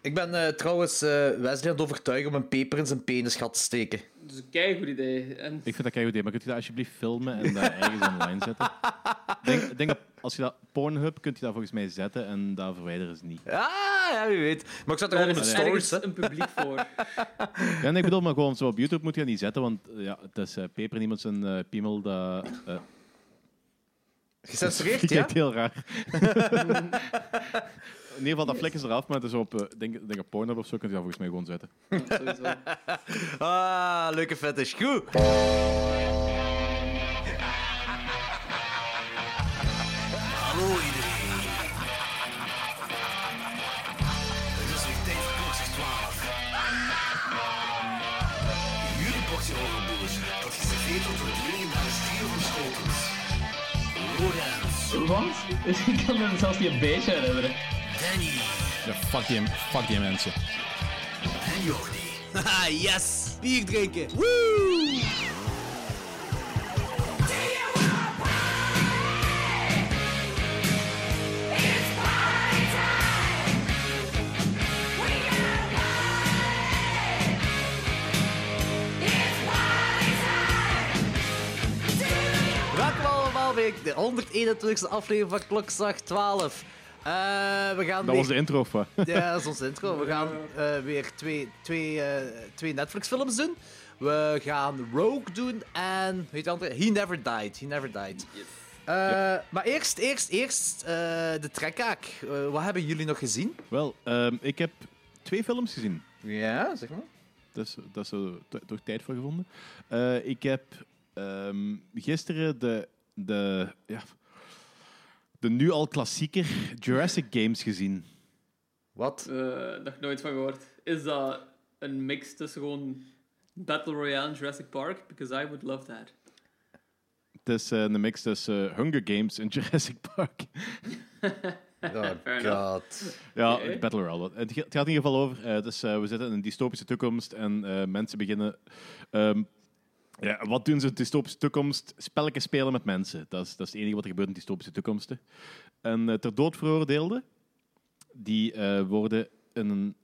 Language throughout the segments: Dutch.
Ik ben eh, trouwens eh, Wesley aan het overtuigen om een peper in zijn penis gat te steken. Dat is een keigoed idee. En Ik vind dat kei idee, maar kunt je dat alsjeblieft filmen en daar ergens online zetten? Ik denk, ik denk dat als je dat Pornhub kunt je dat volgens mij zetten en dat verwijderen ze niet. Ah, ja, wie weet. Maar ik zat er daar gewoon in is mijn stories, hè. ergens een publiek voor. Ja, nee, ik bedoel, maar gewoon zo op YouTube moet je dat niet zetten, want eh, ja, het is eh, peper niemand zijn eh, piemel. Dat eh, Gecensureerd, die ja? kijkt heel raar. In ieder geval, dat vlek is eraf, maar het is op, eh, denk, denk op Pornhub of zo, kun je dat volgens mij gewoon zetten. Ja, sowieso. Ah, leuke fetish. Goed. Hallo iedereen. Het is weer tijd voor klokslag 12. Jullie portie overboers, dat geserveerd wordt door de leerlingen naar de stier van Schotens. Lorenz, Wat? Ik kan me zelfs niet een beetje herinneren. Danny Ja, fuck die, fuck die mensen. en Jordi. Haha, yes! Bier drinken. Welkom allemaal bij de 121ste aflevering van Klokslag 12. Eh, we gaan Dat was weer- de intro, of wat? ja, dat is ons intro. We gaan eh, weer twee, twee, eh, twee Netflix-films doen. We gaan Rogue doen en... Weet je andere? He Never Died. He Never Died. Eh, Maar eerst, eerst, eerst eh, de trekhaak. Eh, wat hebben jullie nog gezien? Wel, ehm, ik heb twee films gezien. Ja, zeg maar. Dat is, dat is er t- toch tijd voor gevonden. Eh, ik heb ehm, gisteren de, de, ja, de nu al klassieker Jurassic Games gezien. Wat? Eh, nog nooit van gehoord. Is dat een mix tussen gewoon Battle Royale en Jurassic Park? Because I would love that. Het is eh, een mix tussen eh, Hunger Games en Jurassic Park. Oh Fair god. ja, Oké. het Battle Royale. Het, ge- het gaat in ieder geval over. eh, dus, eh, we zitten in een dystopische toekomst en eh, mensen beginnen. ehm, ja, wat doen ze in de dystopische toekomst? Spelletjes spelen met mensen. Dat is, dat is het enige wat er gebeurt in dystopische toekomsten. En eh, ter dood veroordeelden, die eh, worden in een.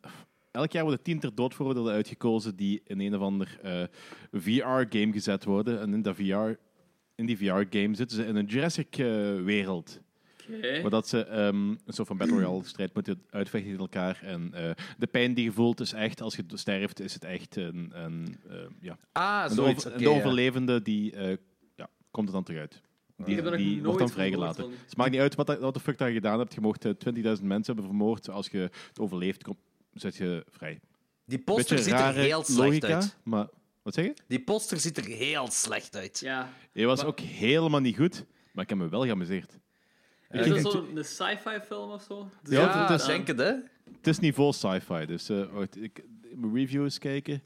Elk jaar worden tien ter dood veroordeelden uitgekozen die in een of ander eh, VR-game gezet worden. En in, dat VR, in die VR-game zitten ze in een eh, Jurassic-wereld. Oké. Maar dat ze ehm, een soort van Battle Royale strijd moeten uitvechten tegen elkaar. En eh, de pijn die je voelt is echt, als je sterft, is het echt een, een, eh, ja. Ah, een, zoiets. over- Oké, een overlevende die eh, ja, komt er dan terug uit. Die, Ik heb er nog die nooit wordt dan van vrijgelaten. gehoord van. het maakt niet uit wat, dat- wat de fuck dat je gedaan hebt. Je mocht eh, 20.000 mensen hebben vermoord. Als je het overleeft, kom, zet je vrij. Die poster ziet er rare heel slecht logica, uit. maar... Wat zeg je? Die poster ziet er heel slecht uit. Ja. Je was Maar- ook helemaal niet goed, maar ik heb me wel geamuseerd. Is ging dat het- zo'n een sci-fi film of zo? Ja, Ja, dat dat is- denk ik, hè? Het is niveau sci-fi, dus eh, wacht, ik, mijn review eens kijken.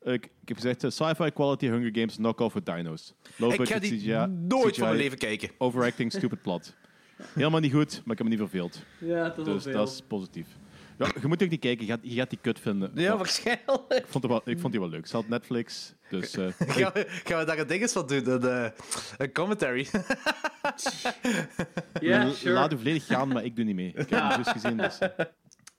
Eh, ik, ik heb gezegd, eh, sci-fi quality Hunger Games knock-off with dinos. Low Ik ga budget die CGI, nooit van mijn CGI, leven kijken. Overacting, stupid plot. Helemaal niet goed, maar ik heb me niet verveeld. Ja, dat is Dus wel dat veel. is positief. Ja, je moet ook niet kijken, je gaat, je gaat die kut vinden. Ja, Maar waarschijnlijk. ik, vond het wel, ik vond die wel leuk. Ze had Netflix, dus... eh, ik- Gaan we, gaan we daar een ding eens van doen? Een, eh, een commentary. Ja, l- sure. Laat u volledig gaan, maar ik doe niet mee. Ik heb hem juist gezien, dus... eh,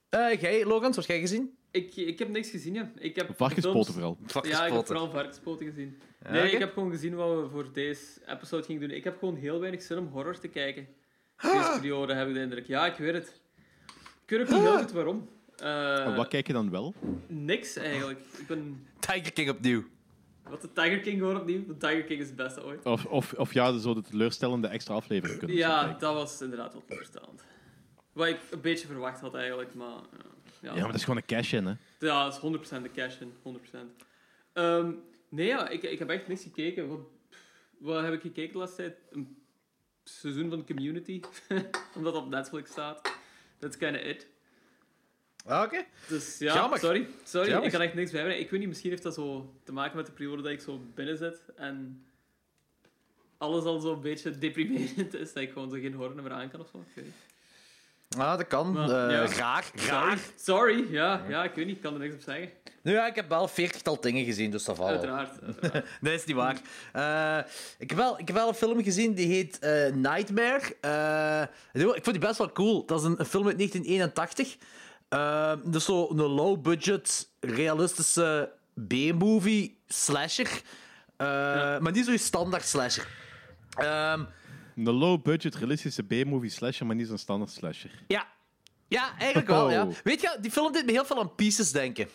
Eh jij, Logan, wat jij gezien? Ik, ik heb niks gezien, ja. Ik heb varkenspoten films- Ja, vooral. ik heb Varkenspotten. vooral varkenspoten gezien. Nee, oké. ik heb gewoon gezien wat we voor deze episode gingen doen. Ik heb gewoon heel weinig zin om horror te kijken. Deze periode heb ik de indruk. Ja, ik weet het. Ik weet ook niet heel goed waarom. Eh, Wat kijk je dan wel? niks eigenlijk. Ik ben... Tiger King opnieuw. Wat de Tiger King hoor opnieuw. De Tiger King is het beste ooit. Of, of, of ja, zo de teleurstellende extra aflevering kunnen ze Ja, kijken. dat was inderdaad wat teleurstellend. Wat ik een beetje verwacht had eigenlijk, maar... eh, ja, Ja, maar dat is gewoon een cash-in, hè. Ja, dat is 100% de cash in. 100%. Ehm, nee, ja, ik, ik heb echt niks gekeken. Wat, wat heb ik gekeken de laatste tijd? Een seizoen van Community. Omdat dat op Netflix staat. That's kind of it. Ah, Oké. Dus ja, Jammer. sorry. Sorry, Jammer. ik kan echt niks bijbrengen. Ik weet niet, misschien heeft dat zo te maken met de periode dat ik zo binnen zit. En alles al zo'n beetje deprimerend is. Dat ik gewoon zo geen horen meer aan kan of zo. Ik weet niet. Ah, dat kan. Maar, Eh, ja. Graag, Sorry, graag. sorry. Ja, ja, ik weet niet. Ik kan er niks op zeggen. Nu ja, ik heb wel veertigtal dingen gezien, dus dat valt. wel. Uiteraard. uiteraard. Nee, is niet waar. Eh, ik, heb wel, ik heb wel een film gezien die heet eh, Nightmare. Eh, ik vond die best wel cool. Dat is een, een film uit 1981. Ehm, dus zo'n low-budget, realistische B-movie slasher. Eh, Maar niet zo'n standaard slasher. Ehm, Een low-budget, realistische B-movie slasher, maar niet zo'n standaard slasher. ja. ja, eigenlijk wel. Ja. Oh. Weet je, die film deed me heel veel aan Pieces denken.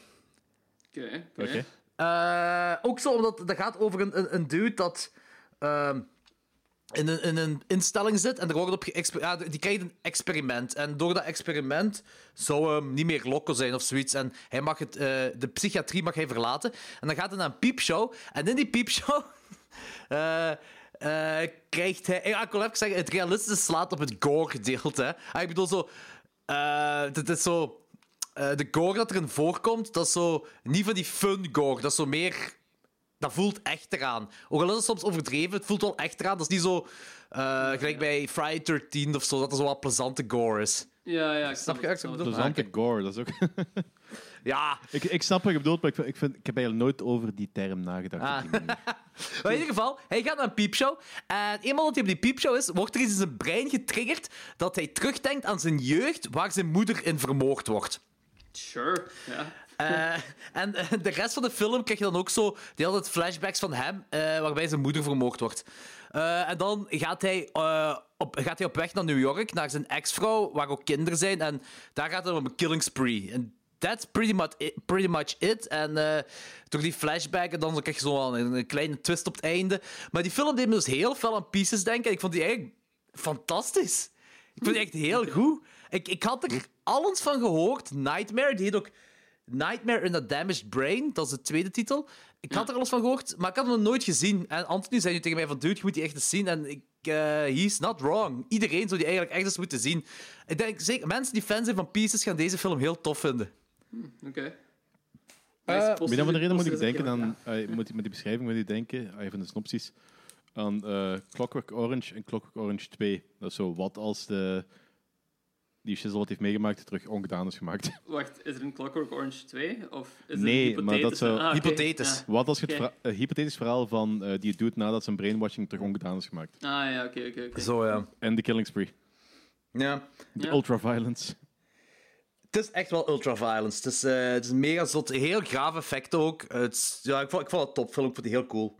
Oké, oké. Oké. Eh, ook zo, omdat dat gaat over een, een, een dude dat ehm, in, een, in een instelling zit en er wordt op geëxper- ja, die krijgt een experiment. En door dat experiment zou hem niet meer lokken zijn of zoiets. En hij mag het, eh, de psychiatrie mag hij verlaten. En dan gaat hij naar een piepshow. En in die piepshow eh, eh, krijgt hij... Ja, ik wil even zeggen, het realistische slaat op het gore-gedeelte. hè. Ah, Ik bedoel, zo... eh, dit is zo... Eh, de gore dat erin voorkomt, dat is zo niet van die fun gore. Dat is zo meer. Dat voelt echt eraan. Ook al is het soms overdreven, het voelt wel echt eraan. Dat is niet zo. eh, gelijk bij Friday 13 of zo, dat er zo wat plezante gore is. Ja, ja. Ik Snap je wat ik snap bedoel? het. Plezante gore, dat is ook... Ja, ik, ik snap wat je bedoelt, maar ik, vind- ik, vind, ik heb eigenlijk nooit over die term nagedacht. op Ah. die manier. maar in ieder geval, hij gaat naar een piepshow. En eenmaal dat hij op die piepshow is, wordt er iets in zijn brein getriggerd dat hij terugdenkt aan zijn jeugd waar zijn moeder in vermoord wordt. Sure. Ja. Eh, en eh, de rest van de film krijg je dan ook zo die altijd flashbacks van hem, eh, waarbij zijn moeder vermoord wordt. Eh, en dan gaat hij, eh, op, gaat hij op weg naar New York, naar zijn ex-vrouw, waar ook kinderen zijn. En daar gaat het om een killing spree. En that's pretty much it. Pretty much it. En eh, door die flashback, en dan krijg je zo wel een, een kleine twist op het einde. Maar die film deed me dus heel veel aan pieces denken. Ik vond die eigenlijk fantastisch. Ik vond die echt heel goed. Ik, ik had er alles van gehoord. Nightmare, die heet ook Nightmare in a Damaged Brain. Dat is de tweede titel. Ik had er alles van gehoord, maar ik had hem nog nooit gezien. En Anthony zei nu tegen mij van, dude, je moet die echt eens zien. En ik, eh, he's not wrong. Iedereen zou die eigenlijk echt eens moeten zien. Ik denk, zeker mensen die fan zijn van Pieces gaan deze film heel tof vinden. Oké. Eh, Nice. Post- Om een of andere reden moet ik post- denken aan... ah, moet, ik- met die beschrijving moet ik denken, ah, van de synopsis, aan eh, Clockwork Orange en Clockwork Orange 2. Dat is zo wat als de, die shizzle wat heeft meegemaakt terug ongedaan is gemaakt. Wacht, is er een Clockwork Orange 2? Of is er Nee, een maar hypothetisch- dat zou- Ah, oké. Hypothetisch. Wat als je het Oké. verha- eh, hypothetisch verhaal van eh, die het doet nadat zijn brainwashing terug ongedaan is gemaakt. Ja. Ah ja, oké, oké, oké. Zo, ja. En de killing spree. Ja. De Ja. ultraviolence. Het is echt wel ultraviolence. Het is, eh, het is mega zot. Heel graaf effect ook. Het is- ja, ik, vond, ik vond het topfilm. Ik vond het heel cool.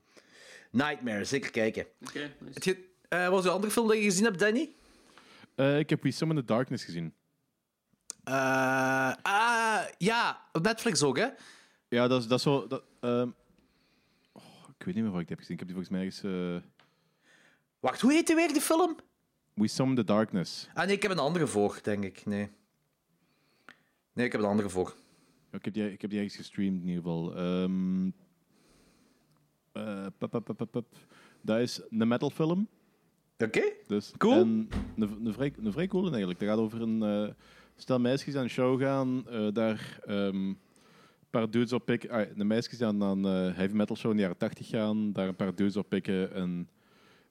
Nightmare, zeker kijken. Oké, nice. Het ge- eh, wat was de andere film dat je gezien hebt, Danny? Eh, ik heb We Summon the Darkness gezien. Eh, ah, ja, op Netflix ook, hè? Ja, dat is, dat is zo... Dat, ehm, oh, ik weet niet meer wat ik die heb gezien. Ik heb die volgens mij ergens... eh, Wacht, hoe heet die weer, die film? We Summon the Darkness. Ah nee, ik heb een andere voor, denk ik. Nee. Nee, ik heb een andere voor. Ik heb die, ik heb die ergens gestreamd in ieder geval. Ehm, eh, pap, pap, pap, pap, pap. Dat is een metal film. Oké? Dus, Cool. En een, een, vrij, een vrij coole eigenlijk. Dat gaat over een eh, stel meisjes aan een show gaan. eh, daar ehm, een paar dudes op pikken. Ah, de meisjes die aan aan een heavy metal show in de jaren 80 gaan. Daar een paar dudes op pikken en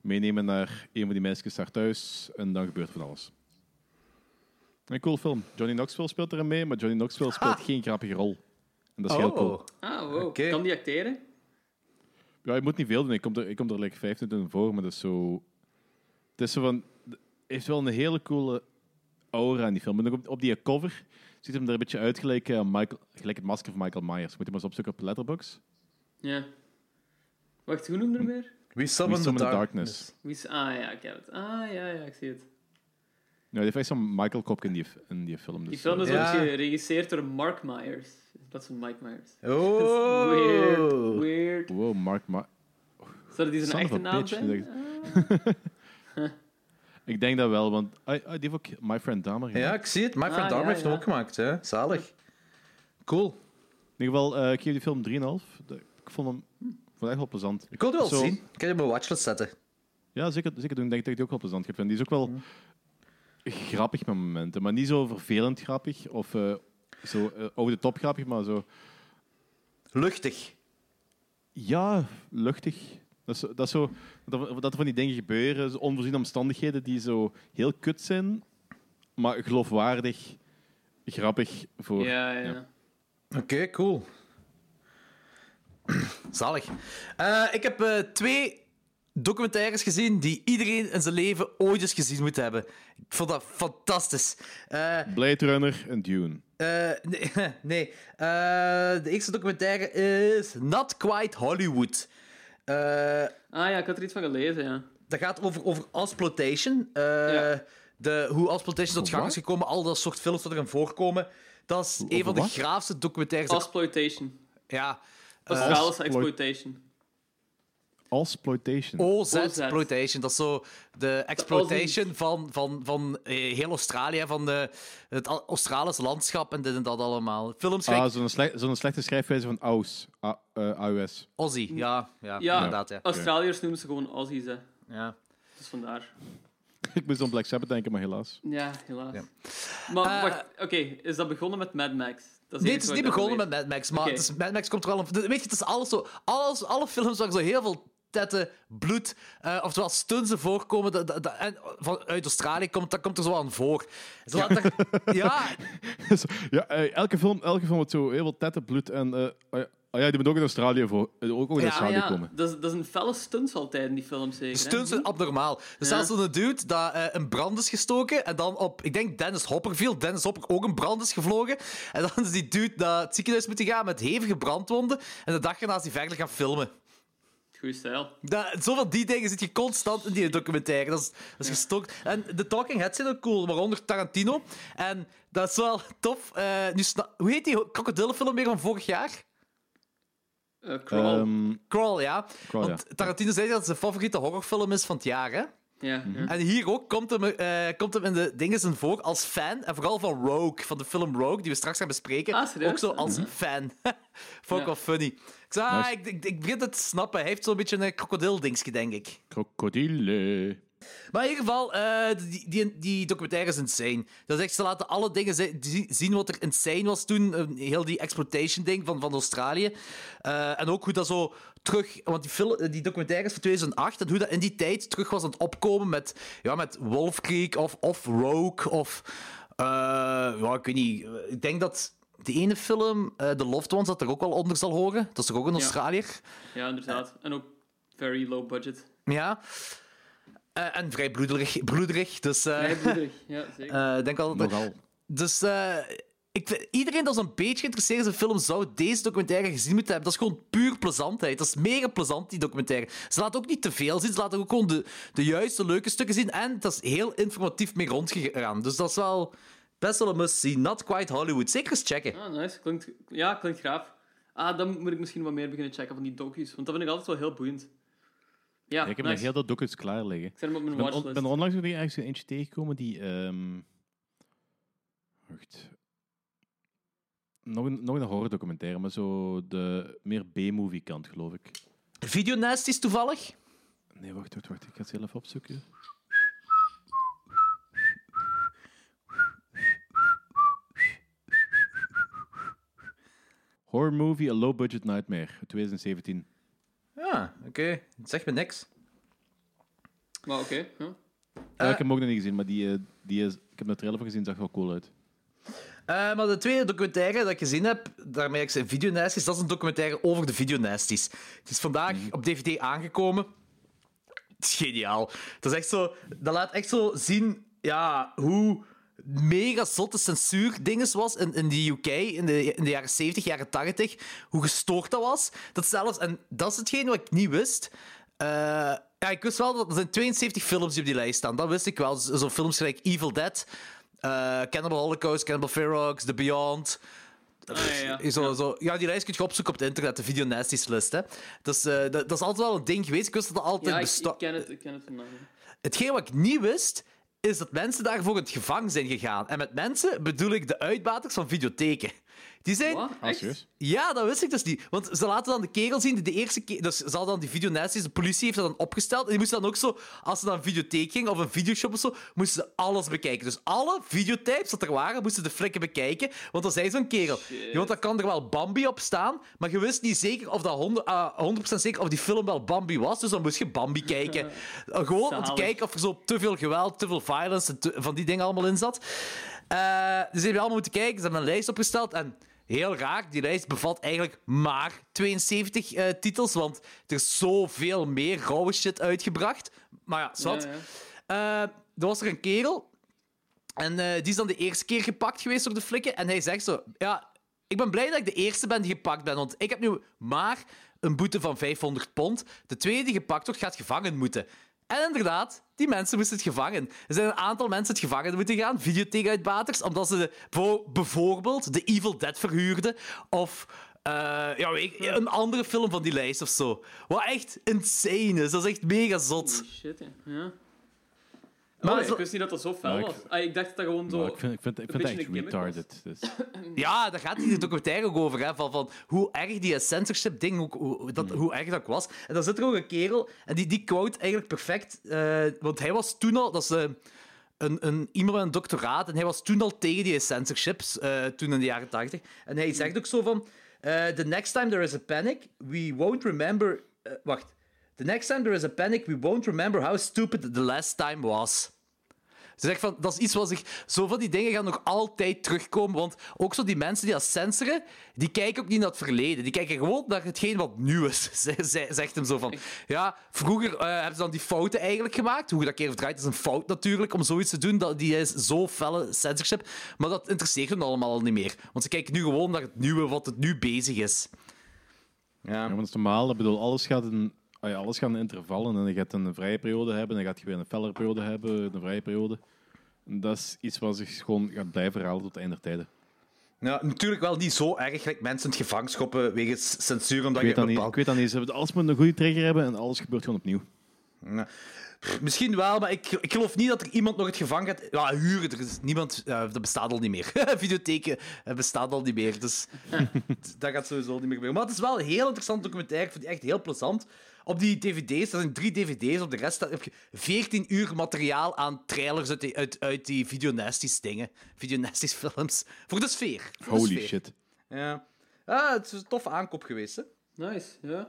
meenemen naar een van die meisjes daar thuis. En dan gebeurt van alles. Een cool film. Johnny Knoxville speelt erin mee, maar Johnny Knoxville speelt geen grappige rol. En dat is heel cool. Ah, wow. Oké. Kan die acteren? Ja, je moet niet veel doen. Ik kom er, ik kom er like 25 in voor, maar dat is zo... Het is zo van... het heeft wel een hele coole aura in die film. En ook op, op die cover ziet hem er een beetje uit gelijk, eh, Michael, gelijk het masker van Michael Myers. Moet je maar eens opzoeken op Letterboxd. Ja. Wacht, hoe noemde hem weer? We We summon, Summon the dark- Darkness. Wie is... Ah ja, ik heb het. Ah ja, ja, ik zie het. Nou, die heeft echt zo'n Michael Kopk in die, in die film. Dus, Die film is eh, Ja. ook geregisseerd door Mark Myers. In plaats van Mike Myers. Oh! Weird. Weird. eh, Wow, Mark Ma Zou die zijn Son of echte a naam bitch, zijn? dacht Ik denk dat wel, want ah, ah, die heeft ook My Friend Dahmer gedaan. Ja, ik zie het. My Friend Ah, Dahmer ja, heeft hem ja. ook gemaakt, hè? Zalig. Cool. In ieder geval, eh, ik geef die film 3,5. De- Ik vond hem ik vond hem echt wel plezant. Ik wil het wel Zo- zien. Ik kan je op mijn watchlist zetten. Ja, zeker, zeker doen. Ik denk dat ik die ook wel plezant heb. En die is ook wel grappig met momenten, maar niet zo vervelend grappig of eh, zo eh, over de top grappig, maar zo Luchtig. ja, luchtig. Dat, is, zo- dat, is zo, dat, dat er van die dingen gebeuren, zo onvoorziene omstandigheden die zo heel kut zijn, maar geloofwaardig, grappig voor. Ja, ja. ja. Oké, cool. Zalig. Eh, ik heb eh, twee documentaires gezien die iedereen in zijn leven ooit eens gezien moet hebben. Ik vond dat fantastisch. Eh, Blade Runner en Dune. Eh, nee, nee. Eh, de eerste documentaire is Not Quite Hollywood. Eh, Ah ja, ik had er iets van gelezen, ja. dat gaat over, over exploitation. Eh, Ja. de, hoe exploitation tot gang is Wat? gekomen, al dat soort films wat erin voorkomen. Dat is een van de wat? graafste documentaires. dat- Exploitation. Ja. Australische exploitation. Alsploitation. OZ OZ. Exploitation. Dat is zo de exploitation van, van, van eh, heel Australië, van de, het Au- Australische landschap en dit en dat allemaal. Films gelijk Ah, zo'n sle- zo'n slechte schrijfwijze van AUS. A- eh, AUS. Aussie. Ja, ja, Ja. inderdaad. Ja. Australiërs noemen ze gewoon Aussies, hè. Ja. Dus vandaar. Ik moest aan Black Sabbath denken, maar helaas. Ja, helaas. Maar Eh, wacht, oké, is dat begonnen met Mad Max? Dat Nee, het het is enige niet wat ik begonnen met daarvan Mad Max, maar Oké. het is- Mad Max komt er wel een... Weet je, het is alles zo... Alles, alle films waar zo heel veel tetten, bloed, eh, oftewel stunzen voorkomen, dat, dat, dat- en vanuit Australië komt, dat komt er zo aan voor. Ze laten daar- ja, Zo, ja, eh, elke, film, elke film met zo heel veel tetten, bloed en... eh, ah ja, ah ja, die moet ook in Australië voor. eh, ook ook in Ja, weet. Australië Ah, ja, komen. dat is, dat is een felle stunts altijd in die film, zeker. hè? Hm? Stunts zijn abnormaal. Dus Ja. zelfs zo'n dude dat eh, een brand is gestoken en dan op, ik denk Dennis Hopper viel, Dennis Hopper ook een brand is gevlogen. En dan is die dude naar het ziekenhuis moeten gaan met hevige brandwonden en de dag erna is hij verder gaan filmen. Goeie stijl. Dat, zoveel die dingen zit je constant in die documentaire. Dat is, dat is gestokt. En de Talking Heads zijn ook cool, waaronder Tarantino. En dat is wel tof. Eh, nu sna- Hoe heet die krokodillenfilm weer van vorig jaar? Eh, crawl. Ehm, Crawl, ja. Crawl, Want ja. Tarantino zei dat het zijn favoriete horrorfilm is van het jaar, hè? ja, mhm. ja. En hier ook komt hem, eh, komt hem in de dingen zijn voor als fan. En vooral van Rogue, van de film Rogue, die we straks gaan bespreken. Ah, serieus? ook zo als fan. Vond ik Ja. wel funny. Ik, zei, ah, Mhm. Nice. ik, ik, ik begin het te snappen. Hij heeft zo'n beetje een krokodildingske, denk ik. krokodillen. Maar in ieder geval, eh, die, die, die documentaire is insane. Dat is echt, ze laten alle dingen zi- zi- zien wat er insane was toen. eh, Heel die exploitation-ding van, van Australië. Eh, en ook hoe dat zo terug... Want die, fil- eh, die documentaire is van 2008. En hoe dat in die tijd terug was aan het opkomen met, ja, met Wolf Creek of, of Rogue. Of... eh, ja, ik weet niet. Ik denk dat... De ene film, eh The Loved Ones, dat er ook wel onder zal horen. Dat is toch ook een Ja. Australiër? ja, inderdaad. En ook very low budget. Ja. Eh, en vrij bloederig. bloederig dus eh, Vrij bloedig, ja, zeker. eh, ik denk wel dat er- Nogal. Dus eh, ik vind- iedereen dat zo'n beetje geïnteresseerd is in film zou deze documentaire gezien moeten hebben. Dat is gewoon puur plezantheid. Dat is mega plezant, die documentaire. Ze laten ook niet te veel zien. Ze laten ook gewoon de, de juiste leuke stukken zien. En dat is heel informatief mee rondgegaan. Dus dat is wel best wel een must-see. Not quite Hollywood. Zeker eens checken. Ah, nice. Klinkt, ja, klinkt graaf. Ah, dan moet ik misschien wat meer beginnen checken van die docu's. Want dat vind ik altijd wel heel boeiend. Ja, Ja, ik heb nice. nog heel dat dockets klaar liggen. Ik zet hem op mijn Ik ben, on- watchlist. ben onlangs weer ergens eentje tegengekomen die. ehm, Wacht. Nog een, nog een horror documentaire, maar zo de meer B-movie kant, geloof ik. Videonest is toevallig. Nee, wacht, wacht, wacht. Ik ga het zelf opzoeken. Horror movie, A Low Budget Nightmare, 2017. Ja, Ah, oké. Het zegt me niks. Maar oké, ja. Eh. Ja, ik heb hem ook nog niet gezien, maar die, eh, die is, ik heb de trailer van gezien, zag er wel cool uit. Eh, maar de tweede documentaire dat ik gezien heb, daarmee ik zei videonasties, dat is een documentaire over de videonasties. Het is vandaag op DVD aangekomen. Het is geniaal. Dat, is echt zo, dat laat echt zo zien ja, hoe mega zotte censuur dinges was in, in de UK in de, in de jaren 70, jaren 80. Hoe gestoord dat was. Dat zelfs, en dat is hetgeen wat ik niet wist. Eh, ja, ik wist wel dat er zijn 72 films die op die lijst staan. Dat wist ik wel. Z- Zo'n films gelijk Evil Dead, eh, Cannibal Holocaust, Cannibal Ferox, The Beyond. Ah, ja, ja. Is Zo, zo. Ja, die lijst kun je opzoeken op het internet, de Videonasties list. Hè. Dus, eh, dat, dat is altijd wel een ding geweest. Ik wist dat dat altijd Ja, ik, besta- ik ken het, ik ken het vandaag. Hetgeen wat ik niet wist, is dat mensen daarvoor in het gevangen zijn gegaan. En met mensen bedoel ik de uitbaters van videotheken. Die zijn... Wat? Ah, Echt? serieus? Ja, dat wist ik dus niet. Want ze laten dan de kerel zien die de eerste keer... Dus ze hadden dan die videonasties, de politie heeft dat dan opgesteld. En die moesten dan ook zo, als ze naar een videotheek gingen of een videoshop of zo, moesten ze alles bekijken. Dus alle videotypes dat er waren, moesten de flikken bekijken. Want dan zei zo'n kerel... "Ja, Want dan kan er wel Bambi op staan, maar je wist niet zeker of dat 100, ah, 100% zeker of die film wel Bambi was. Dus dan moest je Bambi kijken. Eh, Gewoon om te Zalig. kijken of er zo te veel geweld, te veel violence en te- van die dingen allemaal in zat. Eh, dus die hebben allemaal moeten kijken. Ze hebben een lijst opgesteld. En heel raar, die lijst bevat eigenlijk maar 72 eh, titels. Want er is zoveel meer rauwe shit uitgebracht. Maar ja, zwart. Ja, ja. Eh, er was er een kerel. En eh, die is dan de eerste keer gepakt geweest door de flikken. En hij zegt zo: Ja, ik ben blij dat ik de eerste ben die gepakt ben. Want ik heb nu maar een boete van 500 pond. De tweede die gepakt wordt, gaat gevangen moeten. En inderdaad, die mensen moesten het gevangen. Er zijn een aantal mensen het gevangen moeten gaan, videotheekuitbaters, omdat ze de- bijvo- bijvoorbeeld de Evil Dead verhuurden. Of eh, ja, weet ik, een andere film van die lijst of zo. Wat echt insane is. Dat is echt mega zot. Shit, hè. ja. Maar Maar zo- ik wist niet dat dat zo fel Maar ik- was. Ah, ik dacht dat dat gewoon zo... Maar ik vind, ik vind, ik vind beetje het echt een gimmick was. retarded. Dus. Ja, daar gaat die documentaire ook over. Hè? Van, van hoe erg die censorship-ding, hoe, hoe, dat, hoe erg dat ook was. En dan zit er ook een kerel, en die, die quote eigenlijk perfect. eh, want hij was toen al, dat is eh, een, een, iemand met een doctoraat, en hij was toen al tegen die censorships, eh, toen in de jaren 80. En hij zegt ook zo van: eh, The next time there is a panic, we won't remember. eh, wacht. The next time there is a panic, we won't remember how stupid the last time was. Ze zegt van, dat is iets wat zich... Zo van die dingen gaan nog altijd terugkomen. Want ook zo die mensen die dat censoren, die kijken ook niet naar het verleden. Die kijken gewoon naar hetgeen wat nieuw is. Zij- zij- Zegt hem zo van... Ja, vroeger eh, hebben ze dan die fouten eigenlijk gemaakt. Hoe je dat keer of draait is een fout natuurlijk, om zoiets te doen. Dat, die is zo felle censorship. Maar dat interesseert hen allemaal al niet meer. Want ze kijken nu gewoon naar het nieuwe, wat het nu bezig is. Ja, want het is normaal. Ik bedoel, alles gaat in, ah ja, alles gaat in intervallen. En je gaat een vrije periode hebben, dan gaat je weer een fellere periode hebben, een vrije periode. En dat is iets wat zich gewoon gaat blijven herhalen tot het einde der tijden. Ja, natuurlijk wel niet zo erg gelijk mensen in het gevangen schoppen wegens censuur, omdat Ik weet je dat een niet. bepaald... Ik weet dat niet. Ze hebben- Alles moet een goede trigger hebben en alles gebeurt gewoon opnieuw. Misschien wel, maar ik, ik geloof niet dat er iemand nog het gevangen gaat. Ja, huren, er is niemand. ja, dat bestaat al niet meer. Videotheken eh, bestaan al niet meer. Dus dat gaat sowieso niet meer gebeuren. Maar het is wel een heel interessant documentaire. Ik vond die echt heel plezant. Op die dvd's, dat zijn drie dvd's. Op de rest staat- heb je 14 uur materiaal aan trailers uit die, uit, uit die videonasties dingen. Videonasties films. Voor de sfeer. Voor de Holy sfeer. shit. Ja. Ah, het is een toffe aankoop geweest, hè? Nice, ja. Ah,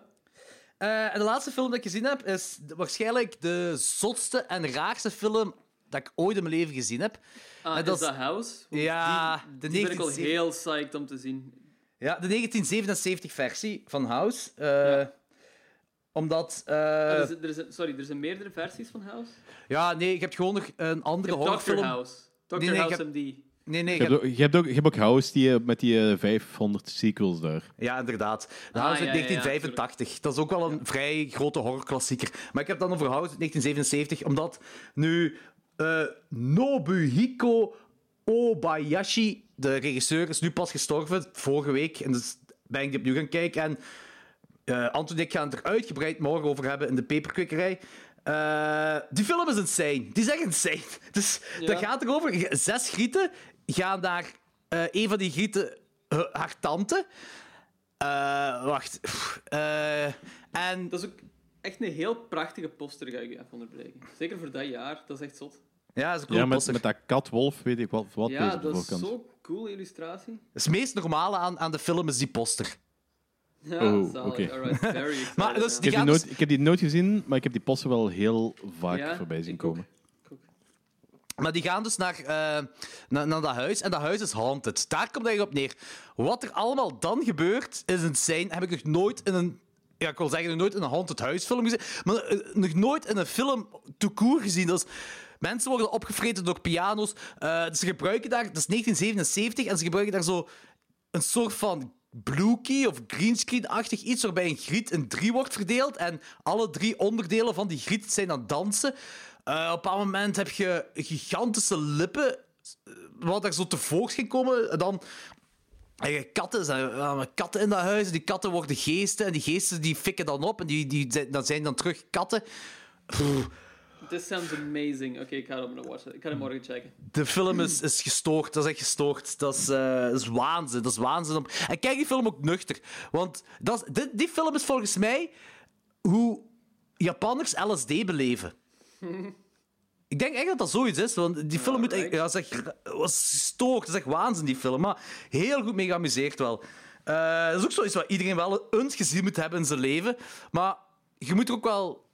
Eh, en de laatste film dat ik gezien heb, is de- waarschijnlijk de zotste en raarste film dat ik ooit in mijn leven gezien heb. Ah, En is dat dat is- House? Want Ja, die, de die ben ik al 1970 heel psyched om te zien. Ja, de 1977-versie van House. Eh, Omdat... eh, Ah, er is- er is- sorry, er zijn meerdere versies van House. Ja, nee, ik heb gewoon nog een andere Doctor horrorfilm... House. Doctor nee, ik House heb- MD. Nee, nee, ik Je hebt, heb- ook, je, hebt ook, je hebt ook House die, eh, met die eh, 500 sequels daar. Ja, inderdaad. De Ah, House ja, uit ja, ja, 1985. dat is ook wel een vrij grote horrorklassieker. Maar ik heb dan over House uit 1977, omdat nu eh, Nobuhiko Obayashi, de regisseur, is nu pas gestorven, vorige week. En dus ben ik die opnieuw gaan kijken. En eh Anton en ik gaan het er uitgebreid morgen over hebben in de paperkwikkerij. Eh, die film is insane. Die is echt insane. Dus Ja. dat gaat erover. Zes grieten gaan daar... eh een van die grieten, eh, haar tante... Eh, wacht. Pff, eh, en Dat is ook echt een heel prachtige poster, ga ik je even onderbreken. Zeker voor dat jaar, dat is echt zot. ja, dat is een coole Ja, met, poster. met dat katwolf weet ik wat, wat deze ja, op de dat is voorkant. zo'n coole illustratie. Het is meest normale aan, aan de film is die poster. Ja, Oh, zalig. oké. Alright, very excited, Maar dat is ja. Ik heb, Die die gaan dus- nooit, ik heb die nooit gezien, maar ik heb die posten wel heel vaak Ja, voorbij zien ik ook. komen. Maar die gaan dus naar, eh, naar, naar dat huis en dat huis is haunted. Daar komt het eigenlijk op neer. Wat er allemaal dan gebeurt, is insane. Heb ik nog nooit in een... Ja, ik wil zeggen, nog nooit in een haunted huisfilm gezien. Maar eh, nog nooit in een film tout court gezien. Dat is... Mensen worden opgevreten door piano's. Eh, ze gebruiken daar... Dat is 1977 en ze gebruiken daar zo een soort van blue key of greenscreen-achtig iets waarbij een griet in drie wordt verdeeld en alle drie onderdelen van die griet zijn aan het dansen. Eh, op een bepaald moment heb je gigantische lippen eh, wat daar zo tevoorschijn komen. En dan en je katten, er zijn eh, katten in dat huis. En die katten worden geesten en die geesten die fikken dan op en die, die zijn, dat zijn dan terug katten. Pff, This sounds amazing. Oké, ik ga hem watchen. Ik ga Hmm. hem morgen checken. De film is, is gestoord. Dat is echt gestoord. Dat is, eh, dat is waanzin. Dat is waanzin. om- En kijk die film ook nuchter. Want dat is, dit- die film is volgens mij hoe Japanners LSD beleven. Ik denk echt dat dat zoiets is. Want die film moet echt, ja, dat Alright. is echt, was gestoord. Dat is echt waanzin, die film. Maar heel goed mee geamuseerd wel. Eh, dat is ook zoiets wat iedereen wel eens gezien moet hebben in zijn leven. Maar je moet er ook wel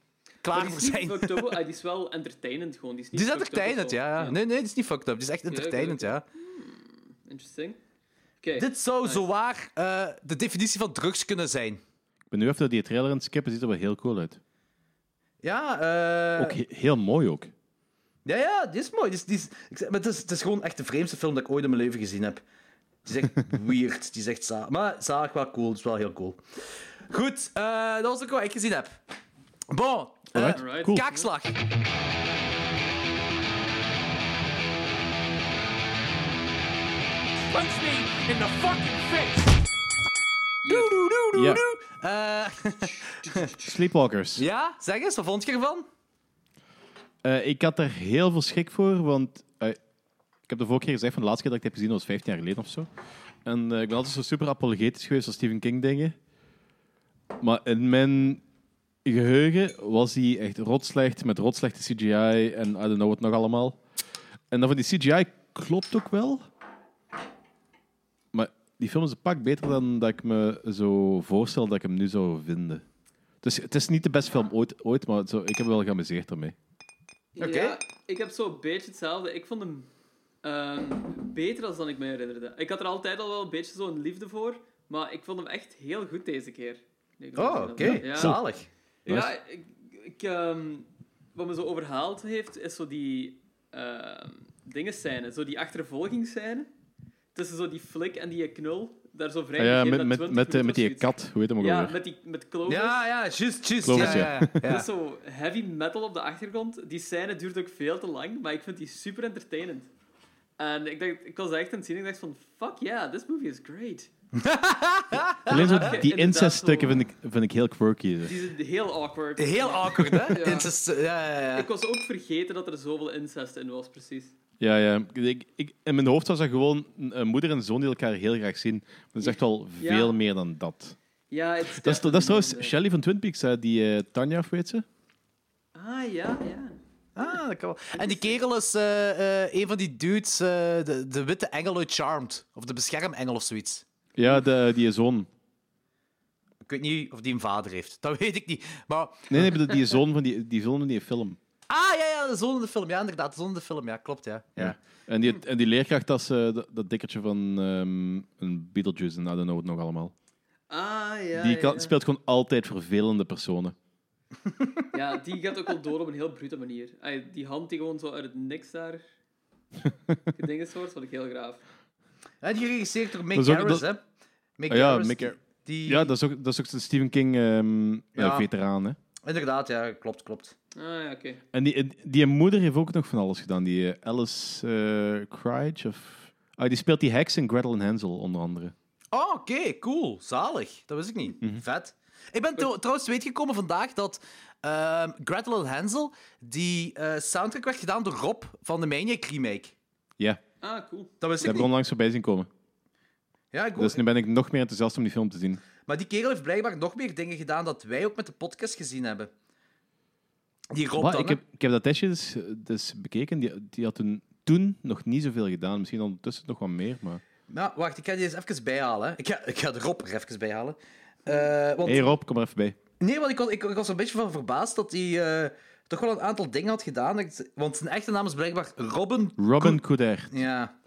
klaar die voor is niet zijn. fucked up. Ah, die is wel entertainend gewoon. Die is, niet Die is fucked up of entertainend, zo. ja. ja. Nee, nee, die is niet fucked up. Die is echt oké, entertainend, oké. ja. Interesting. Oké. Dit zou Nice. zowaar eh, de definitie van drugs kunnen zijn. Ik ben nu even naar die trailer aan het skippen, ziet er wel heel cool uit. Ja, eh, Ook he- heel mooi ook. Ja, ja, die is mooi. Die is, die is, ik zeg- maar het, is, het is gewoon echt de vreemdste film dat ik ooit in mijn leven gezien heb. Die is echt weird. Die is echt za- Maar zaak wel cool. Het is wel heel cool. Goed, eh, dat was ook wat ik gezien heb. Bon, eh, Alright, Alright. cool. kaakslag. Punch me in the fucking face! Doe, doe, doe, doe, Ja. doe. Eh, Sleepwalkers. ja, zeg eens, wat vond je ervan? Eh, ik had er heel veel schrik voor, want eh, ik heb de vorige keer gezegd van de laatste keer dat ik het heb gezien was 15 jaar geleden of zo. En eh, ik ben altijd zo super apologetisch geweest als Stephen King dingen. Maar in mijn geheugen was hij echt rotslecht met rotslechte CGI en I don't know what nog allemaal. En dan van die CGI klopt ook wel. Maar die film is een pak beter dan dat ik me zo voorstel dat ik hem nu zou vinden. Dus het is niet de beste film ooit, ooit maar zo, ik heb wel geamuseerd ermee. Oké. Ja, ik heb zo'n beetje hetzelfde. Ik vond hem ehm, beter als dan ik me herinnerde. Ik had er altijd al wel een beetje zo'n liefde voor, maar ik vond hem echt heel goed deze keer. Ik Oh, vond oké. hem- Ja, Zalig. ja ik, ik, ehm, wat me zo overhaald heeft, is zo die ehm dingenscène, zo die achtervolgingsscène. Tussen zo die flik en die knul, daar zo vrij Ah ja, gegeven met, met, 20 met, eh, minuten of met die zoiets. kat, hoe heet hem ook Ja, alweer? met, die, met Clovis. Ja, ja, juist, juist. Ja, Clovis, ja, ja. Dus Dat is zo heavy metal op de achtergrond. Die scène duurt ook veel te lang, maar ik vind die super entertainend. En ik, dacht, ik was echt aan het zien en ik dacht van, fuck yeah, this movie is great. Alleen zo heb je die inderdaad inceststukken zo- vind ik, vind ik heel quirky. zo. Die zijn heel awkward. Heel awkward, hè? Ja. Het is, ja, ja, ja. Ik was ook vergeten dat er zoveel incest in was, precies. Ja, ja. Ik, ik, in mijn hoofd was dat gewoon een, een moeder en zoon die elkaar heel graag zien. Maar dat is echt wel Ja. veel meer dan dat. Ja, het Dat is, dat is trouwens definitely- Shelly van Twin Peaks, hè, die eh, Tanja, of weet ze? Ah, ja, ja. Ah, dat kan wel. En die kerel is eh, eh, een van die dudes, eh, de, de witte engel uit Charmed. Of de beschermengel of zoiets. Ja, de, die zoon. Ik weet niet of die een vader heeft. Dat weet ik niet. Maar... Nee, nee, bedoel, die zoon van die, die, zoon van die film. Ah, ja, ja, de zoon in de film. Ja, inderdaad, de zoon in de film. Ja, klopt, ja. ja. En, die, en die leerkracht, dat is eh, dat, dat dikkertje van ehm, een Beetlejuice en I don't know what nog allemaal. Ah, ja, Die kan, ja. speelt gewoon altijd vervelende personen. Ja, die gaat ook wel door op een heel brute manier. Ai, die hand die gewoon zo uit het niks daar... gedinges wordt, vond ik heel graaf. En die geregisseerd door Mick Dat is ook- Harris, dat- hè? Mick Ah, ja, Harris, Mick die- Har- Die... Ja, dat is ook, dat is ook een Stephen ehm, eh, Ja. King-veteraan. Inderdaad, ja, klopt, klopt. Ah, ja, oké. en die, die moeder heeft ook nog van alles gedaan. Die eh, Alice eh Crouch of... ah, die speelt die heks in Gretel en Hansel, onder andere. Oh, oké, cool. Zalig. Dat wist ik niet. Mhm. Vet. Ik ben tro- trouwens gekomen vandaag dat ehm, Gretel en Hansel, die eh, soundtrack werd gedaan door Rob van de Maniac Remake. Ja, Ah, cool. Dat wist daar ik heb ik niet. onlangs voorbij zien komen. Ja, ik ook. Dus nu ben ik nog meer enthousiast om die film te zien. Maar die kerel heeft blijkbaar nog meer dingen gedaan dat wij ook met de podcast gezien hebben. Die Rob Maar dan, ik, heb, ik heb dat testje dus, dus bekeken. Die, die had toen, toen nog niet zoveel gedaan. Misschien ondertussen nog wat meer, maar... hè. Nou, wacht, ik ga die eens even bijhalen. hè. Ik ga, ik ga de Rob er even bijhalen. Eh, want, Hey Rob, kom maar even bij. Nee, want ik was, ik, ik was er een beetje van verbaasd dat hij eh, toch wel een aantal dingen had gedaan. Ik- Want zijn echte naam is blijkbaar Robin Robin Coder. Ja.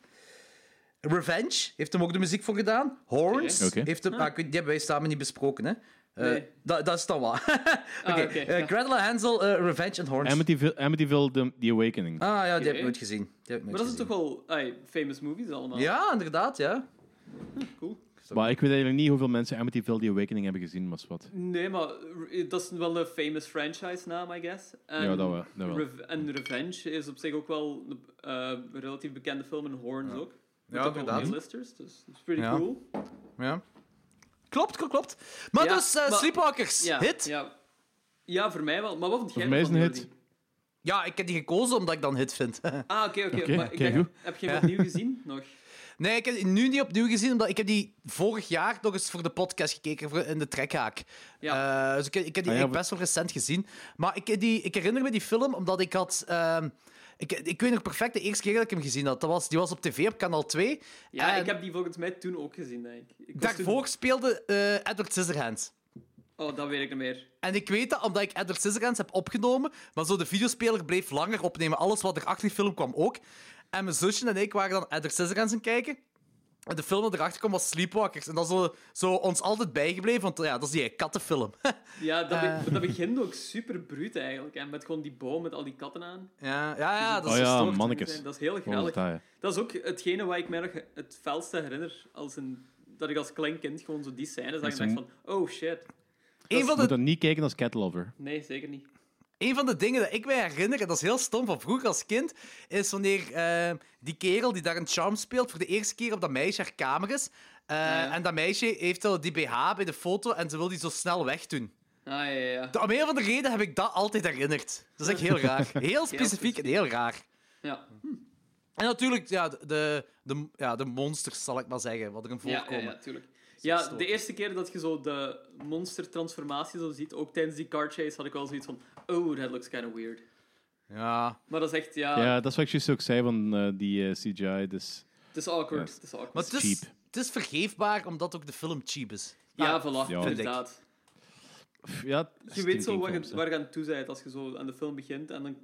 Revenge heeft hem ook de muziek voor gedaan. Horns Oké. heeft hem... ah, ik weet- die hebben wij samen niet besproken, hè. Eh, Nee. Ah, dat, dat is dan wel. Oké, oké, eh, ja. Gretel en Hansel, eh, Revenge en Horns. Amityville, Amityville The, The Awakening. Ah ja, die heb Oké. ik nooit gezien. Die heb ik nooit Maar dat is toch gezien. wel ai, famous movies allemaal. Ja, inderdaad, ja. Cool. Maar ik weet eigenlijk niet hoeveel mensen Amityville The Awakening hebben gezien, maar is wat. Nee, maar r- dat is wel een famous franchise naam, I guess. En Ja, dat wel, dat wel. Rev- en Revenge is op zich ook wel een eh, relatief bekende film en Horns ook. Met ook wel inderdaad. veel listers, dus dat is pretty Ja. cool. ja. Klopt, klopt, klopt. Maar Ja, dus, eh, maar- Sleepwalkers, Ja, hit? Ja. Ja. ja, voor mij wel. Maar wat vond jij Voor mij is ervan, een hit. Jordi? ik heb die gekozen omdat ik dan hit vind. Ah, oké, oké. Oké, maar ik oké, dacht, goed. heb je hem opnieuw gezien nog? nee, ik heb die nu niet opnieuw gezien, omdat ik heb die vorig jaar nog eens voor de podcast gekeken voor in de trekhaak. Ja. Eh, dus ik, ik heb die Ah, ja, echt best wel recent gezien. Maar ik, die, ik herinner me die film omdat ik had. ehm, ik, ik weet nog perfect de eerste keer dat ik hem gezien had. Dat was, die was op tv op kanaal 2. Ja, en ik heb die volgens mij toen ook gezien, denk ik. ik was daarvoor speelde eh, Edward Scissorhands. Toen... Oh, dat weet ik niet meer. En ik weet dat omdat ik Edward Scissorhands heb opgenomen, maar zo de videospeler bleef langer opnemen. Alles wat er achter die film kwam ook. En mijn zusje en ik waren dan Edward Scissorhands aan het kijken. En de film dat erachter kwam was Sleepwalkers. En dat is zo, zo ons altijd bijgebleven, want ja, dat is die kattenfilm. Ja, dat, be- dat begint ook super bruut eigenlijk. En met gewoon die boom met al die katten aan. ja, ja, ja, dat is Oh ja, gestoord. mannetjes. Dat is heel Wat was grappig. dat, ja? Dat is ook hetgene waar ik mij nog het felste herinner. Als een, dat ik als klein kind gewoon zo die scène zag en dacht van... Oh shit. Een van Je moet de dat niet kijken als catlover. Nee, zeker niet. Een van de dingen dat ik mij herinner, en dat is heel stom van vroeger als kind, is wanneer eh, die kerel die daar een charm speelt voor de eerste keer op dat meisje haar kamer is. eh, ja. En dat meisje heeft al die BH bij de foto en ze wil die zo snel wegdoen. Ah, ja, ja, ja. De- Om een of andere reden heb ik dat altijd herinnerd. Dat is echt heel raar. Heel specifiek en heel raar. ja. En natuurlijk ja, de, de, de- ja, de monsters, zal ik maar zeggen, wat erin Ja, ja, voorkomen. ja, tuurlijk. Ja, gestoord. de eerste keer dat je zo de monstertransformatie zo ziet, ook tijdens die car chase, had ik wel zoiets van... Oh, that looks kind of weird. Ja. Maar dat is echt, ja... Ja, dat is wat ik juist ook zei van eh, die eh, CGI. Dus Het is awkward. Ja. Het is awkward. Maar het is, cheap. het is vergeefbaar, omdat ook de film cheap is. ja, Ah, voilà, vind ik. inderdaad. pff, ja, Je weet zo waar films, je, waar je aan toe bent als je zo aan de film begint. En dan,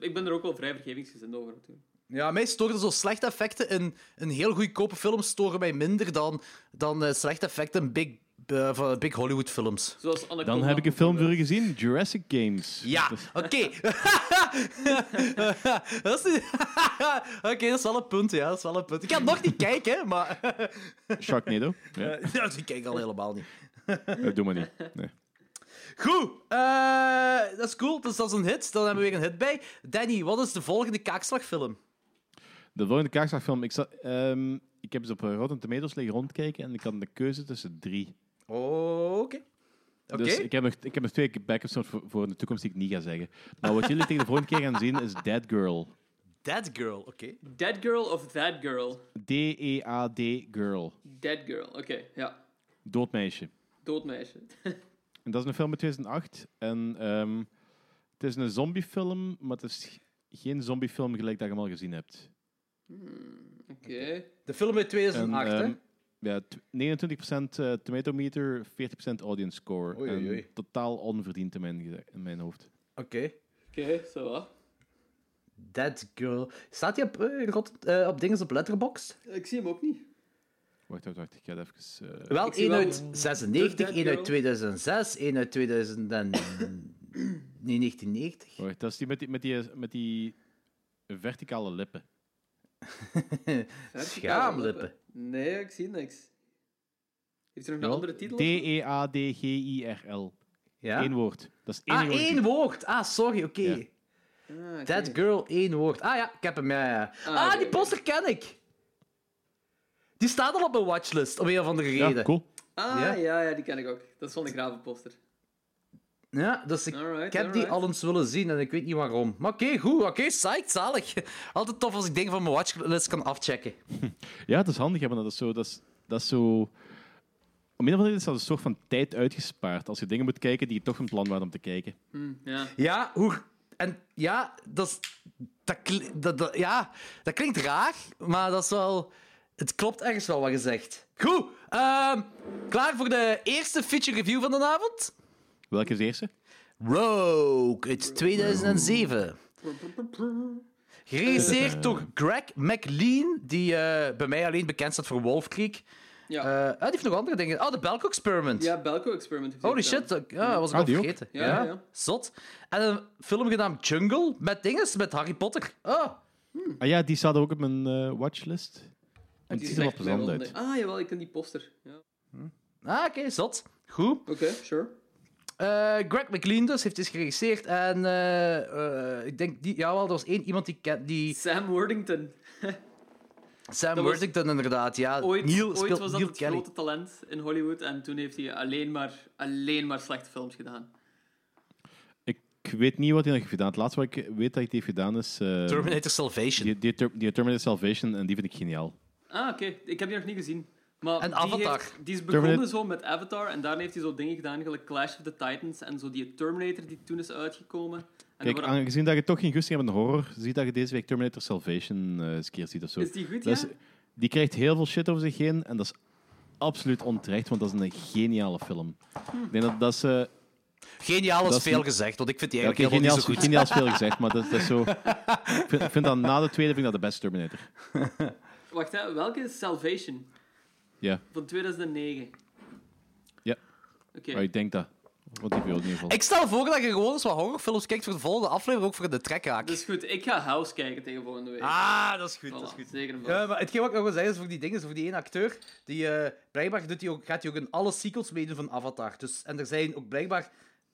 ik ben er ook wel vrij vergevingsgezind over natuurlijk. Ja, mij storen zo slechte effecten in een heel goedkope film storen mij minder dan, dan eh, slechte effecten in big, eh, van big Hollywood films. Zoals Anaconda. Dan heb ik een film voor u gezien, Jurassic Games. Ja, oké. Dat is niet- oké, dat is wel een punt, ja. Dat is wel een punt. Ik ga het nog niet kijken, maar... Sharknado. Ja, Ja, die kijk ik al helemaal niet. eh, doe maar niet. Nee. Goed, eh, dat is cool. Dus dat is een hit. Dan hebben we weer een hit bij. Danny, wat is de volgende kaakslagfilm? De volgende kaakslagfilm. Ik, zat, ehm, ik heb ze op eh, Rotten Tomatoes liggen rondkijken en ik had de keuze tussen drie. Oké. Oké. Dus ik heb, nog, ik heb nog twee backups nog voor, voor de toekomst die ik niet ga zeggen. Maar wat jullie tegen de volgende keer gaan zien is Dead Girl. That Girl, oké. Dead Girl of That Girl? D-E-A-D E Girl. Dead Girl, oké, ja. Dood meisje. Dood meisje. En dat is een film uit 2008. En ehm, het is een zombiefilm, maar het is geen zombiefilm gelijk dat je hem al gezien hebt. Oké. De film uit En, 2008, hè? ehm, ja, t- 29% eh, tomato meter, 40% audience score. Oei, oei, oei. En totaal onverdiend in mijn, ge- in mijn hoofd. Oké. Oké, zo wat. That Girl. Staat die op, eh, rot- eh, op dingen op Letterboxd? Ik zie hem ook niet. Wacht, wacht, wacht. Ik ga het even... eh, Wel, Ik zie één wel- uit Dead 96, één uit Girl. 2006, één uit 2000 en... Nee, 1990. wacht, dat is die met die, met die, met die verticale lippen. Schaamlippen. Nee, ik zie niks. Heeft er nog een Jawel. andere titel? E D-E-A-D-G-I-R-L. Ja? Eén woord. Dat is het ah, enige wat ik één zie. woord. Ah, sorry, oké. Ja. Ah, oké. That Girl, één woord. Ah ja, ik heb hem, ja, ja. Ah, oké, die oké. poster ken ik. Die staat al op mijn watchlist, om een of andere reden. Ja, cool. Ah, Ja? ja? Ja, die ken ik ook. Dat is van de gravenposter. Ja, dus ik, Alright, ik heb die alright. al eens willen zien en ik weet niet waarom. Maar oké, goed, oké, psyched, zalig. Altijd tof als ik dingen van mijn watchlist kan afchecken. Ja, het is handig, hè, want dat is zo... Dat is, dat is zo om een of andere reden is dat een soort van tijd uitgespaard. Als je dingen moet kijken die je toch van plan waren om te kijken. Ja. Ja, hoe... En ja, dat, is- dat, kli- dat, dat- ja, dat klinkt raar, maar dat is wel... Het klopt ergens wel wat gezegd. Goed, ehm, klaar voor de eerste feature review van de avond? Welke is de eerste? Rogue uit 2007. Geregisseerd door Greg McLean, die eh, bij mij alleen bekend staat voor Wolf Creek. Ja. Eh, ah, die heeft nog andere dingen. Oh, de Belko Experiment. Ja, Belko Experiment. heeft hij Holy gedaan. shit, dat ja, dat was ik Ah, al die ook? vergeten. Ja, ja, ja. Zot. En een film genaamd Jungle met dinges, met Harry Potter. Oh, Ah ja, die staat ook op mijn eh, watchlist. En het Die ziet er wel zegt mij plezant wel uit. nee. Ah, jawel, ik ken die poster. Ja. Oké, ah, oké, zot. Goed. sure. Eh, Greg McLean dus heeft dit geregisseerd. En eh, eh, ik denk, die, jawel, er was één iemand die kent, die Sam Worthington. Sam dat was- Worthington inderdaad. Ja, Ooit, Neil ooit speelt was dat Neil het Kelly. grote talent in Hollywood en toen heeft hij alleen maar, alleen maar slechte films gedaan. Ik weet niet wat hij nog heeft gedaan. Het laatste wat ik weet dat hij heeft gedaan is... eh, Terminator Salvation. Die, die, Ter- die Terminator Salvation, en die vind ik geniaal. Ah, oké. Ik heb die nog niet gezien. Maar En die Avatar. heeft- die is begonnen Terminator- zo met Avatar en daarna heeft hij zo dingen gedaan, gelijk Clash of the Titans en zo die Terminator die toen is uitgekomen. En dan Kijk, wordt- aangezien dat je toch geen gusting hebt in horror, zie dat je deze week Terminator Salvation eh, eens een keer ziet of zo. Is die goed, Dat ja? is- die krijgt heel veel shit over zich heen, en dat is absoluut onterecht, want dat is een geniale film. Ik denk dat, dat is... eh, Geniaal is Dat is veel niet- gezegd, want ik vind die ja, oké, eigenlijk geniaal, helemaal is- niet zo goed. geniaal is veel gezegd, maar dat, is- dat is zo... Ik vind, ik vind dat na de tweede vind ik dat de beste Terminator. Wacht, hè, welke is Salvation? Ja. Van 2009. Ja. Oké. Maar ik denk dat. Want die wil in ieder geval. Ik stel voor dat je gewoon eens wat horrorfilms kijkt voor de volgende aflevering, ook voor de trek raakt. Dat is Dus goed. Ik ga House kijken tegen volgende week. Ah, dat is goed, Voilà, dat is goed. Zeker en vast. Ja, maar hetgeen wat ik nog wil zeggen is voor die dingen, is voor die ene acteur, die eh, blijkbaar doet die ook, gaat hij ook in alle sequels meedoen van Avatar. Dus, en er zijn ook blijkbaar,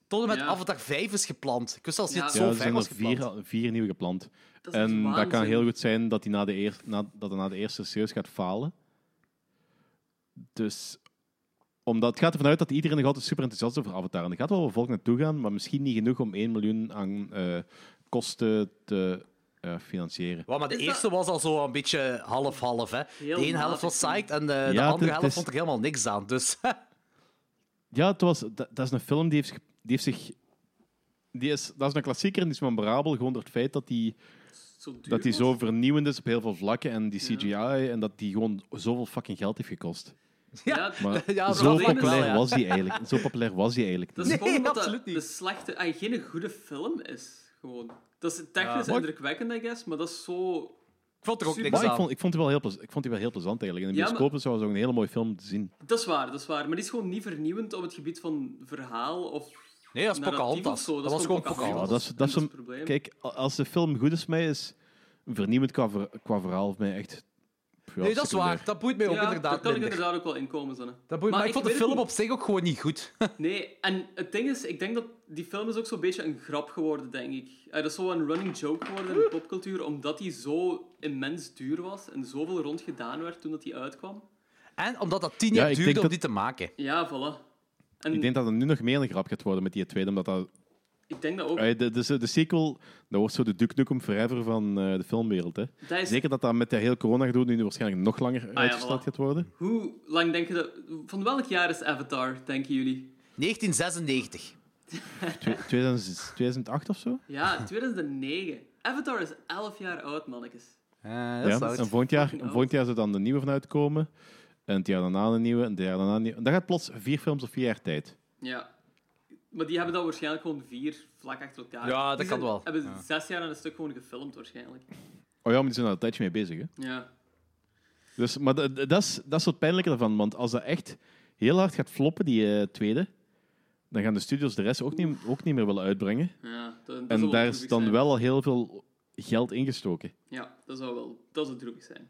tot en met Ja. Avatar 5 is gepland. Ik wist zelfs niet Ja. dat Ja, het er zo ver zijn er was gepland. vier, vier nieuwe gepland. Dat is En dat kan waanzin. heel goed zijn dat hij na de, eer, na, dat hij na de eerste serieus gaat falen. Dus omdat het gaat ervan uit dat iedereen nog altijd super enthousiast is over Avatar. En er gaat wel wat volk naartoe gaan, maar misschien niet genoeg om 1 miljoen aan eh, kosten te eh, financieren. Wow, maar de Is dat- eerste was al zo een beetje half-half. hè. De Heel ene helft was matig, psyched en eh, de Ja, het- andere het helft is- vond er helemaal niks aan. Dus Ja, het was, dat, dat is een film die heeft, zich- die heeft zich... Die is, dat is een klassieker en die is memorabel gewoon door het feit dat die, Zo duur dat die was. zo vernieuwend is op heel veel vlakken en die CGI en dat die gewoon zoveel fucking geld heeft gekost. Ja, Maar Ja, zo dat is- populair wel, ja. was die eigenlijk. Zo populair was die eigenlijk. dat is niet. gewoon omdat absoluut dat niet. de slechte... ah, geen goede film is. Gewoon. Dat is technisch Ja. indrukwekkend, I guess, maar dat is zo... ik vond er ook Super. niks Maar ik aan. vond, ik, vond die wel heel plez- ik vond die wel heel plezant eigenlijk. In de Ja, bioscoop was het ook een hele mooie film te zien. Dat is waar, dat is waar. Maar die is gewoon niet vernieuwend op het gebied van verhaal of... Nee, dat is narratief of Pocahontas. zo. Dat, was gewoon Pocahontas. Ja, dat is, En dat is het een, probleem. kijk, a- als de film goed is, voor mij is vernieuwend qua, ver- qua verhaal voor mij echt. pff, ja, Nee, dat is secundair. waar. Dat boeit mij ook Ja, inderdaad Daar kan ik minder. inderdaad ook wel inkomen, zonne. Dat boeit, maar, ik vond de weet het film op zich ook gewoon niet goed. Nee, en het ding is, ik denk dat die film is ook zo'n beetje een grap geworden, denk ik. Eh, dat is zo'n running joke geworden in de popcultuur, omdat die zo immens duur was en zoveel rond gedaan werd toen dat die uitkwam. En omdat dat tien Ja, jaar ik duurde denk om dat- die te maken. Ja, voilà. En Ik denk dat er nu nog meer een grap gaat worden met die tweede, omdat dat, ook. eh, de, de, de sequel, dat wordt zo de Duke Nukem Forever van eh, de filmwereld. Hè. dat is, Zeker dat dat met dat heel corona gedoe nu waarschijnlijk nog langer uitgesteld voilà. gaat worden. Hoe lang denk je dat... Van welk jaar is Avatar, denken jullie? 1996. Twe- 2000 2008 of zo? Ja, 2009. Avatar is 11 jaar oud, mannetjes. Eh, dat is ja. oud. En volgend jaar, Fucking oud. volgend jaar zou dan de nieuwe vanuit komen. En het jaar daarna een nieuwe. En het jaar daarna een nieuwe. En dan gaat plots vier films op vier jaar tijd. Ja. Maar die hebben dan waarschijnlijk gewoon vier vlak achter elkaar. Ja, dat Die kan zijn- wel. hebben zes jaar aan een stuk gewoon gefilmd, waarschijnlijk. Oh ja, maar die zijn al een tijdje mee bezig. Hè? Ja. Dus, maar dat, dat, is, dat is het pijnlijke ervan. Want als dat echt heel hard gaat floppen, die eh, tweede. Dan gaan de studios de rest ook niet, ook niet meer willen uitbrengen. ja dat, dat zou wel En daar droevig is dan zijn. wel al heel veel geld ingestoken. Ja, dat zou wel... Dat zou droevig zijn.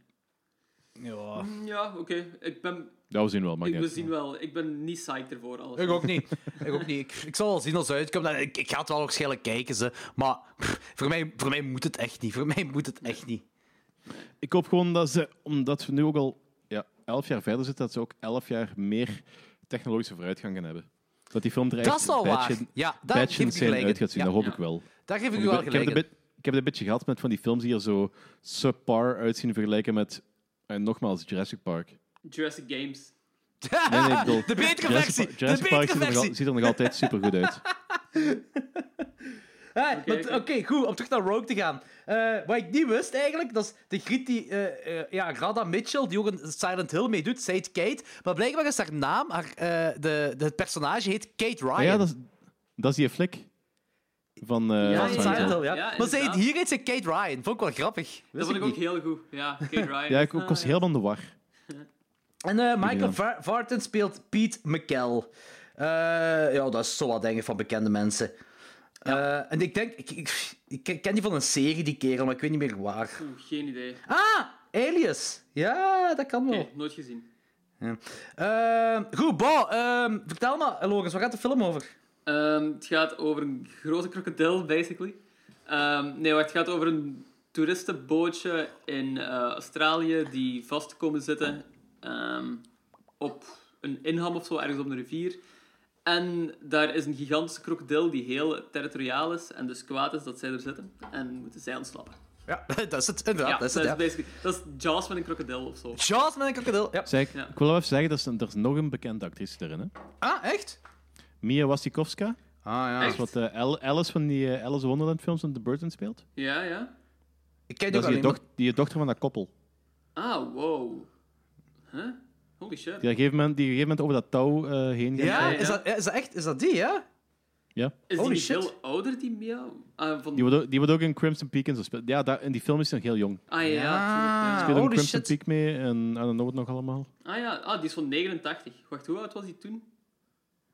Ja. Ja, oké. Ik ben... Dat we zien wel, maar Ik, we zien wel. Ik ben niet psyched ervoor, alles. Ik ook niet. Ik, ook niet. Ik, ik zal wel zien als het uitkomt. En Ik, ik ga het wel waarschijnlijk kijken, ze. maar pff, voor mij, voor mij moet het echt niet. Voor mij moet het echt niet. Ik hoop gewoon dat ze, omdat we nu ook al ja, elf jaar verder zitten, dat ze ook elf jaar meer technologische vooruitgang gaan hebben. Dat die film er echt Dat is wel een waar. beetje- Ja, daar geef Patch ik in je gelijk zijn in. uit gaat zien, Ja, dat hoop Ja. ik wel. daar geef ik Ik, u wel heb- ik heb gelijk het in. een bit- ik heb het een beetje gehad met van die films die er zo subpar uitzien vergelijken met, en nogmaals, Jurassic Park. Jurassic Games. Nee, nee, ik bedoel, De betere Jurassic, versie. Pa- De Jurassic Park betere ziet er, nog, al- versie. ziet er nog altijd supergoed uit. Hè, Oké, want- Oké, oké. goed, om terug naar Rogue te gaan. Eh, wat ik niet wist eigenlijk, dat is de griet die... eh, eh, ja, Grada Mitchell, die ook een Silent Hill meedoet, ze heet Kate. Maar blijkbaar is haar naam, haar, eh, de, de, het personage heet Kate Ryan. Ah, ja, dat is, dat is die flik van eh, Van Ja, ja, Silent Silent Hill. Hill, ja. Ja, maar ze heet, inderdaad. hier heet ze Kate Ryan. Vond ik wel grappig. Dat Wist vond ik ook niet. heel goed. Ja, Kate Ryan. Ja, ik, Ah, ik was helemaal in de war. En eh, Michael gedaan. Va- Vartan speelt Pete McKell. Eh, ja, dat is zo wat denk ik van bekende mensen. Eh, en ik denk, ik, ik, ik ken die van een serie, die kerel, maar ik weet niet meer waar. Oeh, geen idee. Oké, Ah, Alias. Ja, dat kan wel. nooit gezien. Ehm, goed, Bo, ehm, vertel maar, Lorenz, waar gaat de film over? Ehm, het gaat over een grote krokodil, basically. Ehm, nee, maar het gaat over een toeristenbootje in eh, Australië die vast komen zitten ehm, op een inham of zo, ergens op een rivier. En daar is een gigantische krokodil die heel territoriaal is en dus kwaad is dat zij er zitten. En moeten zij ontsnappen. Ja, dat is het, inderdaad. Ah, dat is het, ja. basically... Dat is Jaws met een krokodil of zo. Jaws met een krokodil. Ja. Zeg, Ja. Ik wil wel even zeggen, er is, een- er is nog een bekende actrice erin. Hè? Ah, echt? Mia Wasikowska, Ah, ja. dat is wat eh, Al- Alice van die eh, Alice in Wonderland films van The Burton speelt. Ja, ja. Ik ken die ook Dat is die, alleen maar- doch- die dochter van dat koppel. Ah, wow. Huh? Holy shit. Die op een gegeven moment, die op een gegeven moment over dat touw eh, heen gaat. Ja, Ja, ja. is dat, ja, is dat echt? Is dat die, ja? Ja. Is Holy die niet shit. veel ouder, die Mia? Ah, van... Die wordt, ook, die wordt ook in Crimson Peak en zo spelen. Ja, daar, in die film is ze nog heel jong. ah ja, ja. Speelt tuurlijk, ook in Oh, holy Crimson shit. Peak mee en I don't know wat nog allemaal. ja. Ah ja, ah, die is van 89. Wacht, hoe oud was die toen?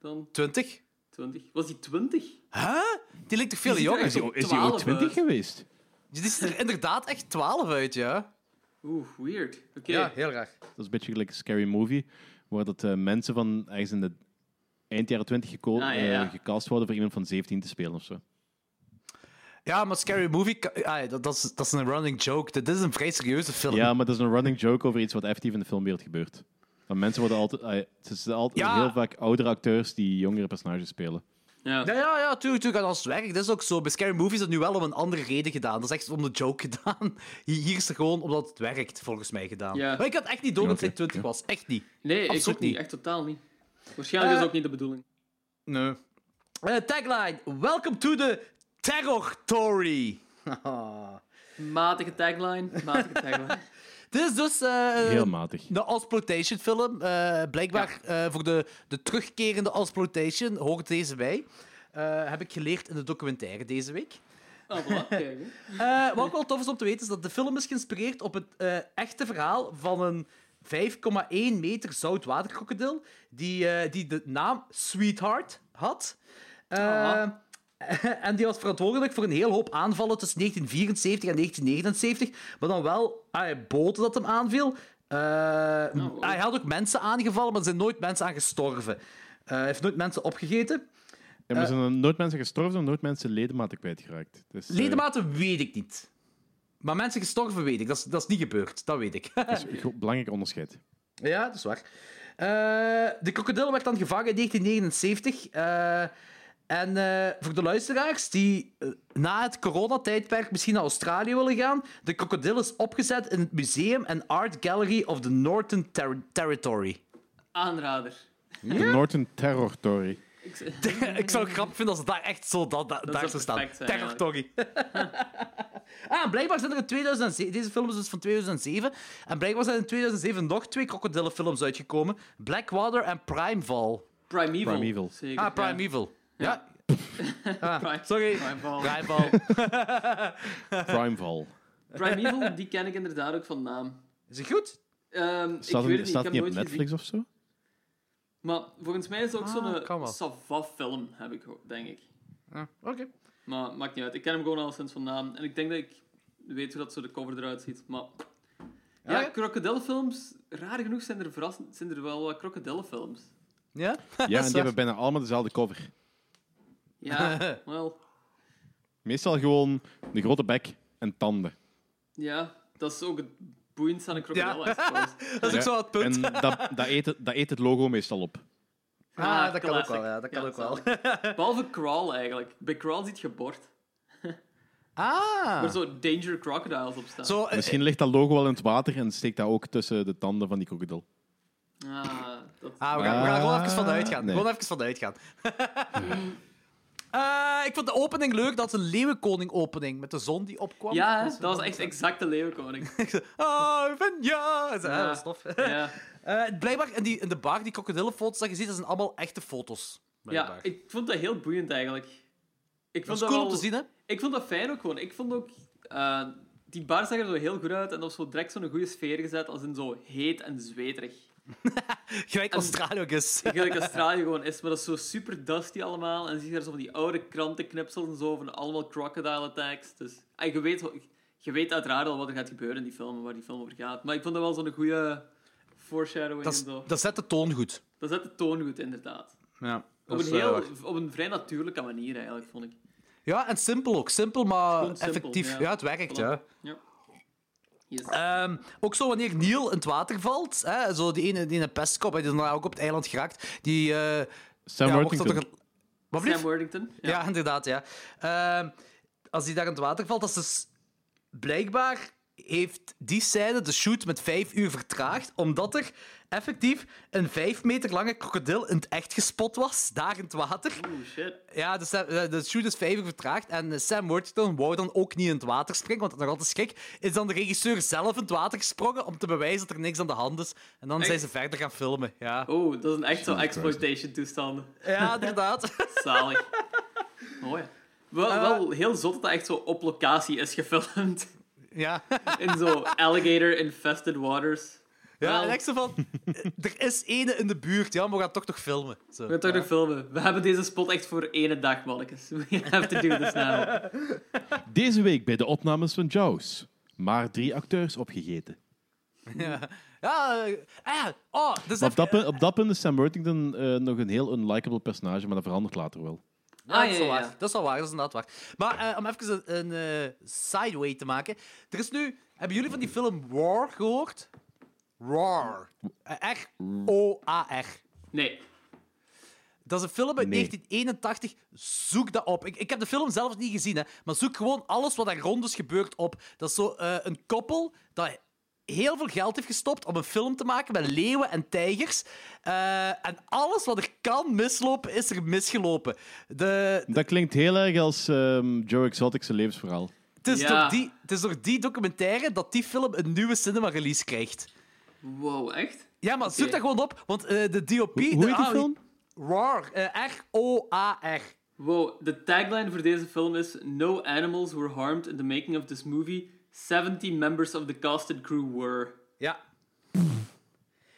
Dan 20? 20. Was die 20? Huh? Die lijkt toch veel Die ziet er jonger? echt Is die, is die ooit 12 20 uit. geweest? Die ziet er inderdaad echt 12 uit, ja. Oeh, weird. Oké. Ja, heel graag. Dat is een beetje gelijk een scary movie, waar dat eh, mensen van ergens in de eind jaren 20 geco- Ah, ja, ja. eh, gecast worden voor iemand van 17 te spelen of zo. Ja, maar Scary Movie, ka- ah, dat, dat, is, dat is een running joke. Dit is een vrij serieuze film. Ja, maar dat is een running joke over iets wat effectief in de filmwereld gebeurt. Want mensen worden altijd, ah, het zijn altijd Ja. heel vaak oudere acteurs die jongere personages spelen. Ja. Ja, ja, ja, tuurlijk, tuurlijk. En als het werkt, dat is ook zo. Bij Scary Movie is dat nu wel om een andere reden gedaan. Dat is echt om de joke gedaan. Hier hier is het gewoon omdat het werkt, volgens mij, gedaan. Ja. Maar ik had echt niet door dat Ja, ik oké. 20 was. Echt niet. Nee, ik Absoluut ook niet. niet. Echt totaal niet. Waarschijnlijk is Eh. dat ook niet de bedoeling. Nee. Eh, tagline. Welcome to the Territory. Matige tagline. Matige tagline. Dit is dus eh, Heel matig. de Exploitation film. Eh, blijkbaar eh, voor de, de terugkerende Exploitation hoort deze bij. Eh, heb ik geleerd in de documentaire deze week. Ah, voilà. Kijk, hè. Eh, wat ook wel tof is om te weten, is dat de film is geïnspireerd op het eh, echte verhaal van een 5,1 meter zoutwaterkrokodil die, eh, die de naam Sweetheart had. Eh, Ah. en die was verantwoordelijk voor een heel hoop aanvallen tussen 1974 en 1979, maar dan wel ah, boten dat hem aanviel. Eh, wow. Hij had ook mensen aangevallen, maar er zijn nooit mensen aan gestorven. Eh, hij heeft nooit mensen opgegeten. En Eh, er zijn er nooit mensen gestorven en nooit mensen ledematen kwijtgeraakt. Dus, eh, Ledematen weet ik niet. Maar mensen gestorven weet ik. Dat is, dat is niet gebeurd. Dat weet ik. dat is een gro- belangrijk onderscheid. ja, dat is waar. Eh, de krokodil werd dan gevangen in 1979. Eh, en eh, voor de luisteraars die eh, na het coronatijdperk misschien naar Australië willen gaan, de krokodil is opgezet in het Museum and Art Gallery of the Northern Ter- Territory. Aanrader. De Northern Terror Tory. Ik zeg- ik zou het grappig vinden als het daar echt zo dat, dat, daar zou zou staan. perfect zijn, Territory. ah, blijkbaar zijn er in 2007... Deze film is dus van 2007. En blijkbaar zijn er in 2007 nog twee krokodillenfilms uitgekomen. Blackwater en Primeval. Primeval. Primeval. Zeker. Ah, Primeval. Ja. Prime- Sorry. Primeval. Primeval. Primeval. Primeval, die ken ik inderdaad ook van naam. Is het goed? Ehm, ik weet het Staat, een, niet, ik staat heb die op nooit gezien. Netflix of Ah, zo? Maar volgens mij is het ook kan wel. zo'n Sava-film, heb ik geho- denk ik. Ah, Oké. Maar maakt niet uit. Ik ken hem gewoon al sinds van naam. En ik denk dat ik weet hoe dat zo de cover eruit ziet. Maar ja, ja. krokodillenfilms, raar genoeg zijn er, verrassend, zijn er wel wat krokodillenfilms. Ja? Ja, en waar. die hebben bijna allemaal dezelfde cover. Ja, wel. Meestal gewoon de grote bek en tanden. Ja, dat is ook het boeiendste aan een krokodil. Ja. I suppose. Dat is ook zo het punt. En dat, dat, eet, het- dat eet het logo meestal op. Ah, dat kan ook classic. wel. Ja, dat kan Ja, ook wel. zalig. Behalve Crawl eigenlijk. Bij Crawl ziet je bord. Waar Ah. zo eh, Danger Crocodiles op staan. Zo, eh, Misschien ligt dat logo wel in het water en steekt dat ook tussen de tanden van die krokodil. Ah, dat... Ah, we gaan, we gaan er gewoon even Ah, vanuit gaan. nee. Gewoon even vanuit gaan. Eh, ik vond de opening leuk. Dat is een leeuwenkoning-opening met de zon die opkwam. Ja, hè, dat was echt exact de leeuwkoning. Ah, van ja! Dat is- ah, Ja. dat is tof. Ja, Eh, blijkbaar in, die, in de bar, die krokodillenfoto's dat je ziet, dat zijn allemaal echte foto's. ja ik, ik vond dat heel boeiend eigenlijk. Ik dat vond is cool om wel- te zien, hè? Ik vond dat fijn ook gewoon. Ik vond ook... eh, die bar zag er zo heel goed uit en dat was zo direct zo'n goede sfeer gezet als in zo heet en zweterig. Gelijk Australië ook is. Ik denk dat Australië gewoon is, maar dat is zo super dusty allemaal. En dan zie je daar zo van die oude krantenknipsels en zo, van allemaal crocodile attacks. Dus en je, weet, je weet uiteraard al wat er gaat gebeuren in die film, en waar die film over gaat. Maar ik vond dat wel zo'n goede foreshadowing Dat, en is- zo. dat zet de toon goed. Dat zet de toon goed, inderdaad. Ja, Op een, eh, heel, op een vrij natuurlijke manier, eigenlijk, vond ik. ja en simpel ook. Simpel, maar Gewoon simpel, effectief. ja. Ja. het werkt, Voilà. ja. Ja. Yes. Ehm, ook zo wanneer Neil in het water valt, hè, zo die ene, die ene pestkop, hè, die daarna ook op het eiland geraakt, die... eh, Sam ja, wordt dat Worthington. toch een- Wat blieft? Sam Worthington. Ja, inderdaad, ja. Ehm, als die daar in het water valt, dat is dus... Blijkbaar heeft die scène de shoot met vijf uur vertraagd, omdat er effectief een vijf meter lange krokodil in het echt gespot was, daar in het water. Oeh, shit. Ja, dus, eh, de shoot is vijf uur vertraagd en eh, Sam Worthington wou dan ook niet in het water springen, want dat had nog altijd schrik. Is dan de regisseur zelf in het water gesprongen om te bewijzen dat er niks aan de hand is. En dan zijn ze verder gaan filmen, ja. Oh, dat is een echt zo'n exploitation toestanden. Ja, inderdaad. Zalig. Mooi. Wel, wel Eh, heel zot dat dat echt zo op locatie is gefilmd. Ja. In zo alligator-infested waters. Ja, Wel, en ik zo van... eh, Er is ene in de buurt, ja, maar we gaan toch toch filmen. Zo. We gaan toch nog filmen. We hebben deze spot echt voor één dag, mannetjes. We have to do this now. Deze week bij de opnames van Jaws. Maar drie acteurs opgegeten. Ja, eh, ah, ja, oh, dus Maar op, dat punt, op dat punt is Sam Worthington eh, nog een heel unlikable personage, maar dat verandert later wel. Ja, Ah, dat, is ja, wel ja, waar. ja. dat is wel waar, dat is inderdaad waar. Maar eh, om even een, een eh, sideway te maken. Er is nu... Hebben jullie van die film Roar gehoord? Roar. Eh, R-O-A-R. Nee. Dat is een film uit Nee. 1981. Zoek dat op. Ik, ik heb de film zelf niet gezien, hè, maar zoek gewoon alles wat daar rond is gebeurd op. Dat is zo eh, een koppel dat heel veel geld heeft gestopt om een film te maken met leeuwen en tijgers. Eh, en alles wat er kan mislopen, is er misgelopen. De, Dat klinkt heel erg als ehm, Joe Exotic's levensverhaal. het, is Ja. door die, het is door die documentaire dat die film een nieuwe cinema-release krijgt. Wow, echt? Ja, maar zoek Oké. dat gewoon op, want eh, de DOP... Hoe, de, hoe heet die ah, film? Roar. eh, R-O-A-R. Wow, de tagline voor deze film is No animals were harmed in the making of this movie. 70 members of the cast and crew were. Ja.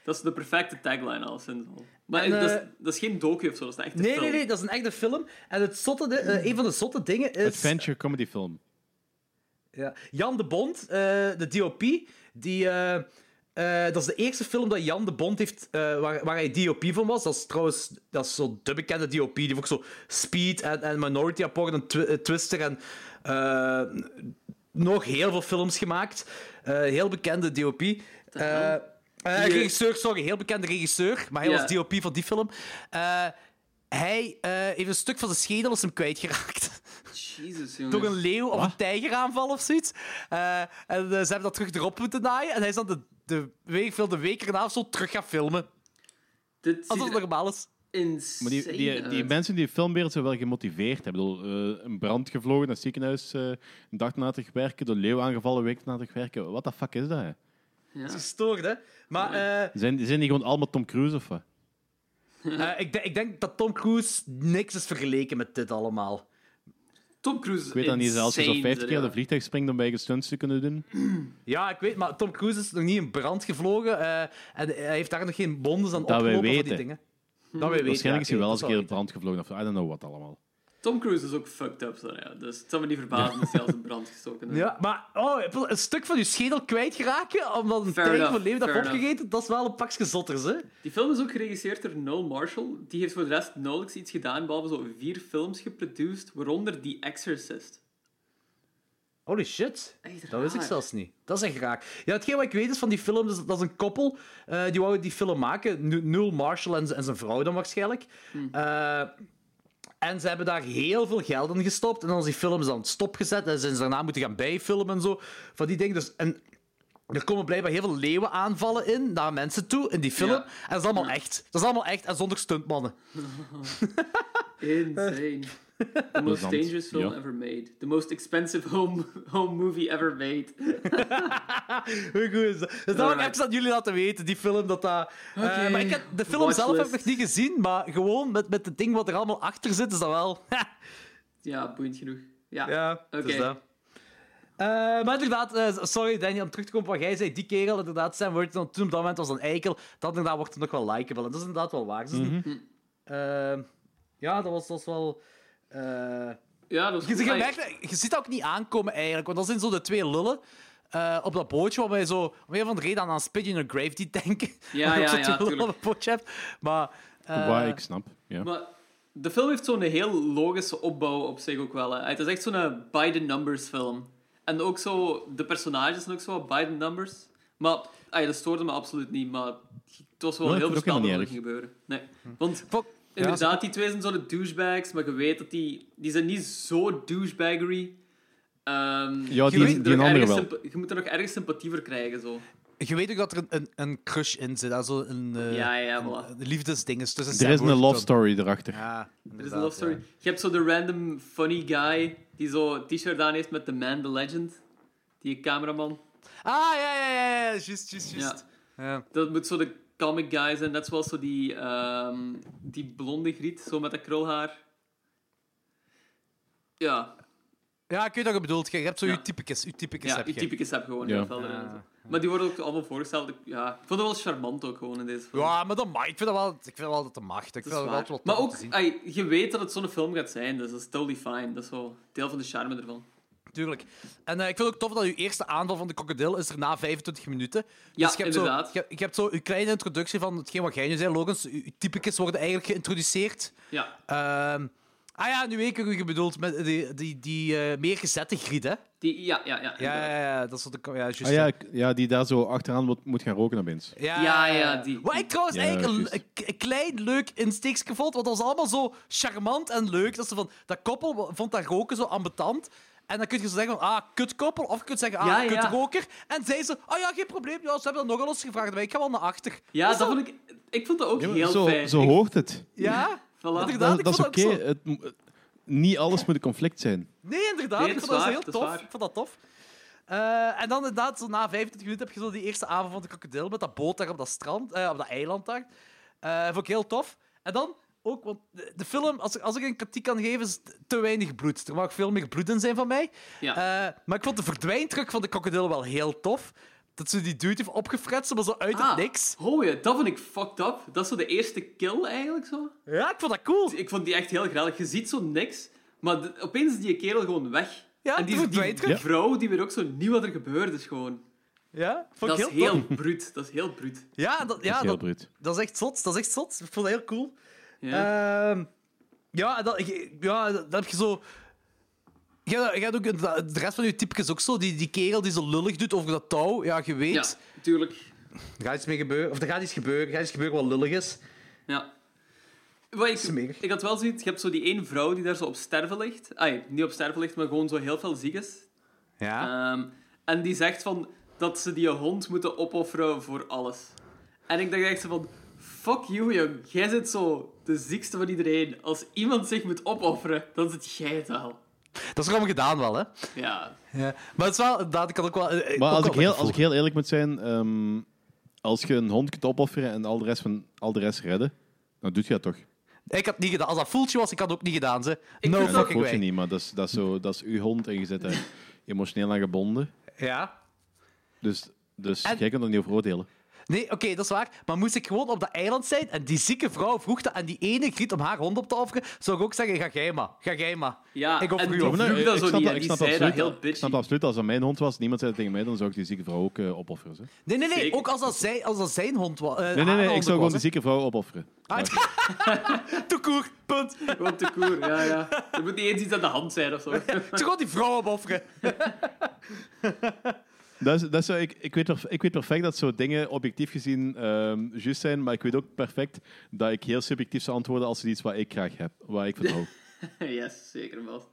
Dat is de perfecte tagline al sinds al. Maar En, dat, is, eh, dat is geen docu of zo, dat is echt een Nee, film. nee, nee, dat is een echte film. En het zotte, de- eh, een van de zotte dingen is... Adventure comedy film. Ja, Jan de Bond, eh, de DOP, die... eh, eh, dat is de eerste film dat Jan de Bond heeft, eh, waar, waar hij DOP van was. Dat is trouwens dat is zo de bekende DOP. Die heeft ook zo Speed en, en Minority Report en Twi- eh, Twister en eh, nog heel veel films gemaakt. Eh, heel bekende DOP. Eh, eh, Die- regisseur, sorry, heel bekende regisseur. Maar hij Ja. was DOP van die film. Eh, hij eh, heeft een stuk van zijn schedel is hem kwijtgeraakt. Jezus, jongens. Door een leeuw of een tijger aanval of zoiets. Eh, en eh, ze hebben dat terug erop moeten naaien. En hij is dan de, de week, veel de week erna of zo terug gaan filmen. Dit ziet Alsof het er normaal is. insane Maar die, die, die uit. mensen in die filmwereld zijn wel gemotiveerd. Ik bedoel, eh, een brand gevlogen, naar het ziekenhuis, eh, een dag na te werken, door leeuw aangevallen, een week na te werken. Wat de fuck is dat? hè? Ja. Gestoord, hè? Maar eh, Zijn, zijn die gewoon allemaal Tom Cruise of wat? eh, ik, denk- ik denk dat Tom Cruise niks is vergeleken met dit allemaal. Tom Cruise is Ik weet dat niet, zelfs als je zo insane, 50 keer ja. uit een vliegtuig springt om bij je stunts te kunnen doen. Ja, ik weet, maar Tom Cruise is nog niet in brand gevlogen. eh, en hij heeft daar nog geen bondes aan wij opgelopen van die weten. dingen. Dat wij weten. Waarschijnlijk is ja, hij wel oké, eens een keer in dat zal brand gevlogen of I don't know wat allemaal. Tom Cruise is ook fucked up, zo, ja. dus het zou me niet verbazen als hij als een brand gestoken is. weten. Ja, maar oh, een stuk van je schedel kwijtraken omdat een Fair tijger enough, van leven dat fair heeft opgegeten, dat is wel een pakje zotters, hè? Die film is ook geregisseerd door Noel Marshall. Die heeft voor de rest nauwelijks iets gedaan, behalve zo vier films geproduceerd, waaronder The Exorcist. Holy shit. Echt Dat wist ik raar. zelfs niet. Dat is echt raar. Ja, hetgeen wat ik weet is van die film, dus dat is een koppel. eh, die wouden die film maken. Nu- Newell Marshall en, z- en zijn vrouw dan waarschijnlijk. Eh, en ze hebben daar heel veel geld in gestopt. En dan is die film is dan stopgezet. En zijn ze daarna moeten gaan bijfilmen en zo. Van die dingen. Dus, en er komen blijkbaar heel veel leeuwen aanvallen in naar mensen toe in die film. Ja. En dat is allemaal echt. Dat is allemaal echt en zonder stuntmannen. Insane. The most Plezant, dangerous film ja. ever made. The most expensive home, home movie ever made. Hoe goed is dat? Dus dat wil ik Alright. even aan jullie laten weten, die film. Dat dat, eh, Oké, maar ik heb, de film zelf heb ik nog watchlist. niet gezien, maar gewoon met, met het ding wat er allemaal achter zit, is dat wel. Ja, boeiend genoeg. Ja, ja, oké. dus dat. Eh, maar inderdaad, eh, sorry Danny, om terug te komen op wat jij zei, die kerel, inderdaad, Sam Worthington, toen op dat moment was een eikel, dat inderdaad wordt het nog wel likeable. En dat is inderdaad wel waar. Dus, Mhm. eh, ja, dat was, dat was wel... eh, Ja, dat was je, je, Ah, merkt, dat- je ziet dat ook niet aankomen eigenlijk, want dat zijn zo de twee lullen eh, op dat bootje waar wij zo om een of andere reden aan, aan Spit in a Grave die denken. Ja, Omdat je twee ja, ja, lullen tuurlijk. op het bootje hebt. Maar eh, Waar ik snap. Ja. Maar de film heeft zo'n heel logische opbouw op zich ook wel. Hè. Het is echt zo'n eh, by-the-numbers film. En ook zo, de personages zijn ook zo by-the-numbers. Maar ah ja, dat stoorde me absoluut niet, maar het was wel Nee, heel ik vind het ook verstandig wat helemaal er ging gebeuren. Nee. Want fuck. inderdaad, die twee zijn zo de douchebags, maar je weet dat die... Die zijn niet zo douchebaggery. Ehm, Ja, je die- moet die er nog andere ergens wel. sympa- Je moet er nog ergens sympathie voor krijgen, zo. Je weet ook dat er een, een, een crush in zit, daar zo een, eh, Ja, ja, een- voilà. een liefdesding is tussen Er Sam is een love Worthington. story erachter. Ja, Er is een love story. Je hebt zo de random funny guy die zo t-shirt aan heeft met The Man, The Legend. Die cameraman. Ah, ja, ja, ja, ja, juist, juist, Ja. juist. Ja. Dat moet zo de comic guy zijn. Net zoals zo die, ehm, die blonde griet, zo met dat krulhaar. Ja, Ja, ik weet wat je bedoelt. Je hebt zo Ja. je typicus. Je typicus ja heb die je. typicus heb gewoon Ja. heel veel erin. Maar die worden ook allemaal voorgesteld. Ik- Ja, ik vond het wel charmant ook gewoon in deze film. Ja, maar dat mag. Ik vind dat wel, ik vind dat wel dat de macht. Ik Dat vind is dat wel waar. wat maar ook, ai, je weet dat het zo'n film gaat zijn, dus dat is totally fine. Dat is wel deel van de charme ervan. Tuurlijk. En eh, ik vind ook tof dat uw eerste aanval van de krokodil is er na 25 minuten. Dus Ja, je hebt inderdaad. Zo, je, je hebt zo uw kleine introductie van hetgeen wat jij nu zei, Logans. Uw uw typicus worden eigenlijk geïntroduceerd. Ja, Ehm, ah ja, nu weet ik hoe je bedoelt. Met die, die, die eh, meer gezette griet, hè? die, ja, ja, ja. Ja, ja, inderdaad. ja. Dat is wat ik... Ja, juist, Ah, ja, ik- ja, die daar zo achteraan moet, moet gaan roken opeens. Ja, Ja, ja, die- Wat ik trouwens Ja, eigenlijk juist. een, een- een klein leuk insteekje vond, want dat was allemaal zo charmant en leuk. Dat, ze van, dat koppel vond dat roken zo ambetant. En dan kun je zo zeggen van, ah, kutkoppel. Of je kunt zeggen, ah, Ja, ja. kutroker. En zei ze, ah ja, geen probleem. Ja, ze hebben dat nogal losgevraagd, maar ik ga wel naar achter. Ja, is dat wel- vond ik... Ik vond dat ook Ja, maar heel zo, fijn. zo Ik- hoort het. Ja, voilà. inderdaad. Dat, ik dat is vond oké. dat ook zo. Het mo- niet alles moet een conflict zijn. nee, inderdaad. Nee, ik vond dat is dat dus waar, heel dat is tof. waar. Ik vond dat tof. Eh, en dan inderdaad, zo na 25 minuten heb je zo die eerste avond van de krokodil met dat boot daar op dat strand, eh, op dat eiland daar. Eh, vond ik heel tof. En dan ook, want de, de film, als ik, als ik een kritiek kan geven, is het te weinig bloed. Er mag veel meer bloed in zijn van mij. Ja. Eh, maar ik vond de verdwijntruc van de krokodil wel heel tof. Dat ze die dude heeft opgefretst, maar zo uit Ah, het niks. Hoor je, dat vond ik fucked up. Dat is zo de eerste kill eigenlijk zo. Ja, ik vond dat cool. Ik vond die echt heel grappig. Je ziet zo niks, maar de- opeens is die kerel gewoon weg. Ja, en die die, verdwijnt die terug. vrouw, die weet ook zo niet wat er gebeurd is gewoon. Ja, vond Dat ik is heel, tof. heel bruut. Dat is heel bruut. Ja, dat, Dat ja, is heel dat, bruut. dat is echt zot. Dat is echt zot. Ik vond dat heel cool. Ja. Ehm, ja, dat, je- ja, dat dat heb je zo. Je hebt- je hebt ook, inderdaad- de rest van je typjes ook zo. Die, die kerel die zo lullig doet over dat touw. Ja, je ja, weet. tuurlijk. Er gaat iets mee gebeuren. Of er gaat iets gebeuren. Er gaat iets gebeuren wat lullig is. Ja. Wat ik, Smerig. ik had wel zoiets, je hebt zo die één vrouw die daar zo op sterven ligt. Ai, niet op sterven ligt, maar gewoon zo heel veel ziek is. Ja. Ehm, en die zegt van dat ze die hond moeten opofferen voor alles. En ik dacht echt zo van, fuck you jong, jij zit zo de ziekste van iedereen. Als iemand zich moet opofferen, dan zit jij het wel. Dat is erom gedaan wel, hè? Ja, Ja. Maar het is wel, inderdaad, ik had ook wel. eh, eh, Maar ook als wel ik, heel, dat als ik heel eerlijk moet zijn, ehm, als je een hond kunt opofferen en al de rest, van, al de rest redden, dan doet je dat toch? gevoel. Ik had het niet gedaan. Als dat voeltje was, ik had het ook niet gedaan. Ze. No vind Ja, dat fucking voelt je way. niet, maar dat is, dat, is zo, dat is uw hond en je zit daar emotioneel aan gebonden. Ja. Dus, dus En- jij kunt er niet over oordelen. Nee, oké, dat is waar. Maar moest ik gewoon op dat eiland zijn en die zieke vrouw vroeg dat aan die ene griet om haar hond op te offeren, zou ik ook zeggen: ga jij maar. Ga jij maar. ja Ik offer en u die op. vroeg dat zo snap niet. dat- En ik die snap zei dat absoluut- heel Ik snap bitchy. dat absoluut. Als dat mijn hond was, niemand zei dat tegen mij, dan zou ik die zieke vrouw ook eh, opofferen. Zo. Nee, nee, nee. Zeker. Ook als dat, zij, als dat zijn hond eh, was. Nee, nee, nee, ik zou gewoon die zieke vrouw opofferen. Ah, Toekoer, punt. Ik Gewoon te koer, ja, ja. Er moet niet eens iets aan de hand zijn of zo. zou gewoon die vrouw opofferen. Dat is, dat is zo, ik, ik, weet perf- ik weet perfect dat zo dingen objectief gezien ehm juist zijn, maar ik weet ook perfect dat ik heel subjectief zou antwoorden als het iets wat ik graag heb, waar ik van hou. yes, zeker wel.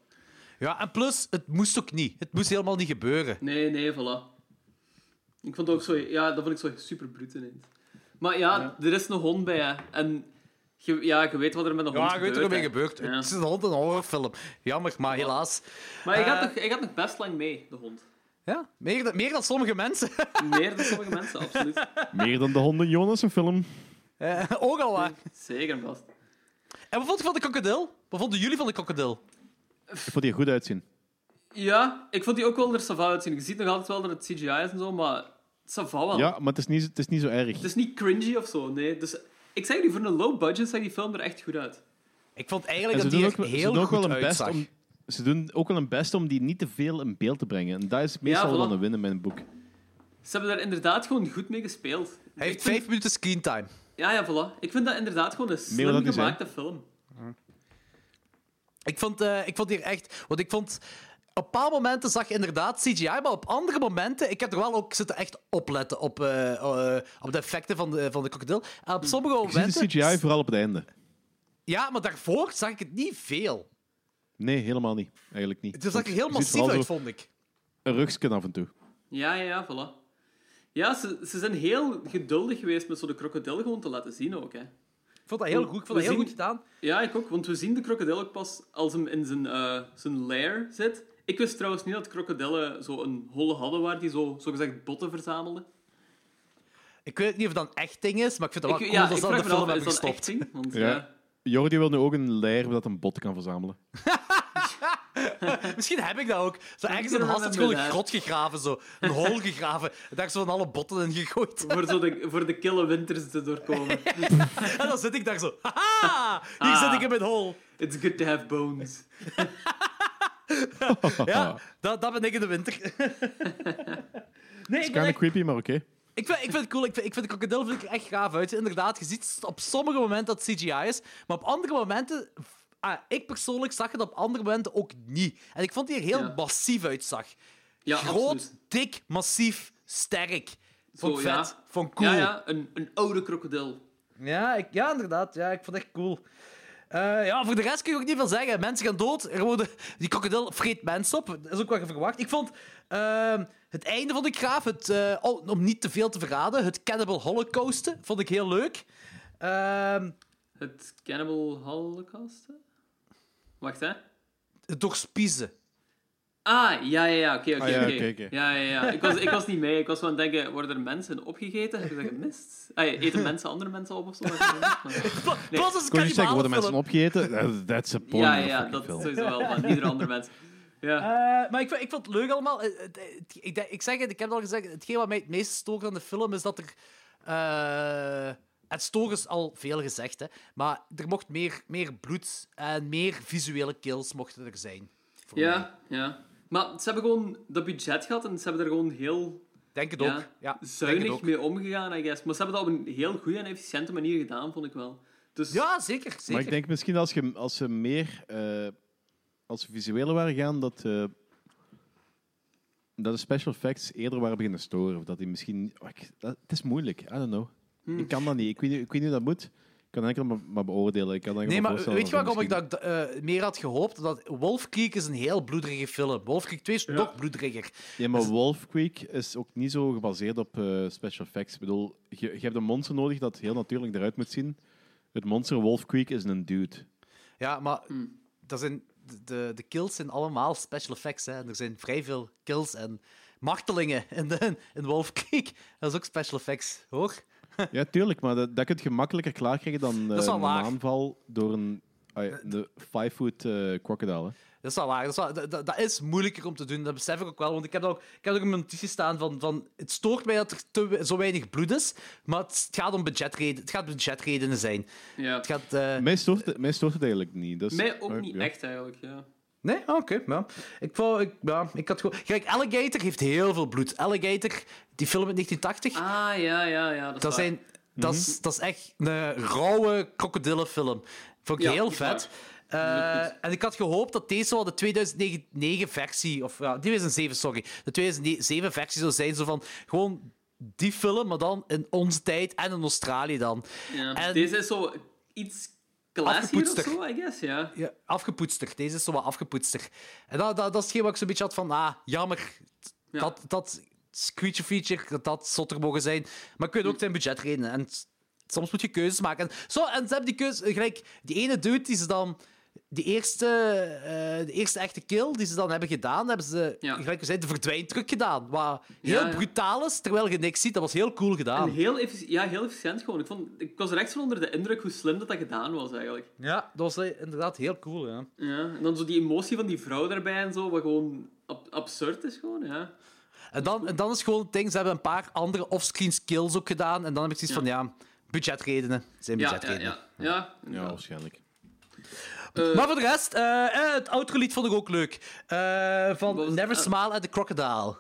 Ja, en plus, het moest ook niet. Het moest helemaal niet gebeuren. Nee, nee, voilà. Ik vond het ook zo... Ja, dat vond ik zo super bruut ineens. Maar ja, er is een hond bij, hè. En je, ja, je weet wat er met een hond Ja, je weet wat gebeurt. ermee hè. gebeurt. Ja. Het is een hond en een horrorfilm. Jammer, maar helaas. Maar hij, gaat Eh, nog, hij gaat nog best lang mee, de hond. Ja, meer dan, meer dan sommige mensen. Meer dan sommige mensen, absoluut. Meer dan de honden Jonas een film. Eh, ook al waar. Zeker vast. En wat vond je van de krokodil? Wat vonden jullie van de krokodil? Ik vond die er goed uitzien. Ja, ik vond die ook wel er sava uitzien. Je ziet nog altijd wel dat het CGI is en zo, maar sava Oh. wel. Ja, maar het is niet, het is niet zo erg. Het is niet cringy of zo, nee. Dus ik zeg jullie, voor een low budget zag die film er echt goed uit. Ik vond En eigenlijk ze dat die doen er ook, wel- ze heel doen ook wel goed een best uitzag. om, ze doen ook wel een best om die niet te veel in beeld te brengen. En dat is meestal voilà. wel een win in mijn boek. Ze hebben daar inderdaad gewoon goed mee gespeeld. Hij Ik heeft vind- vijf minuten screentime. Ja, ja, voilà. Ik vind dat inderdaad gewoon een Meer dan slim die zijn. gemaakte film. Ik vond, eh, ik vond hier echt. Want ik vond. Op bepaalde momenten zag je inderdaad CGI, maar op andere momenten. Ik heb er wel ook zitten echt opletten op, eh, eh, op de effecten van de, van de krokodil. En Hmm. op sommige Ik zie de momenten. CGI vooral op het einde. Ja, maar daarvoor zag ik het niet veel. Nee, helemaal niet. Eigenlijk niet. Het zag er heel Je ziet massief vooral uit, zo vond ik. Een rugsken af en toe. Ja, ja, ja, voilà. Ja, ze, ze zijn heel geduldig geweest met zo de krokodil gewoon te laten zien ook, hè. Ik vond dat heel goed, ik vond dat heel zien- goed gedaan. Ja, ik ook, want we zien de krokodil ook pas als hem in zijn, eh, zijn lair zit. Ik wist trouwens niet dat krokodillen zo een holle hadden waar die zo, zogezegd botten verzamelden. Ik weet niet of dat een echt ding is, maar ik vind het wel Ik, cool ja, dat ik ze dat vraag in de me film af, is hebben dat gestopt. een echt ding? Want, Ja. ja. Jordi wil nu ook een leer dat een bot kan verzamelen. Misschien heb ik dat ook. Zo ergens in kunnen we Hasselt met gewoon een beleid. grot gegraven, zo. Een hol gegraven. En daar zo van alle botten in gegooid. eh, Voor, zo de, voor de kille winters te doorkomen. En dan zit ik daar zo. Haha! Hier Ah. zit ik in mijn hol. It's good to have bones. Ja, dat, dat ben ik in de winter. nee, ik, ben Kind of echt- creepy, maar oké. ik, vind, ik vind het cool. Ik vind, ik vind de krokodil vind ik er echt gaaf uit. Inderdaad, je ziet op sommige momenten dat het CGI is, maar op andere momenten... ah, ik persoonlijk zag het op andere momenten ook niet. En ik vond die er heel Ja. massief uitzag. Ja, Groot, absoluut. dik, massief, sterk. Vond ik Zo, ja. vet. Vond ik cool. Ja, ja, een, een oude krokodil. Ja, ik, ja inderdaad. Ja, ik vond het echt cool. Eh, ja, voor de rest kun je ook niet veel zeggen. Mensen gaan dood. Er worden, die krokodil vreet mensen op. Dat is ook wat je verwacht. Ik vond ehm, het einde van de graaf, het, eh, oh, om niet te veel te verraden, het Cannibal Holocaust, vond ik heel leuk. Ehm, Het Cannibal Holocaust? Wacht, hè? het doorspiezen. Ah, ja, ja, ja, oké, oké, Ah, ja, oké. oké, oké. Ja, ja, ja. Ik was, ik was niet mee. Ik was wel aan het denken, worden er mensen opgegeten? Heb ik dat gemist? Ah, ja, eten mensen andere mensen op of zo? Pla- Nee. Plots is het Kon je zeggen, kannibalenfilm. worden mensen opgegeten? That- That's a point ja, of ja, fucking dat is film. sowieso wel van ieder ander mens. Ja. Eh, maar ik, vond- ik vond het leuk allemaal. Eh, het- het- Ik, denk- ik zeg het, ik heb het al gezegd. Hetgeen wat mij het meest stoort aan de film is dat er. eh, het storen is al veel gezegd, hè, maar er mocht meer, meer bloed en meer visuele kills mochten er zijn. voor mij. ja, ja. Maar ze hebben gewoon dat budget gehad en ze hebben er gewoon heel Denk het ja, ook. Ja, denk zuinig het ook. mee omgegaan, I guess. Maar ze hebben dat op een heel goede en efficiënte manier gedaan, vond ik wel. Dus ja zeker. zeker. Maar ik denk misschien als, je, als ze meer eh, als ze visueler waren gaan, dat, eh, dat de special effects eerder waren beginnen storen. Of dat die misschien. oh, ik- dat- het is moeilijk, I don't know. Hmm. Ik kan dat niet. Ik weet, niet- ik weet niet hoe dat moet. Ik kan enkel maar, maar beoordelen. Ik kan enkel Nee, maar voorstellen weet je waarom ik misschien- dat eh, meer had gehoopt? Dat Wolf Creek is een heel bloederige film. Wolf Creek 2 is toch bloederiger. Ja, maar Wolf Creek is ook niet zo gebaseerd op eh, special effects. Ik bedoel, je, je hebt een monster nodig dat heel natuurlijk eruit moet zien. Het monster Wolf Creek is een dude. Ja, maar dat zijn, de- de, de kills zijn allemaal special effects. Hè. En er zijn vrij veel kills en martelingen in, de, in Wolf Creek. Dat is ook special effects, hoor. Ja, tuurlijk, maar dat, dat kun je makkelijker klaarkrijgen dan eh, is wel een waar. aanval door een, ah ja, de five-foot eh crocodile. hè. Dat is wel waar. Dat is, wel- dat, dat- dat is moeilijker om te doen, dat besef ik ook wel. Want ik heb dat ook, ik heb ook in mijn notities staan van, van... Het stoort mij dat er te we- zo weinig bloed is, maar het, het gaat om budgetreden, het gaat budgetredenen zijn. ja. Het gaat... eh, Mij stoort, het- mij stoort het eigenlijk niet. Dus, Mij ook maar, niet ja. echt, eigenlijk, ja. Nee? Ah, Oké, ja. Ik, wou, ik, ja, ik had gewoon... Kijk, Alligator heeft heel veel bloed. Alligator, die film uit 1980... Ah, ja, ja, ja. Dat, is Dat, waar. zijn, dat, is, dat is echt Mhm. een rauwe krokodillenfilm. Vond ik Ja, heel is waar. vet. Eh, Heel goed. en ik had gehoopt dat deze wel de 2009-versie, of ja, 2007, sorry, de 2007-versie zou zijn. Zo van gewoon die film, maar dan in onze tijd en in Australië dan. Ja. en- Deze is zo iets classier of Afgepoetster. zo, I guess, ja. Ja, afgepoetster. Deze is zo wat afgepoetster. En dat, dat, dat is hetgeen wat ik zo'n beetje had van, ah, jammer. Ja. Dat, dat creature feature, dat dat zotter mogen zijn. Maar ik weet ook zijn budgetredenen. En s- soms moet je keuzes maken. En, zo, en ze hebben die keuze, eh, gelijk, die ene dude die ze dan... De eerste, eh, de eerste echte kill die ze dan hebben gedaan, hebben ze, Ja. gelijk we zeiden, de verdwijntruk gedaan. Wat heel ja. brutaal is, terwijl je niks ziet. Dat was heel cool gedaan. En heel, effici- ja, heel efficiënt gewoon. Ik, vond, ik was er echt van onder de indruk hoe slim dat, dat gedaan was, eigenlijk. Ja, dat was eh, inderdaad heel cool, ja. Ja. En dan zo die emotie van die vrouw daarbij en zo, wat gewoon ab- absurd is gewoon, ja. En dan, en dan is gewoon het ding, ze hebben een paar andere offscreen skills ook gedaan. En dan heb ik zoiets van, ja, budgetredenen zijn Ja, ja, budgetredenen. ja. ja. Ja, inderdaad. waarschijnlijk. Eh, Maar voor de rest, eh, eh, het outro-lied vond ik ook leuk. Eh, van Wat was- Never eh. Smile at the Crocodile.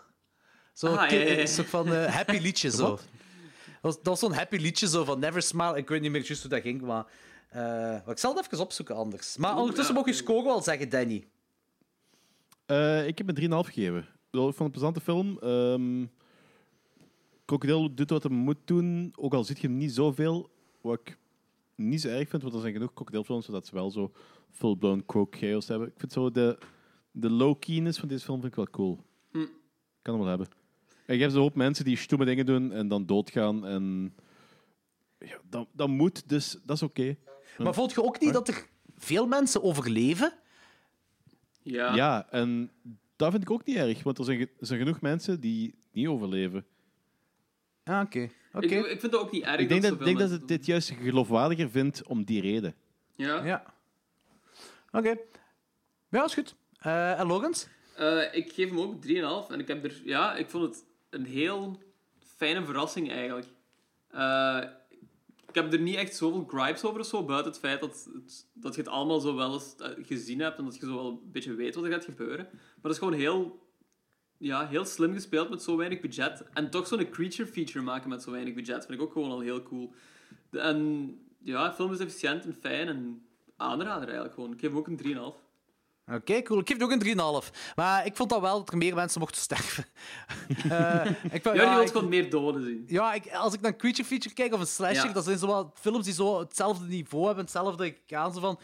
Zo, Ah, ki- ja, ja, ja. een soort van eh, happy liedje, zo. Dat Wat? was, dat was zo'n happy liedje, zo, van Never Smile. Ik weet niet meer juist hoe dat ging, maar... eh, maar ik zal het even opzoeken anders. Maar ondertussen ja, mogen je oké. score wel zeggen, Danny. Eh, ik heb een 3,5 gegeven. Ik bedoel, ik vond het een plezante film. Ehm Krokodil doet wat hij moet doen, ook al ziet je hem niet zoveel. Wat ik niet zo erg vind, want er zijn genoeg krokodilfilms zodat ze wel zo full-blown croak chaos hebben. Ik vind zo de, de low-keyness van deze film vind ik wel cool. Kan hem wel hebben. En je hebt een hoop mensen die stomme dingen doen en dan doodgaan. En ja, dat, dat moet, dus dat is oké. Hm. Maar vond je ook niet dat er veel mensen overleven? ja. Ja, en dat vind ik ook niet erg, want er zijn, ge- er zijn genoeg mensen die niet overleven. Ah, oké. oké. Ik, ik vind dat ook niet erg Ik denk dat, zoveel denk dat mensen het dit juist geloofwaardiger vindt om die reden. doen. Ja. Ja. Oké. Ja, is goed. Eh, en Logans? Eh, ik geef hem ook 3,5. En ik heb er... Ja, ik vond het een heel fijne verrassing eigenlijk. Eh, ik heb er niet echt zoveel gripes over of zo, buiten het feit dat, het- dat je het allemaal zo wel eens eh, gezien hebt en dat je zo wel een beetje weet wat er gaat gebeuren. Maar dat is gewoon heel... Ja, heel slim gespeeld met zo weinig budget. En toch zo'n creature feature maken met zo weinig budget vind ik ook gewoon al heel cool. De- En ja, de film is efficiënt en fijn en aanrader eigenlijk gewoon. Ik geef hem ook een 3,5. Oké, cool. Ik geef het ook een 3,5. Maar ik vond dan wel dat er meer mensen mochten sterven. Eh, ik vond- Ja, die wil ik- gewoon meer doden zien. Ja, ik, als ik naar Creature Feature kijk of een slasher, Ja. dat zijn zo wat films die zo hetzelfde niveau hebben, hetzelfde gaan. Zo van,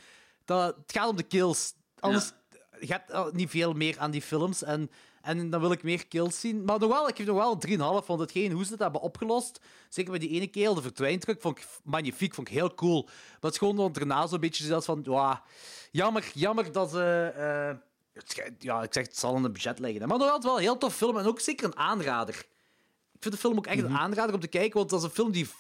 dat, het gaat om de kills. Anders, je hebt al niet veel meer aan die films en, en dan wil ik meer kills zien. Maar nog wel, ik geef nog wel een 3,5, want hetgeen hoe ze dat hebben opgelost, zeker bij die ene keel, de verdwijntruc, vond ik magnifiek, vond ik heel cool. Maar het is gewoon dat daarna zo'n beetje zelfs van, ja, jammer, jammer dat ze... eh, het schijnt- ja, ik zeg, het zal in het budget liggen. hè. Maar nog altijd wel een heel tof film en ook zeker een aanrader. Ik vind de film ook echt Mhm. een aanrader om te kijken, want dat is een film die v-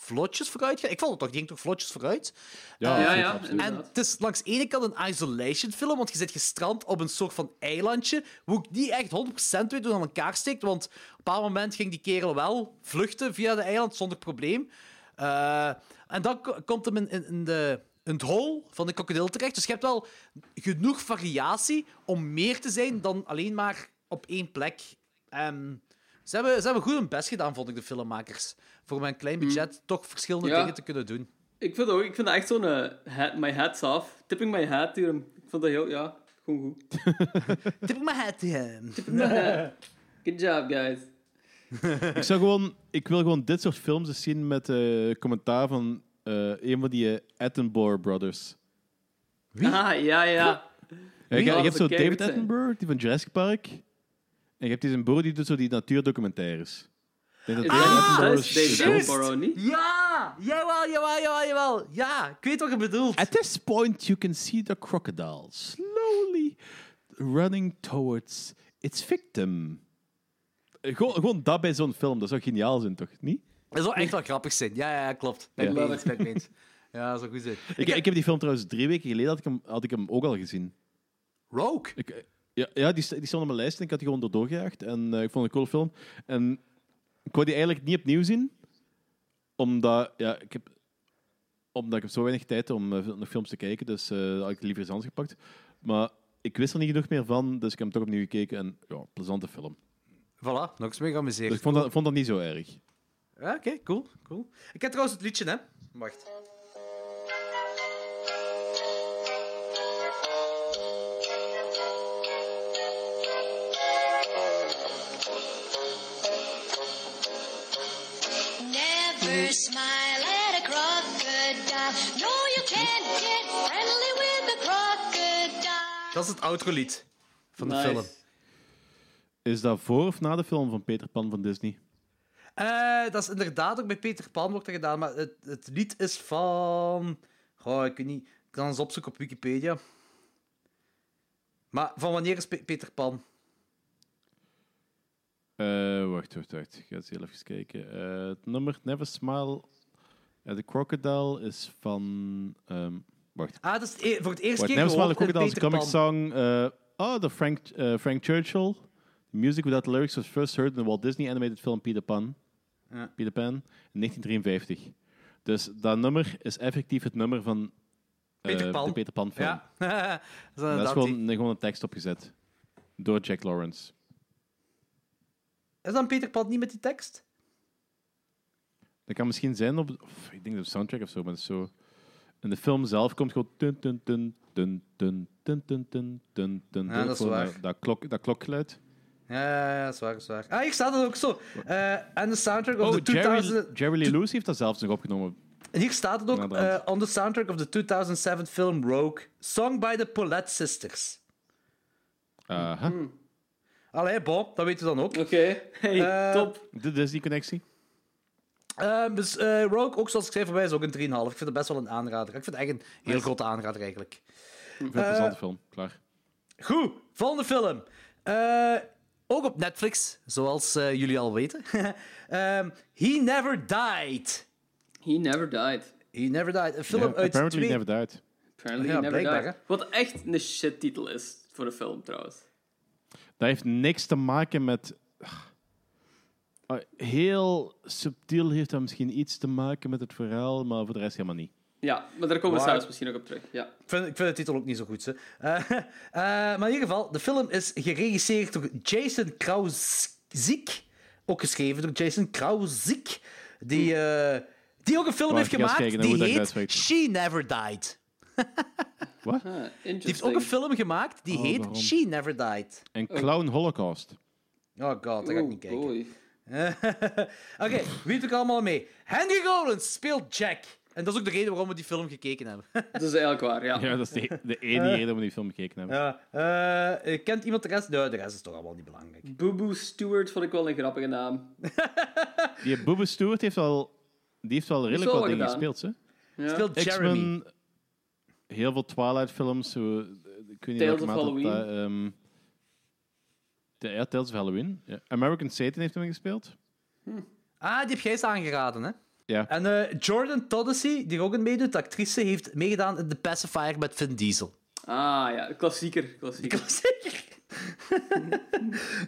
vlotjes vooruit gaat. Ik vond het toch, die ging toch vlotjes vooruit? Eh, Ja, Ja, absoluut, ja, absoluut. inderdaad. En het is langs de ene kant een isolation film, want je zit gestrand op een soort van eilandje, hoe ik niet echt 100% weet hoe het aan elkaar steekt, want op een bepaald moment ging die kerel wel vluchten via de eiland zonder probleem. Eh, en dan ko- komt hem in, in, in de, in het hol van de krokodil terecht. Dus je hebt wel genoeg variatie om meer te zijn dan alleen maar op één plek. Ehm, ze, hebben, ze hebben goed hun best gedaan, vond ik, de filmmakers. Voor mijn klein budget toch verschillende Mm. Ja. dingen te kunnen doen. Ik vind, dat ook, ik vind dat echt zo'n eh, hat, my hats off. Tipping my hat to him. Ik vond dat heel, ja, gewoon goed. Tip ik mijn hat to him. Good job, guys. Ik, zou gewoon, ik wil gewoon dit soort films eens zien met eh, commentaar van eh, een van die eh, Attenborough brothers. Ah, ja, ja. Ja, je, je laat hebt ze zo keihard David zijn? Attenborough, die van Jurassic Park. En je hebt die zijn broer die doet zo die natuurdocumentaires. Ik denk dat Is David Ah, dat- dat Attenborough is David shit is. Attenborough, niet? Ja! Jawel, jawel, jawel, jawel. Ja, ik weet wat je bedoelt. At this point, you can see the crocodile slowly running towards its victim. Eh, Gewoon, gewoon dat bij zo'n film, dat zou geniaal zijn, toch? Niet? Dat zou echt wel grappig zijn. Ja, ja, ja klopt. Ben ik Ja. mee eens, ben ik mee eens. Ja, dat zou goed zijn. Ik, ik heb die film trouwens drie weken geleden had ik hem, had ik hem ook al gezien. Rogue. Ik, eh, ja, ja die, st- die stond op mijn lijst en ik had die gewoon erdoor gejaagd. En eh, ik vond het een cool film. En ik wou die eigenlijk niet opnieuw zien. Omdat, ja, ik, heb, omdat ik heb zo weinig tijd om eh, nog films te kijken. Dus eh, had ik liever eens anders gepakt. Maar ik wist er niet genoeg meer van, dus ik heb hem toch opnieuw gekeken. En ja, plezante film. Voilà, nog eens mee geamuseerd. Dus ik vond dat, vond dat niet zo erg. Ja, Oké, cool, cool. Ik heb trouwens het liedje, hè. Wacht. Never smile at a crocodile. No, you can't get friendly with a crocodile. Dat is het outro-lied van de Nice. film. Is dat voor of na de film van Peter Pan van Disney? Eh, dat is inderdaad ook bij Peter Pan wordt dat gedaan, maar het, het lied is van... Goh, ik weet niet. Ik kan eens opzoeken op Wikipedia. Maar van wanneer is Pe- Peter Pan? Eh, wacht, wacht, wacht. Ik ga eens heel even kijken. Eh, het nummer Never Smile at the Crocodile is van... ehm, wacht. Ah, dat is het e- voor het eerst wacht keer Never Smile at the gehoord in Crocodile is een Peter comic Pan. song. eh oh, de Frank, eh, Frank Churchill. Music without lyrics was first heard in the Walt Disney animated film Peter Pan. Ja. Peter Pan, in 1953. Dus dat nummer is effectief het nummer van eh, Peter Pan. de Peter Pan film. Ja, dat is Dat is inderdaad die. gewoon, gewoon een tekst opgezet. Door Jack Lawrence. Is dan Peter Pan niet met die tekst? Dat kan misschien zijn op, of, ik denk op de soundtrack of zo, maar dat is zo. In de film zelf komt gewoon. Dun, dun, dun, dun, dun, dun, dun, dun, dun, dun, Ja, dat is Gewoon waar. Dat, dat klok, dat klokgeluid. Ja, ja, ja, dat is waar, dat is waar. Ah, hier staat het ook zo. Eh en de soundtrack of Oh, the Jerry, 2000... Jerry Lee Lewis heeft dat zelfs nog opgenomen. En hier staat het ook, Inderdaad. eh, on the soundtrack of the 2007 film Rogue, song by the Paulette Sisters. Aha. Mm. Allee, bon, dat weten we dan ook. Oké, hey, Eh, top. De Disney-connectie. Eh, dus eh, Rogue, ook zoals ik zei, voor mij is ook een 3,5. Ik vind het best wel een aanrader. Ik vind het echt een heel grote aanrader, eigenlijk. Ik vind het een Eh, plezante film. Klaar. Goed, volgende film. Eh, ook op Netflix, zoals eh, jullie al weten. Ehm, He Never Died. He never died. He Never Died, een film Ja, uit apparently twee... never died. Apparently Ja, he never blijkbaar, died. Wat echt een shit titel is. voor een film trouwens. Dat heeft niks te maken met. Ah, Heel subtiel heeft dat misschien iets te maken met het verhaal, maar voor de rest helemaal niet. Ja, maar daar komen we Maar- zelfs misschien nog op terug. Ja. Eh, Ik vind, ik vind de titel ook niet zo goed. Hè. Eh, eh, maar in ieder geval, de film is geregisseerd door Jason Krauzik. Ook geschreven door Jason Krauzik. Die, eh, die ook een film Wacht, heeft ik ga eens gemaakt kijken hoe die dat heet uitspreekt. She Never Died. Ah, interesting. Die heeft ook een film gemaakt die Oh, heet waarom? She Never Died. En Clown Holocaust. Oh god, daar ga ik niet kijken. boy. Oké, wie doet er allemaal mee? Henry Rollins speelt Jack. En dat is ook de reden waarom we die film gekeken hebben. Dat is eigenlijk waar, ja. Ja, dat is de, de Eh. enige reden waarom we die film gekeken hebben. Ja, eh, eh, kent iemand de rest? Nee, de rest is toch allemaal niet belangrijk. Boo Boo Stewart vond ik wel een grappige naam. Die Booba Stewart heeft wel, die heeft wel redelijk wel wat dingen gedaan. gespeeld, hè? Ja. Speelt Jeremy. X-Men, heel veel Twilight-films. zo, eh, Ik weet Tales niet welke of maat dat Halloween. dat, ehm, de, ja, Tales of Halloween. Ja. American Satan heeft hem gespeeld. Ah, die heb jij eens aangeraden, hè? Ja. En eh, Jordan Toddessy, die er ook in meedoet, de actrice, heeft meegedaan in The Pacifier met Vin Diesel. Ah ja, klassieker. klassieker. Klassieker.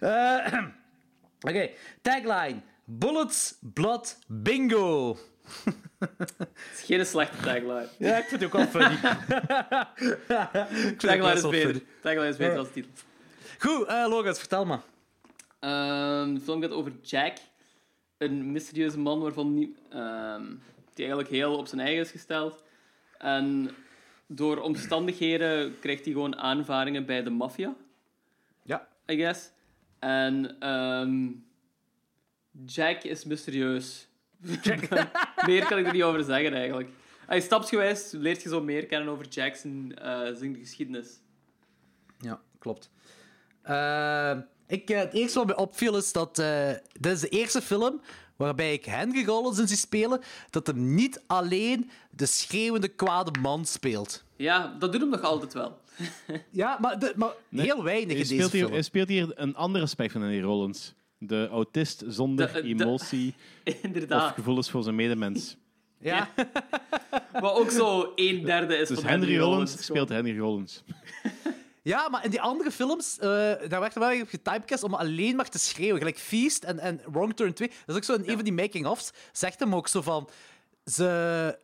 Eh, Oké, tagline. Bullets, blood, bingo. Het is geen slechte tagline. Ja, ik vind het ook wel funny. ik vind het ook Tagline best is wel beter. funny. Tagline is beter als titel. Goed, eh Logan, vertel maar. Ehm, de film gaat over Jack. Een mysterieuze man waarvan nie- ehm, die eigenlijk heel op zijn eigen is gesteld. En door omstandigheden krijgt hij gewoon aanvaringen bij de maffia, Ja. I guess. En ehm, Jack is mysterieus. meer kan ik er niet over zeggen eigenlijk. Hij stapsgewijs leert je zo meer kennen over Jackson eh zijn geschiedenis. Ja, klopt. Eh, ik, eh, het eerste wat mij opviel is dat eh, dit is de eerste film waarbij ik Henry Rollins in zie spelen, dat hem niet alleen de schreeuwende kwade man speelt. Ja, dat doet hem nog altijd wel. Ja, maar, de- maar heel weinig Hij in deze speelt, hier, film. hij speelt hier een ander aspect van Andy Rollins. De autist zonder De- de- emotie of Inderdaad. gevoelens voor zijn medemens. Ja. Maar ook zo een derde is Dus van Henry Rollins Rollins. speelt Henry Rollins. ja, maar in die andere films, eh, daar werd er wel op getypecast om alleen maar te schreeuwen. Gelijk Feast en, en Wrong Turn 2. Dat is ook zo in een van die making-offs. Zegt hem ook zo van... Ze,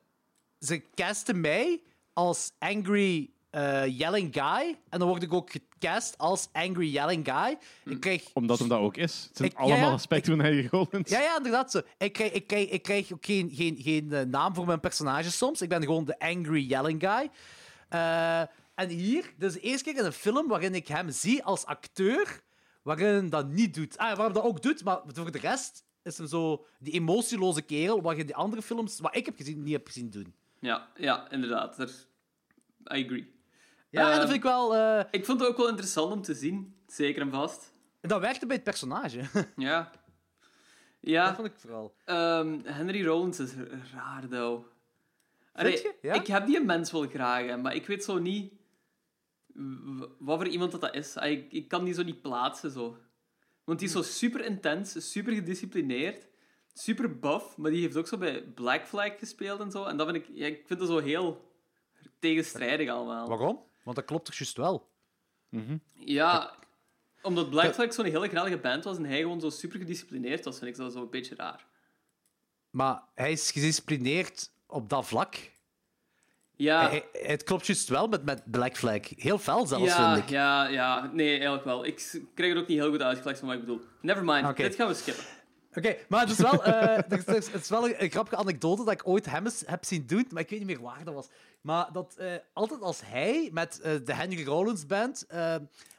ze casten mij als angry eh, yelling guy. En dan word ik ook gecast als angry yelling guy. Ik krijg Omdat hem dat ook is. Het zijn Ik- ja, allemaal ja, aspecten van Henry Rollins. Ja, ja, inderdaad. Zo. Ik, krijg, ik, krijg, ik krijg ook geen, geen, geen eh, naam voor mijn personage soms. Ik ben gewoon de angry yelling guy. Eh, en hier, dit is de eerste keer in een film waarin ik hem zie als acteur, waarin hij dat niet doet. Ah, waarom dat ook doet, maar voor de rest is hem zo die emotieloze kerel, wat je in die andere films, wat ik heb gezien, niet heb gezien doen. Ja, ja, inderdaad. Daar... I agree. Ja, en Ehm, Ah, dat vind ik wel... eh, Ik vond het ook wel interessant om te zien. Zeker en vast. dat werkte bij het personage. Ja. dat Ja, vond ik vooral. ehm, Henry Rollins is r- raar, though. Allee, je? Ja? Ik heb die mens wel graag, hè, maar ik weet zo niet w- wat voor iemand dat, dat is. Ah, Ik, ik kan die zo niet plaatsen, zo. Want die is zo Hm. super intens, super gedisciplineerd, super buff, maar die heeft ook zo bij Black Flag gespeeld en zo. En dat vind ik, ja, ik vind dat zo heel tegenstrijdig allemaal. Waarom? Want dat klopt toch juist wel? Ja, omdat Black Flag zo'n hele gralige band was en hij gewoon zo super gedisciplineerd was, vind ik dat zo een beetje raar. Maar hij is gedisciplineerd op dat vlak. Ja, Hij- hij- het klopt juist wel met, met Black Flag. Heel fel zelfs, ja, vind ik. ja, ja. Nee, eigenlijk wel. Ik s- krijg het ook niet heel goed uitgelegd van wat ik bedoel. Never mind, Oké. dit gaan we skippen. Oké, maar het is wel, eh, er is- er is- het is wel een, een grappige anekdote dat ik ooit hem eens heb zien doen, maar ik weet niet meer waar dat was. Maar dat eh, altijd als hij met eh, de Henry Rollins Band eh,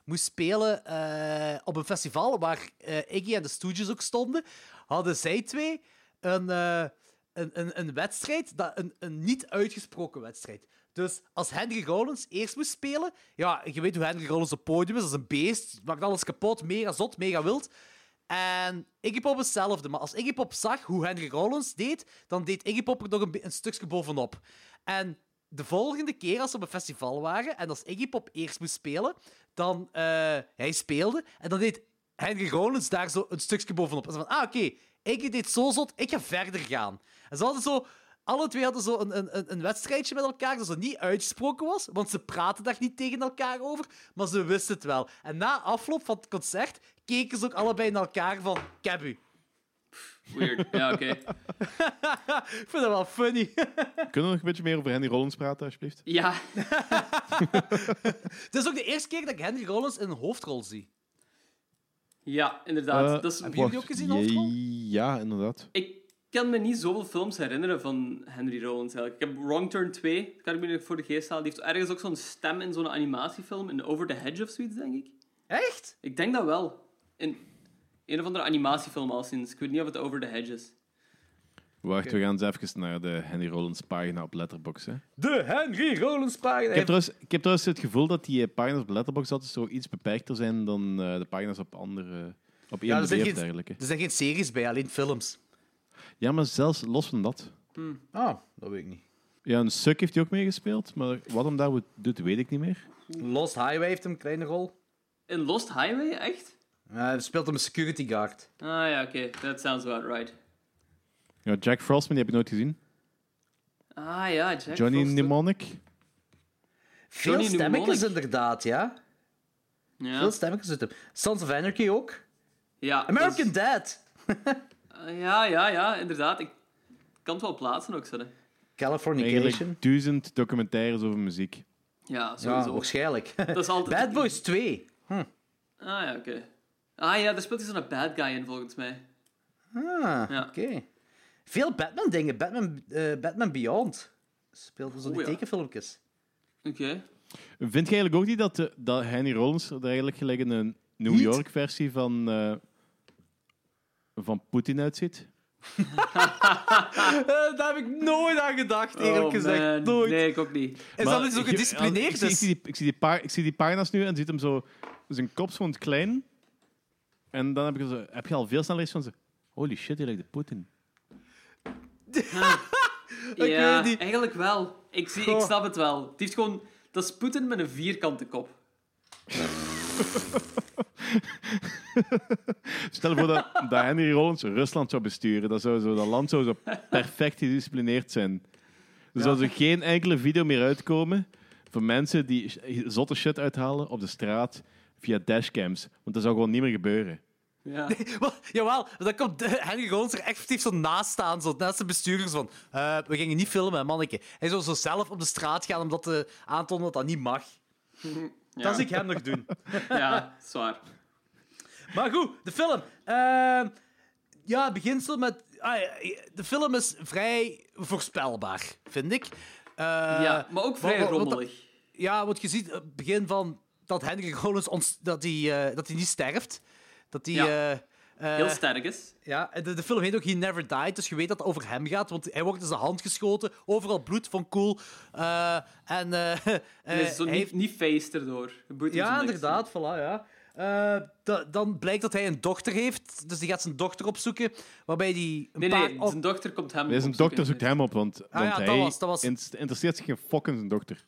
moest spelen eh, op een festival waar eh, Iggy en de Stooges ook stonden, hadden zij twee een, eh, een, een, een wedstrijd, dat, een, een niet uitgesproken wedstrijd. Dus als Henry Rollins eerst moest spelen, ja, je weet hoe Henry Rollins op het podium is, dat is een beest, maakt alles kapot, mega zot, mega wild. En Iggy Pop is hetzelfde, maar als Iggy Pop zag hoe Henry Rollins deed, dan deed Iggy Pop er nog een, be- een stukje bovenop. En de volgende keer als ze op een festival waren en als Iggy Pop eerst moest spelen, dan eh, hij speelde en dan deed Henry Rollins daar zo een stukje bovenop. En ze van, ah oké, Iggy deed zo zot, ik ga verder gaan. En ze hadden zo Alle twee hadden zo een, een, een- een wedstrijdje met elkaar dat zo niet uitgesproken was, want ze praten daar niet tegen elkaar over, maar ze wisten het wel. En na afloop van het concert keken ze ook allebei naar elkaar van, ik heb u." Weird. Ja, oké. Ik vind dat wel funny. Kunnen we nog een beetje meer over Henry Rollins praten, alsjeblieft? Ja. Het is ook de eerste keer dat ik Henry Rollins in een hoofdrol zie. Ja, inderdaad. Eh, dat Ah, is, Hebben jullie ook gezien, hoofdrol? Ja, inderdaad. ik kan me niet zoveel films herinneren van Henry Rollins eigenlijk. Ik heb Wrong Turn 2, dat kan ik me nog voor de geest halen. Die heeft ergens ook zo'n stem in zo'n animatiefilm, in Over the Hedge of zoiets, denk ik. Echt? Ik denk dat wel. In een of andere animatiefilm al sinds. Ik weet niet of het Over the Hedge is. Wacht, we gaan eens even naar de Henry Rollins pagina op Letterboxd. Hè. Eh, Ik, De Henry Rollins pagina. heb trouwens, ik heb trouwens het gevoel dat die eh, pagina's op Letterboxd altijd zo iets beperkter zijn dan eh, de pagina's op andere... Op Ja, ja, er, of zijn geen, dergelijke. er zijn geen series bij, alleen films. Ja, maar zelfs los van dat. Ah, dat weet ik niet. Ja, een suk heeft hij ook meegespeeld, maar wat hem daar wo- doet, weet ik niet meer. Lost Highway heeft hem een kleine rol. In Lost Highway, echt? Eh, Hij speelt hem een security guard. Ah ja, oké. That sounds about right. Ja, Jack Frostman, die heb ik nooit gezien. Ah ja, Jack Johnny Frost. Mnemonic. Veel Johnny stemmetjes Mnemonic. inderdaad, ja. Ja. Veel stemmetjes zitten. Sons of Anarchy ook. ja American dat Dad. is- ah, ja, ja, ja, inderdaad. Ik kan het wel plaatsen ook, zo. hè. Californication. Eigenlijk duizend documentaires over muziek. Ja, sowieso. Ja, waarschijnlijk. dat is altijd... Bad Boys 2. Ah ja, oké. Ah ja, daar speelt hij zo'n bad guy in, volgens mij. Ah, Ja. oké. Veel Batman-dingen. Batman, eh, Batman Beyond. Speelde zo die Oeh, ja. tekenfilmpjes. Oké. Vind je eigenlijk ook niet dat, eh, dat Henry Rollins er eigenlijk gelijk in een New Niet? York-versie van, eh, van Poetin uitziet? daar heb ik nooit aan gedacht, Oh, man. Nee, ik ook niet. Is Maar dat niet zo ik- ik- gedisciplineerd? Ik, zie- ik, is? zie die- ik, zie die pa- ik zie die pagina's nu en ziet hem zo... Zijn kop is gewoon klein. En dan heb, ik zo, heb je al veel sneller iets van ze... Holy shit, die lijkt op Poetin. ja, weet niet. eigenlijk wel. Ik, zie, ik Goh. snap het wel. Het heeft gewoon... Dat is Poetin met een vierkante kop. Stel je voor dat, dat Henry Rollins Rusland zou besturen. Dat, zou zo, dat land zou zo perfect gedisciplineerd zijn. Er zou zo geen enkele video meer uitkomen van mensen die sh- zotte shit uithalen op de straat via dashcams. Want dat zou gewoon niet meer gebeuren. Ja. Wat? Jawel, dan komt de- Henry Rollins er effectief zo naast staan, zo naast de bestuurders van eh, we gingen niet filmen, manneke. Hij zou zo zelf op de straat gaan om dat te aantonen dat dat niet mag. ja. Dat zie ik hem nog doen. Ja, zwaar. Maar goed, de film. Ehm, ja, het beginsel met... ah, ja, de film is vrij voorspelbaar, vind ik. Eh, ja, maar ook vrij wat- wat- wat- rommelig. Ja, want je ziet op het begin van dat Henry Rollins ons, dat hij eh, dat hij niet sterft. Dat hij... Ja. eh, eh, Heel sterk is. Ja, en de, de film heet ook He Never Died, dus je weet dat het over hem gaat, want hij wordt in zijn hand geschoten, overal bloed van cool. eh, en eh, eh, En is zo hij niet, heeft- niet feest erdoor. Dat boeit hem zo Ja, niks. inderdaad, voilà, ja. Eh, da- dan blijkt dat hij een dochter heeft, dus die gaat zijn dochter opzoeken, waarbij die een Nee, paar... nee, op- zijn dochter komt hem Deze opzoeken. dokter zoekt hem op, want, want Ah ja, dat hij was- dat was- int- interesseert zich geen fuck in zijn dokter.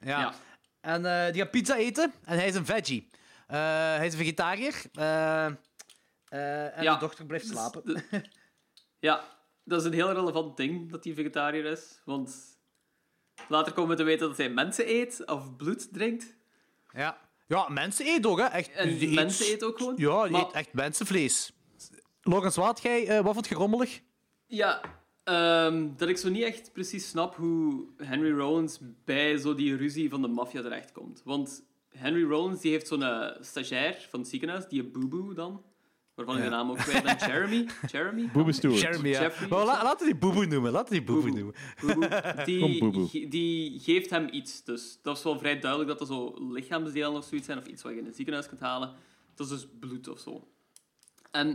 ja. Ja. En eh, die gaat pizza eten, en hij is een veggie. Eh, hij is een vegetariër, eh, eh, en Ja. de dochter blijft slapen. Ja, dat is een heel relevant ding dat hij vegetariër is. Want later komen we te weten dat hij mensen eet of bloed drinkt. Ja. ja, mensen eten ook, hè. Echt, En die mensen eet ook gewoon. Ja, die Maar- eet echt mensenvlees. Logans, wat, jij, eh, wat vond je rommelig? Ja, ehm, dat ik zo niet echt precies snap hoe Henry Rollins bij zo die ruzie van de maffia terechtkomt. Want Henry Rollins die heeft zo'n eh, stagiair van het ziekenhuis, die een boeboe dan. Waarvan ik de naam ook kwijt ben. Jeremy? Jeremy? Boebe Stewart. Jeremy, ja. Jeffrey Maar of la- zo? laten we die Boeboe noemen. Laten we die Boeboe Boeboe. noemen. Boeboe. Die, Gewoon boeboe. ge- die geeft hem iets. Dus dat is wel vrij duidelijk dat er zo lichaamsdelen of zoiets zijn. Of iets wat je in het ziekenhuis kunt halen. Dat is dus bloed of zo. En,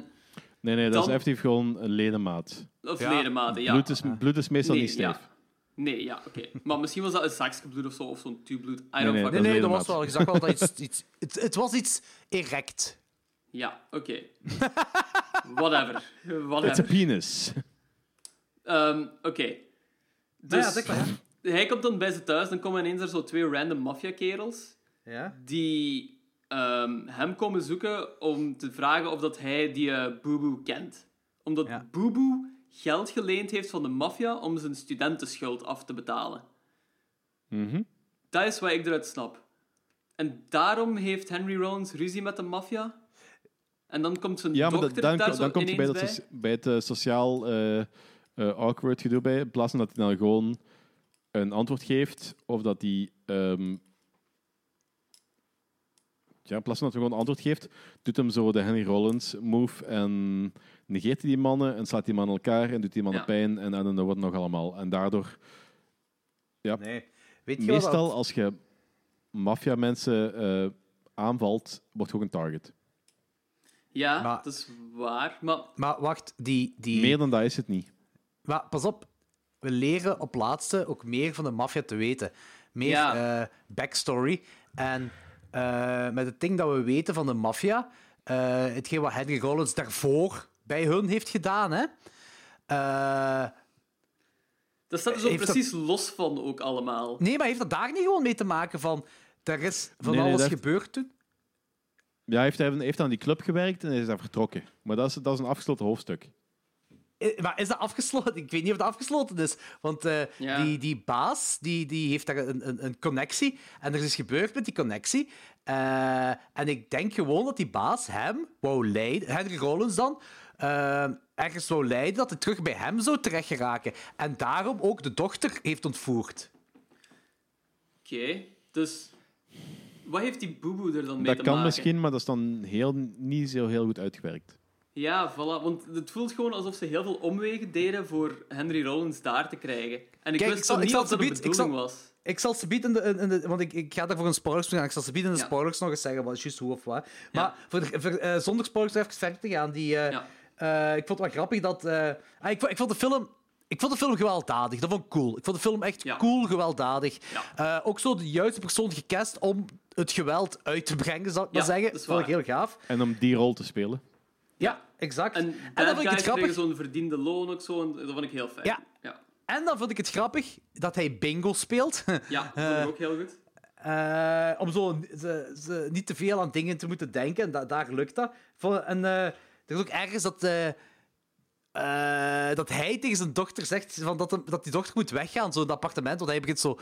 Nee, nee, dat Dan- is effectief gewoon een ledemaat. of Ja, ledematen, ja. Bloed, is, bloed is meestal niet ja. stijf. Nee, ja, oké. Maar misschien was dat een zakje bloed of zo, of zo'n tube bloed. I don't nee, fucking Nee, Dat is nee, dat ledemaat. was wel. Je zag wel dat iets... iets het, het was iets erect. Ja, oké. Whatever. Het is een Whatever. penis. Ehm, oké. Nou ja, Dus dat kan, hè. hij komt dan bij ze thuis, dan komen ineens er zo twee random maffia-kerels Ja. die ehm, hem komen zoeken om te vragen of dat hij die eh Boeboe kent. Omdat Ja. Boeboe geld geleend heeft van de maffia om zijn studentenschuld af te betalen. Mhm. Dat is wat ik eruit snap. En daarom heeft Henry Rollins ruzie met de maffia. En dan komt zijn Ja, maar dat- dokter dan, daar zo dan komt hij bij, ineens dat socia- bij het eh, sociaal eh, eh, awkward gedoe bij. In plaats van dat hij dan gewoon een antwoord geeft, of dat hij. ehm, ja, in plaats van dat hij gewoon een antwoord geeft, doet hem zo de Henry Rollins move en negeert hij die mannen en slaat die mannen elkaar en doet die mannen Ja. pijn en, en, en dat wordt nog allemaal. En daardoor, Nee. Weet je wat? meestal als je maffia-mensen eh, aanvalt, wordt je ook een target. Ja, Maar- dat is waar. Maar Maar wacht, die... die... Meer dan dat is het niet. Maar pas op, we leren op laatste ook meer van de maffia te weten. Meer Ja. eh, backstory. En eh, met het ding dat we weten van de maffia, eh, hetgeen wat Henry Rollins daarvoor bij hun heeft gedaan, hè? Eh, dat staat er zo Heeft dat- precies los van ook allemaal. nee, maar heeft dat daar niet gewoon mee te maken van... Er is van Nee, nee, alles dat heeft- gebeurd toen? Ja, hij heeft, hij heeft aan die club gewerkt en hij is daar vertrokken. Maar dat is, dat is een afgesloten hoofdstuk. Eh, Maar is dat afgesloten? Ik weet niet of dat afgesloten is. Want eh, Ja. die, die baas die, die heeft daar een, een, een connectie. En er is iets gebeurd met die connectie. Eh, en ik denk gewoon dat die baas hem wou leiden, Henry Rollins dan, eh, ergens wou leiden dat hij terug bij hem zou terecht geraken. En daarom ook de dochter heeft ontvoerd. Oké, dus wat heeft die boeboe er dan mee dat te kan maken? misschien, maar dat is dan heel, niet zo heel goed uitgewerkt. Ja, voilà, want het voelt gewoon alsof ze heel veel omwegen deden voor Henry Rollins daar te krijgen. En ik Kijk, wist ik zal- dan ik niet zal of dat de zometeen- bedoeling ik zal- was. Ik zal ze bieden, in de, in- in de- want ik, ik ga daarvoor een spoilers toe gaan. Ik zal ze bieden in de Ja. spoilers nog eens zeggen, wat is juist hoe of wat. Maar Ja. voor de- voor, eh, zonder spoilers nog even verder te gaan, die, eh, Ja. eh, ik vond het wel grappig dat... eh, ah, ik, vond- ik vond de film... Ik vond de film gewelddadig. Dat vond ik cool. Ik vond de film echt Ja. cool gewelddadig. Ja. Eh, ook zo de juiste persoon gecast om het geweld uit te brengen, zal ik maar Ja, zeggen. dat Dat is vond ik waar. heel gaaf. En om die rol te spelen. Ja, exact. En, dan bad vond ik het guys grappig. kregen zo'n verdiende loon ook zo, en dat vond ik heel fijn. Ja. ja. En dan vond ik het grappig dat hij bingo speelt. Ja, dat vond ik ook heel goed. Eh, om zo ze, ze niet te veel aan dingen te moeten denken. En da- daar lukt dat. Voor- En eh, er is ook ergens dat, eh, eh, dat hij tegen zijn dochter zegt van dat, hem- dat die dochter moet weggaan. Zo'n appartement, want hij begint zo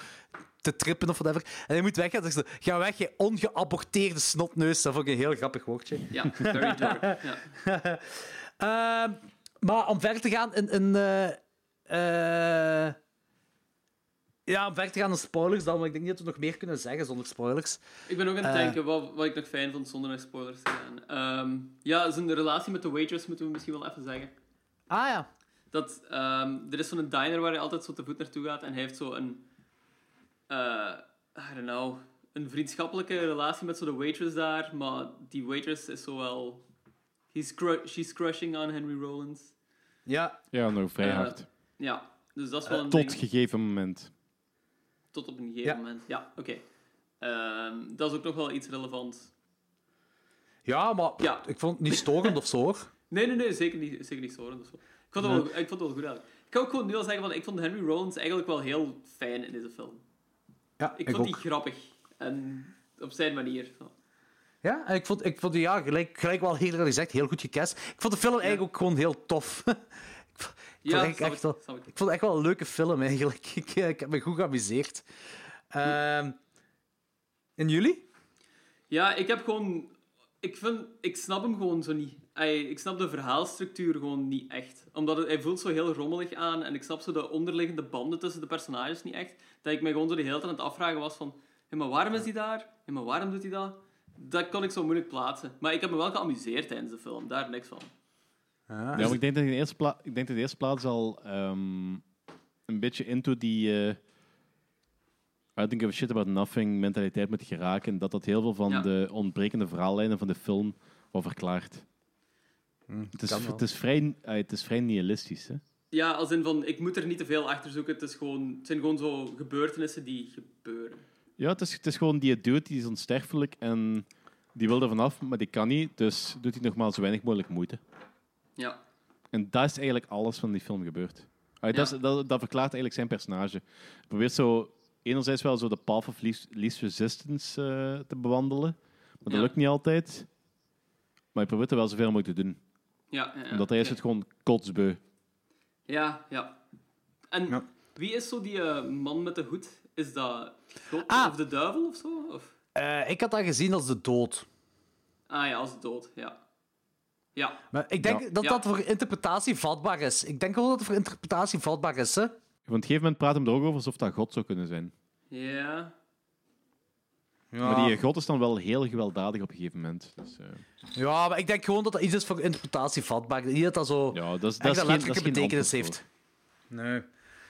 te trippen of whatever. En hij moet weggaan. Dan zegt ze, ga weg, je ongeaborteerde snotneus. Dat vond ik een heel grappig woordje. Ja, very dark. Ja. Ehm, maar om verder te gaan in... in eh, eh, ja, om verder te gaan in spoilers dan. Want ik denk niet dat we nog meer kunnen zeggen zonder spoilers. Ik ben ook aan het Eh. denken wat, wat ik nog fijn vond zonder naar spoilers te gaan. Ehm, ja, zijn relatie met de waitress moeten we misschien wel even zeggen. Ah ja. Dat, ehm, er is zo'n diner waar hij altijd zo te voet naartoe gaat en hij heeft zo een, eh, I don't know, een vriendschappelijke relatie met zo de waitress daar, maar die waitress is zo wel, he's cru- she's crushing on Henry Rollins. Ja, Ja, nog vrij Eh, hard. Ja, dus dat is wel een Tot ding. gegeven moment. Tot op een gegeven Ja. moment. Ja, oké. Ehm, dat is ook nog wel iets relevant. ja maar Ja. ik vond het niet storend of zo. hoor. Nee, nee, nee, zeker niet, zeker niet storend of zo. Ik vond, het wel, ik vond het wel goed eigenlijk. Ik kan ook gewoon nu al zeggen, van, ik vond Henry Rollins eigenlijk wel heel fijn in deze film. Ja, Ik, vond die grappig. En op zijn manier. Ja, en ik vond, ik vond die, ja, gelijk, gelijk wel heel eerlijk gezegd, heel goed gecast. Ik vond de film eigenlijk ook gewoon heel tof. ik vond, ik vond Ja, eigenlijk snap echt ik, wel- snap ik. ik vond het echt wel een leuke film, eigenlijk. Ik, eh, ik heb me goed geamuseerd. Ehm, en jullie? Ja, ik heb gewoon... Ik, vind, ik snap hem gewoon zo niet. Hij- ik snap de verhaalstructuur gewoon niet echt. Omdat het- hij voelt zo heel rommelig aan. En ik snap zo de onderliggende banden tussen de personages niet echt. Dat ik me gewoon zo de hele tijd aan het afvragen was van... Hé, maar waarom is hij daar? Hé, maar waarom doet hij dat? Dat kon ik zo moeilijk plaatsen. Maar ik heb me wel geamuseerd tijdens de film. Daar niks van. Ja, maar ik denk dat in de eerste, pla- ik denk dat in de eerste plaats al ehm, een beetje into die eh, I don't give a shit about nothing mentaliteit moet geraken. En dat dat heel veel van Ja. de ontbrekende verhaallijnen van de film wel verklaart. Hmm, het, is, kan wel. het, is vrij, eh, het is vrij nihilistisch, hè? Ja, als in van... Ik moet er niet te veel achter zoeken. Het, is gewoon, het zijn gewoon zo gebeurtenissen die gebeuren. Ja, het is, het is gewoon die dude die is onsterfelijk en die wil er vanaf, maar die kan niet. Dus doet hij nogmaals zo weinig mogelijk moeite. Ja. En dat is eigenlijk alles van die film gebeurd. Ah, dat, Ja. is, dat, dat verklaart eigenlijk zijn personage. Hij probeert zo enerzijds wel zo de path of least, least resistance eh, te bewandelen, maar dat Ja. lukt niet altijd. Maar hij probeert er wel zoveel mogelijk te doen. Ja, ja, ja. Omdat hij is het gewoon kotsbeu. Ja, ja. En Ja. wie is zo die eh, man met de hoed? Is dat God Ah. of de duivel of zo? Of? Eh, ik had dat gezien als de dood. Ah ja, als de dood, ja. Ja, Maar ik denk dat Ja. dat voor interpretatie vatbaar is. Ik denk wel dat het voor interpretatie vatbaar is, hè? Op een gegeven moment praat hem er ook over alsof dat God zou kunnen zijn. ja. Maar die God is dan wel heel gewelddadig op een gegeven moment. Dus, eh, Ja, Ah. maar ik denk gewoon dat dat iets is voor interpretatie vatbaar. Niet dat dat zo ja, dat is, echt dat een is geen, dat is letterlijke geen betekenis antwoord heeft. voor. Nee.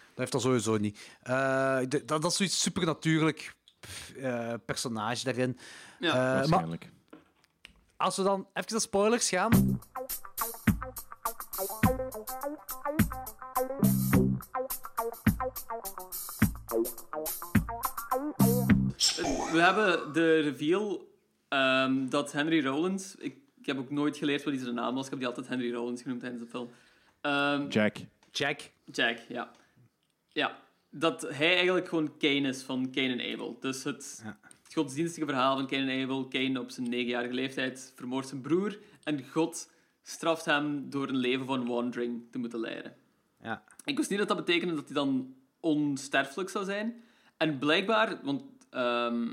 Dat heeft dat sowieso niet. Eh, ik denk- dat, dat is zoiets supernatuurlijk pff, eh, personage daarin. Ja, Eh, maar Waarschijnlijk. als we dan even naar spoilers gaan. We hebben de reveal ehm, dat Henry Rollins... Ik, ik heb ook nooit geleerd wat die zijn naam was. Ik heb die altijd Henry Rollins genoemd tijdens de film. Ehm, Jack. Jack. Jack, ja. Ja. Dat hij eigenlijk gewoon Cain is van Cain en Abel. Dus het, het godsdienstige verhaal van Cain en Abel. Cain op zijn negenjarige leeftijd vermoordt zijn broer. En God straft hem door een leven van wandering te moeten leiden. Ja. Ik wist niet dat dat betekende dat hij dan onsterfelijk zou zijn. En blijkbaar, want ehm,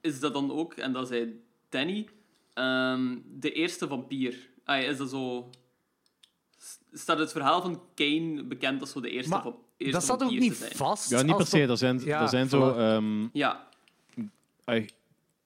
is dat dan ook, en dat zei Danny, ehm, de eerste vampier. Ah, is dat zo... s- Staat het verhaal van Kane bekend als zo de eerste, Maar va- eerste Dat staat ook vampier niet te zijn? vast. Ja, niet per als se. dat- Er zijn, Ja, er zijn voilà. zo... ehm, Ja, ai,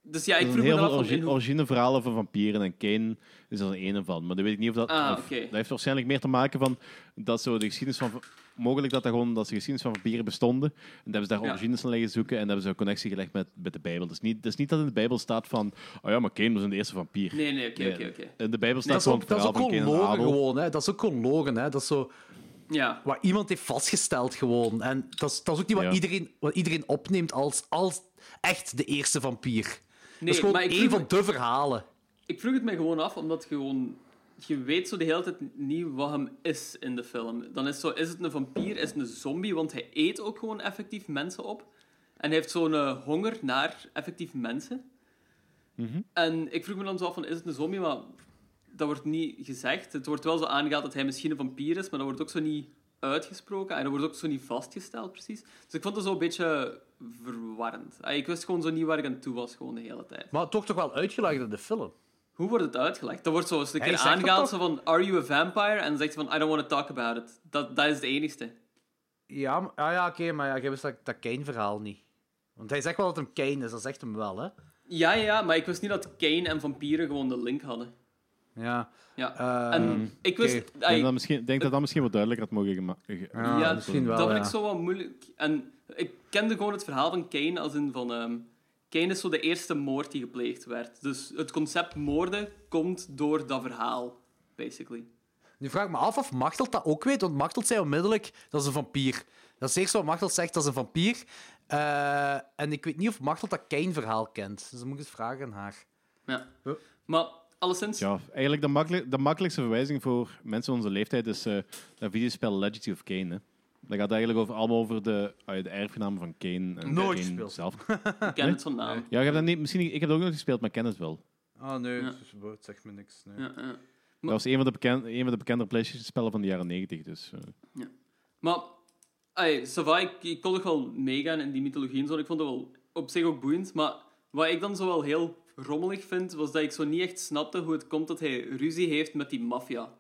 dus ja, er ik zijn vroeg me heel dan veel af van in origi- hoe... origine verhalen van vampieren en Kane is er een ene van. Maar dat weet ik niet of dat... Ah, of- oké. Dat heeft waarschijnlijk meer te maken van dat zo de geschiedenis van... Mogelijk dat, dat, gewoon, dat de geschiedenis van vampieren bestonden. En dat hebben ze daar Ja. origines aan liggen zoeken. En dat hebben ze een connectie gelegd met, met de Bijbel. Dus niet, dus niet dat in de Bijbel staat van... Oh ja, maar Kane was een de eerste vampier. Nee, nee, oké, Nee, oké, oké. In de Bijbel Dat staat is gewoon ook, het dat is verhaal ook van Cain gewoon en logen, Abel. gewoon. Hè. Dat is ook gewoon logen, hè. Dat is zo... Ja, wat iemand heeft vastgesteld gewoon. En dat is, dat is ook niet wat, Ja. iedereen, wat iedereen opneemt als, als echt de eerste vampier. dat is gewoon maar ik één vroeg van me- de verhalen. ik vroeg het mij gewoon af, omdat gewoon... Je weet zo de hele tijd niet wat hem is in de film. Dan is, zo, is het een vampier, is het een zombie, want hij eet ook gewoon effectief mensen op. En hij heeft zo'n eh, honger naar effectief mensen. En ik vroeg me dan zo af, van, is het een zombie? Maar dat wordt niet gezegd. Het wordt wel zo aangehaald dat hij misschien een vampier is, maar dat wordt ook zo niet uitgesproken. En dat wordt ook zo niet vastgesteld, precies. Dus ik vond het zo een beetje verwarrend. Ah, Ik wist gewoon zo niet waar ik aan toe was, gewoon de hele tijd. Maar toch toch wel uitgelegd in de film. Hoe wordt het uitgelegd? Dat wordt zo eens een Hij keer zegt dat aangehaald zo toch? van, are you a vampire? En dan zegt hij van, I don't want to talk about it. Dat, dat is het enigste. Ja, maar- ah, ja oké, maar ja, jij wist dat, dat Kane-verhaal niet. Want hij zegt wel dat hem Kane is, dat zegt hem wel, hè. Ja, ja, ja, maar ik wist niet dat Kane en vampieren gewoon de link hadden. Ja. Ja. Ehm, en ik wist... Ik ah, denk dat misschien, ik denk dat dat misschien wat duidelijker had mogen gemaakt. Ja, Ja, misschien wel, dat vind ja. ik zo wat moeilijk. En ik kende gewoon het verhaal van Kane als in van... ehm Kane is zo de eerste moord die gepleegd werd. Dus het concept moorden komt door dat verhaal, basically. Nu vraag ik me af of Machtelt dat ook weet, want Machtelt zei onmiddellijk dat is een vampier. Dat is het eerste wat Machtelt zegt, dat is een vampier. Eh, en ik weet niet of Machtelt dat Kane-verhaal kent. Dus dan moet ik eens vragen aan haar. Ja. Ja. Maar alleszins... Ja, eigenlijk de, makkelijk, de makkelijkste verwijzing voor mensen van onze leeftijd is eh, dat videospel Legacy of Kane. Hè. Dat gaat eigenlijk over, allemaal over de, ah, de erfgenamen van Kane. En Nooit Kane gespeeld. Zelf. Ik ken het van naam. Ja, ik heb, dat niet, misschien, niet- ik heb dat ook nog gespeeld, maar ik ken het wel. Ah, nee, Ja. het is- het zegt me niks. Nee. Ja, ja. Dat was een van de, bekend, een van de bekendere PlayStation-spellen van de jaren 90. Dus, eh. Maar, ey, ça va, ik, ik kon toch wel meegaan in die mythologie en zo. Ik vond het wel op zich ook boeiend. Maar wat ik dan zo wel heel rommelig vind, was dat ik zo niet echt snapte hoe het komt dat hij ruzie heeft met die maffia.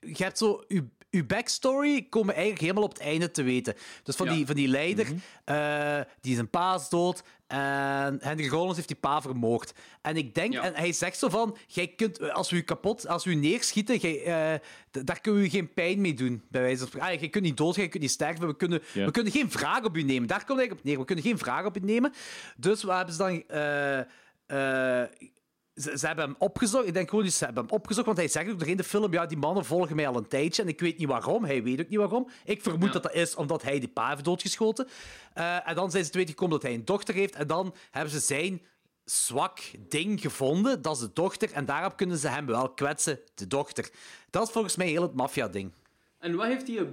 je hebt zo... Uw, uw backstory komen we eigenlijk helemaal op het einde te weten. Dus van, Ja. Mhm. die, van die leider, eh, die is een paas dood. En Henry Rollins heeft die pa vermoord. En ik denk... Ja. En hij zegt zo van... Jij kunt, als we u kapot... Als we u neerschieten, jij, eh, d- daar kunnen we u geen pijn mee doen. Bij wijze van spreken. Ah, je kunt niet doodgaan, je kunt niet sterven. We kunnen, Ja. we kunnen geen vraag op u nemen. Daar komt het eigenlijk op neer. We kunnen geen vraag op u nemen. Dus wat hebben ze dan... eh, eh, ze, ze hebben hem opgezocht. Ik denk gewoon, dus ze hebben hem opgezocht. Want hij zegt ook nog in de film: ja, die mannen volgen mij al een tijdje. En ik weet niet waarom. Hij weet ook niet waarom. Ik vermoed Ja. dat dat is omdat hij die pa heeft doodgeschoten. Eh, en dan zijn ze te weten gekomen dat hij een dochter heeft. En dan hebben ze zijn zwak ding gevonden. Dat is de dochter. En daarop kunnen ze hem wel kwetsen, de dochter. Dat is volgens mij heel het maffia-ding. En wat heeft die eh,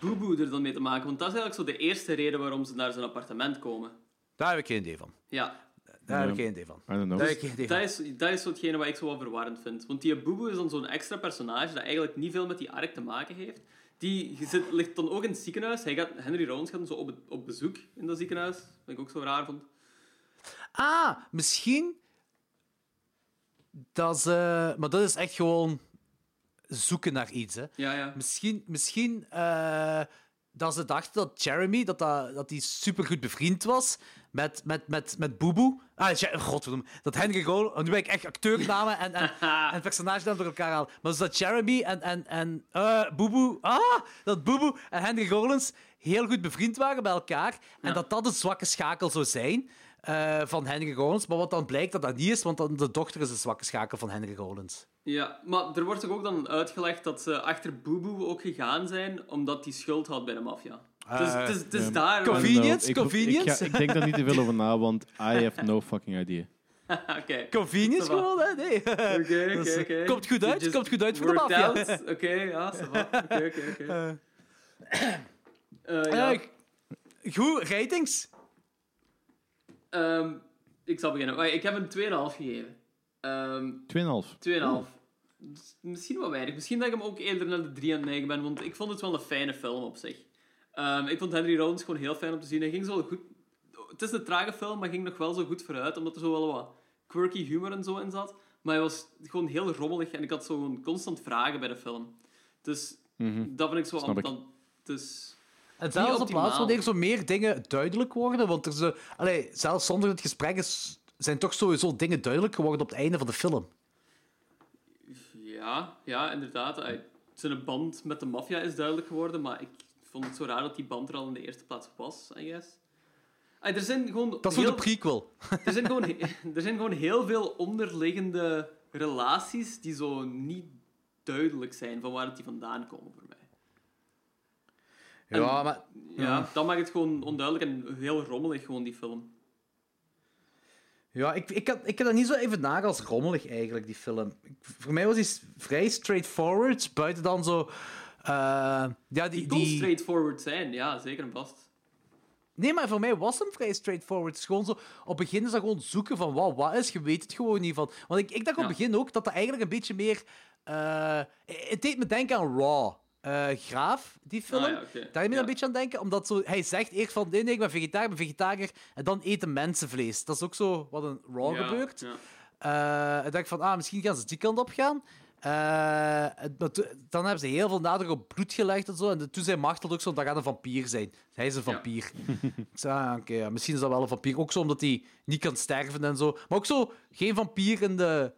boeboe er dan mee te maken? Want dat is eigenlijk zo de eerste reden waarom ze naar zijn appartement komen. Daar heb ik geen idee van. Ja, Daar heb ik Ja. geen idee van. I don't know. Daar heb ik geen idee dat van. is, dat is hetgene wat ik zo wat verwarrend vind. Want die boeboe is dan zo'n extra personage dat eigenlijk niet veel met die ark te maken heeft. Die zit, ligt dan ook in het ziekenhuis. Hij gaat, Henry Rollins gaat dan zo op, het- op bezoek in dat ziekenhuis. Wat ik ook zo raar vond. Ah, misschien. Dat is, eh, maar dat is echt gewoon zoeken naar iets. Hè. Ja, ja. Misschien, misschien eh, dat ze dachten dat Jeremy dat dat, dat die supergoed bevriend was met, met, met, met Boeboe. Ah, Je- godverdomme. Dat Henry Rollins... oh, Nu ben ik echt acteurnamen en, en, en personagenamen door elkaar halen. Maar dus dat Jeremy en, en, en eh Boeboe... Ah, dat Boeboe en Henry Rollins heel goed bevriend waren bij elkaar. En dat dat een zwakke schakel zou zijn eh, van Henry Rollins. Maar wat dan blijkt dat dat niet is, want dan de dochter is een zwakke schakel van Henry Rollins. Ja, maar er wordt toch ook dan uitgelegd dat ze achter Boeboe ook gegaan zijn omdat hij schuld had bij de maffia. het is, het is, het is Eh, daar... waar- Convenient, Nou, ik- ik- Ik, convenience. ga- ik denk daar niet te veel over na, want I have no fucking idea. Oké. Convenience Ça va. gewoon, hè? Nee. Oké, Dat oké, is- oké. dus, eh, komt goed You uit, just komt goed uit voor de worked maffia. out. Oké, ja, ça va. Oké, oké, oké. Eh, ja. Eh, goed, ratings. Ehm, ik zal beginnen. Oei, Ik heb een 2,5 gegeven. Ehm 2,5. 2,5. Dus Misschien wel weinig. Misschien dat ik hem ook eerder naar de 3 aan het neigen ben, want ik vond het wel een fijne film op zich. Ehm, ik vond Henry Rollins gewoon heel fijn om te zien. Hij ging zo goed... Het is een trage film, maar ging nog wel zo goed vooruit, omdat er zo wel wat quirky humor en zo in zat. Maar hij was gewoon heel rommelig en ik had zo gewoon constant vragen bij de film. Dus dat vind ik zo Mhm. Snap ik. ambetant. Dus... En Niet zelfs op optimaal. plaats wanneer zo meer dingen duidelijk worden, want er ze, allee, zelfs zonder het gesprek is, zijn toch sowieso dingen duidelijk geworden op het einde van de film. Ja, ja, inderdaad. Hij- Zijn band met de maffia is duidelijk geworden, maar ik vond het zo raar dat die band er al in de eerste plaats was, I guess. Ah, er zijn gewoon Dat is voor heel, de prequel. er, zijn gewoon, he- er zijn gewoon heel veel onderliggende relaties die zo niet duidelijk zijn van waar het die vandaan komen voor mij. Ja, maar Ja, dat maakt het gewoon onduidelijk en heel rommelig, gewoon die film. ja, ik, ik, had, ik had dat niet zo even na als rommelig eigenlijk, die film. Ik- voor mij was die s- vrij straightforward, buiten dan zo... eh, ja, die, Die kon die, straightforward zijn, ja, zeker en vast. Nee, maar voor mij was hem vrij straightforward. Het is gewoon zo, op het begin is dat gewoon zoeken van wat, wat is, je weet het gewoon niet van. Want ik, ik dacht op het Ja. begin ook dat dat eigenlijk een beetje meer... eh, het deed me denken aan Raw. eh Graaf, die film. Ah, ja, oké. Daar heb je Ja. een beetje aan denken, omdat zo, hij zegt eerst van nee, nee, ik ben vegetariër, ik ben vegetariër, en dan eten mensen vlees. Dat is ook zo wat een Raw Ja, gebeurt. ja. Eh, ik dacht van, ah, misschien gaan ze die kant op gaan. Eh, het- maar to- dan hebben ze heel veel nadruk op bloed gelegd en zo. En toen zei Martel ook zo, dat gaat een vampier zijn. Hij is een Ja. vampier. Ik zei, ah, oké, ja, misschien is dat wel een vampier. Ook zo omdat hij niet kan sterven en zo. Maar ook zo, geen vampier in de...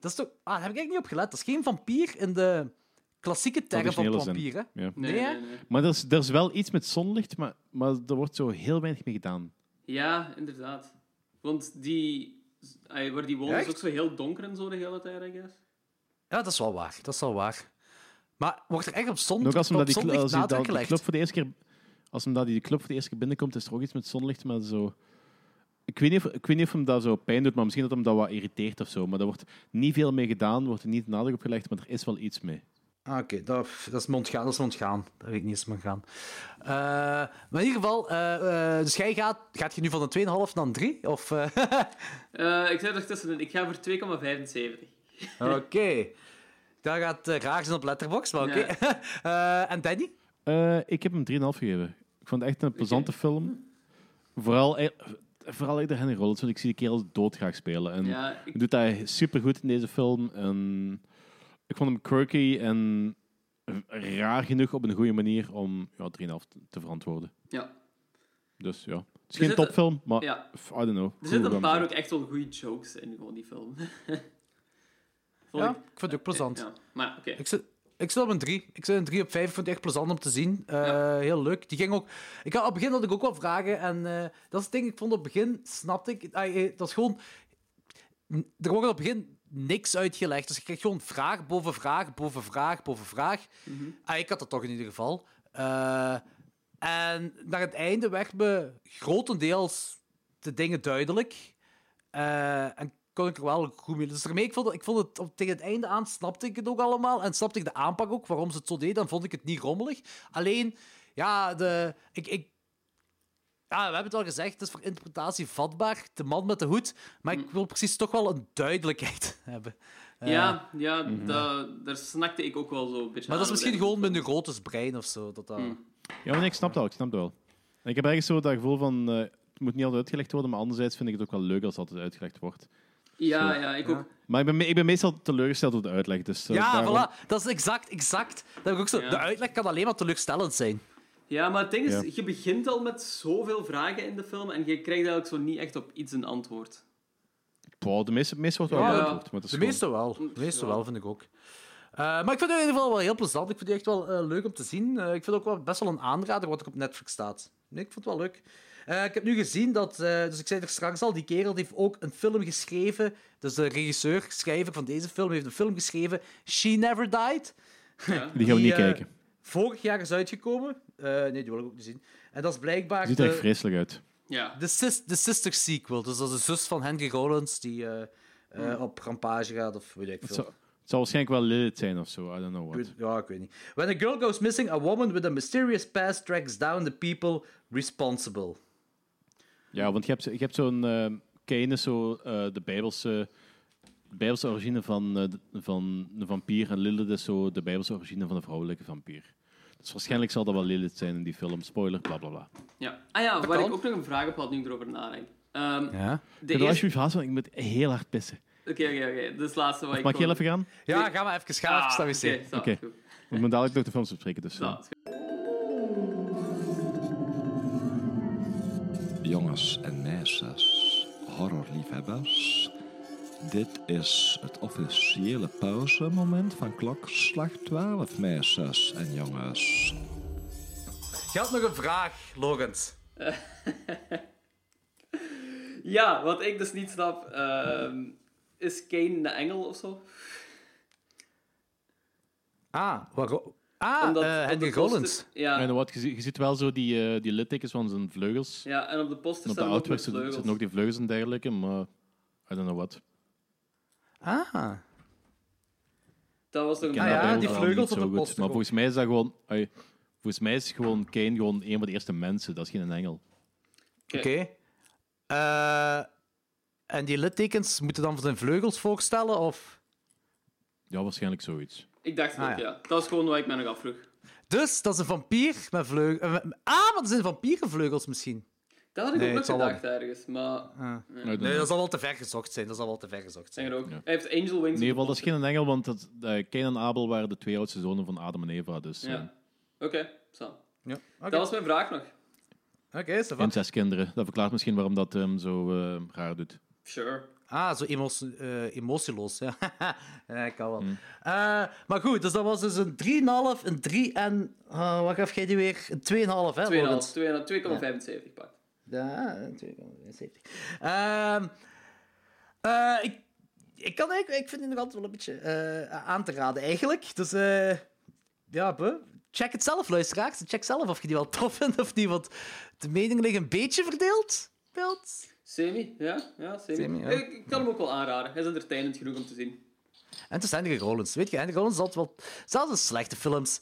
Dat is toch... Ah, daar heb ik eigenlijk niet op gelet. Dat is geen vampier in de klassieke term van Traditionele zin. vampier, hè? Ja. Nee, Nee, hè? nee, nee. Maar er is, er is wel iets met zonlicht, maar, maar er wordt zo heel weinig mee gedaan. Ja, inderdaad. Want die... Ay, waar die wonen is Echt? ook zo heel donker en zo de hele tijd, I guess. Ja, dat is wel waar. Dat is wel waar. Maar wordt er echt op zondag, Nog als hem op dat die, kl- zondag als die, nadruk dat, die gelegd? club voor de eerste keer... Als hem dat die club voor de eerste keer binnenkomt, is er ook iets met zonlicht, maar zo... Ik weet, niet of, ik weet niet of hem dat zo pijn doet, maar misschien dat hem dat wat irriteert of zo. Maar er wordt niet veel mee gedaan, wordt er niet nadruk op gelegd, maar er is wel iets mee. Ah, oké. Dat, dat is mondgaan. Dat is mondgaan. Dat weet ik niet eens mondgaan. Eh, maar in ieder geval, eh, eh, dus jij gaat... Gaat je nu van een 2,5 naar een 3? Of... eh, Eh, ik zei er tussenin, ik ga voor 2,75. oké. Dat gaat eh, raar zijn op Letterboxd, maar oké. Eh, en Danny? Eh, ik heb hem 3,5 gegeven. Ik vond het echt een plezante film. Vooral, eh, vooral eerder Henry Rollins, want ik zie de kerel doodgraag spelen. En Ja, ik, Hij doet dat supergoed in deze film. En ik vond hem quirky en raar genoeg op een goede manier om ja, 3,5 te- te verantwoorden. ja, Dus ja, het is Er geen zitten- topfilm, maar ja. f- I don't know. Er zitten een Goed paar gedaan. ook echt wel goede jokes in, gewoon die film. Vond Ja, ik- ik vond het ook plezant. Ja, maar ja, oké. Ik zit, ik zit op een 3. Ik zit een 3 op 5. Ik vond het echt plezant om te zien. Eh, Heel leuk. Die ging ook... Ik had, op het begin had ik ook wel vragen. En eh, dat is het ding. Ik vond op het begin... Snapte ik... ah, eh, dat is gewoon... n- Er wordt op het begin niks uitgelegd. Dus je krijgt gewoon vraag boven vraag, boven vraag, boven vraag. Ah, ik had dat toch in ieder geval. Eh, en naar het einde werd me grotendeels de dingen duidelijk. Eh, en kon ik er wel goed mee. Dus daarmee, ik vond, het- ik vond het op, tegen het einde aan, snapte ik het ook allemaal. En snapte ik de aanpak ook, waarom ze het zo deden. Dan vond ik het niet rommelig. Alleen, ja, de, ik, ik, ja, we hebben het al gezegd, het is voor interpretatie vatbaar, de man met de hoed, maar ik wil precies toch wel een duidelijkheid hebben. Eh, ja, ja dat- daar snakte ik ook wel zo een beetje Maar dat is aan misschien bij. gewoon mijn neurotisch brein of zo. Dat dat... Ja, maar nee, ik snap dat wel, ik snap dat wel. En ik heb ergens zo dat gevoel van, eh, het moet niet altijd uitgelegd worden, maar anderzijds vind ik het ook wel leuk als het altijd uitgelegd wordt. Ja, ja, ik ook. Maar ik ben, me- ik ben meestal teleurgesteld door de uitleg, dus eh, Ja, daarom- voilà, dat is exact, exact. Dat heb ik ook zo. Ja. De uitleg kan alleen maar teleurstellend zijn. Ja, maar het ding is, Ja. je begint al met zoveel vragen in de film en je krijgt eigenlijk zo niet echt op iets een antwoord. Boah, de meeste, meeste wordt wel Ja. beantwoord, maar het is De gewoon- meeste wel. De meeste Ja. wel, vind ik ook. Eh, maar ik vind het in ieder geval wel heel plezant. Ik vind het echt wel eh, leuk om te zien. Eh, ik vind het ook wel best wel een aanrader wat er op Netflix staat. Nee, ik vond het wel leuk. Eh, ik heb nu gezien dat, eh, dus ik zei het er straks al, die kerel die heeft ook een film geschreven. Dus de regisseur, schrijver van deze film, heeft een film geschreven, She Never Died. Die gaan we niet eh, kijken. Vorig jaar is uitgekomen. Eh, nee, die wil ik ook niet zien. En dat is blijkbaar Het ziet er echt de, vreselijk uit. Ja. de, sis- de sister sequel. Dus dat is de zus van Henry Rollins die eh, eh, op rampage gaat of weet ik Het veel. zou, het zou waarschijnlijk wel Lilith zijn of zo, I don't know what. Goed, Ja, ik weet niet. When a girl goes missing, a woman with a mysterious past tracks down the people responsible. Ja, want je hebt, je hebt zo'n... eh Cain is zo eh, de Bijbelse, Bijbelse origine van, eh, de- van de vampier en Lilith is zo de Bijbelse origine van de vrouwelijke vampier. Dus waarschijnlijk zal dat wel Lilith zijn in die film. Spoiler, bla bla bla. ja. Ah ja, waar kan. ik ook nog een vraag op had nu ik erover nadenk. Ehm, Ja? de Kun je eerste- alsjeblieft haast, want ik moet heel hard pissen. Oké, oké, oké. Dit is het laatste wat ik... Mag ik heel gewoon- even gaan? Ja, ga maar even, ga maar even Ah, naar wc. Oké, zo, Oké. goed. We moeten dadelijk nog de films bespreken, dus... Zo, eh, is goed. Jongens en meisjes, horrorliefhebbers. Dit is het officiële pauzemoment van klokslag 12, meisjes en jongens. Je had nog een vraag, Logans. Ja, wat ik dus niet snap, ehm, is Kane de engel of zo? Ah, waarom? Ah, Omdat- eh, op de Henry poster- Rollins. I Ja, know what, je, ziet- je ziet wel zo die, eh, die littekens van zijn vleugels. ja, en op de poster En op de staan ook outfit met zitten vleugels. zitten ook die vleugels en dergelijke, maar... I don't know what. Ah. Dat was toch een ken Ah dat ja, beeld die wel eh, vleugels niet op zo de goed. poster Maar ook. volgens mij is dat gewoon... ai, volgens mij is gewoon Kane gewoon een van de eerste mensen. Dat is geen engel. Oké. Eh, en die littekens moeten dan van zijn vleugels voorstellen? Of... Ja, waarschijnlijk zoiets. Ik dacht het Ah, ook, ja. ja. Dat is gewoon wat ik me nog afvroeg. Dus dat is een vampier met vleugels. Ah, maar dat zijn vampierenvleugels misschien. Dat had ik Nee, ook het nog zal wel- gedacht ergens, maar... Ah, I don't Nee, know. dat zal wel te ver gezocht zijn. Dat zal wel te ver gezocht Zeg zijn. er ook. Ja. Hij heeft Angel Wings. In ieder geval, dat is geen engel, want dat, eh, Cain en Abel waren de twee oudste zonen van Adam en Eva. Dus eh, Ja. Oké, zo. Ja. Oké, Dat was mijn vraag nog. Oké, ça va. en zes kinderen. Dat verklaart misschien waarom dat hem zo eh, raar doet. Sure. Ah, zo emos- eh, emotieloos. Ja. ja, kan wel. Eh, maar goed, dus dat was dus een 3,5, een 3 en... eh, wat gaf jij die weer? Een 2,5, hè, 2,5, 2,5, 2,75 Logans? pak. Ja, een 2,75. Ehm, eh, ik, ik, kan eigenlijk, ik vind het nog altijd wel een beetje eh, aan te raden, eigenlijk. Dus eh, ja, buh. check het zelf, luisteraars. Check zelf of je die wel tof vindt of niet, want de meningen liggen een beetje verdeeld. Beeld. Semi, ja, ja, semi. Semi, ja. Ik, ik kan hem ook wel aanraden. Hij is entertainend genoeg om te zien. En toen Henry Rollins. Weet je, Henry Rollins had wel... Zelfs in slechte films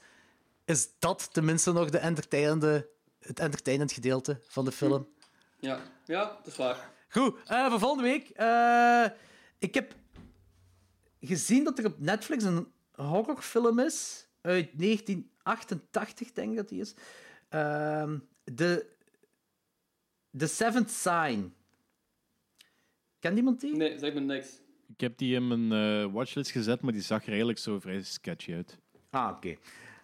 is dat tenminste nog de entertainende, het entertainend gedeelte van de film. Ja, ja, dat is waar. Goed, eh, voor volgende week. eh, ik heb gezien dat er op Netflix een horrorfilm is. Uit 1988, denk ik dat die is. Ehm de The Seventh Sign. Kent iemand die? Nee, zeg me niks. Ik heb die in mijn eh, watchlist gezet, maar die zag er eigenlijk zo vrij sketchy uit. Ah, oké.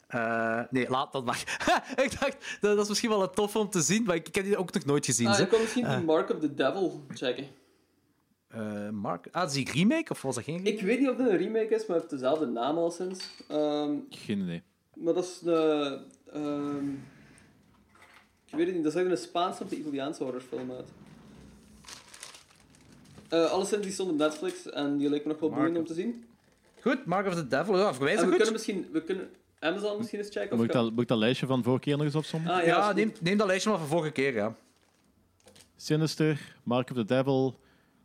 Eh, nee, laat dat maar. ik dacht, dat, dat is misschien wel een tof om te zien, maar ik, ik heb die ook nog nooit gezien. Ah, zeg. ik kon misschien de Mark of the Devil checken. Eh, Mark, ah, is die remake of was dat geen remake? Ik weet niet of dit een remake is, maar het heeft dezelfde naam al sinds. Ehm, Geen idee. maar dat is de... ehm, ik weet het niet, dat is eigenlijk een Spaanse of de Italiaanse horrorfilm uit. Eh alleszins, die stond op Netflix en die leek me nog wel boeiend om te zien. Goed, Mark of the Devil, ja, verwijs En we goed. kunnen misschien... We kunnen Amazon misschien eens checken? Of Moet ik ga- dat, moet ik dat lijstje van vorige keer nog eens opzommen? Ah, ja, Ja, is goed. neem, neem dat lijstje maar van vorige keer, ja. Sinister, Mark of the Devil,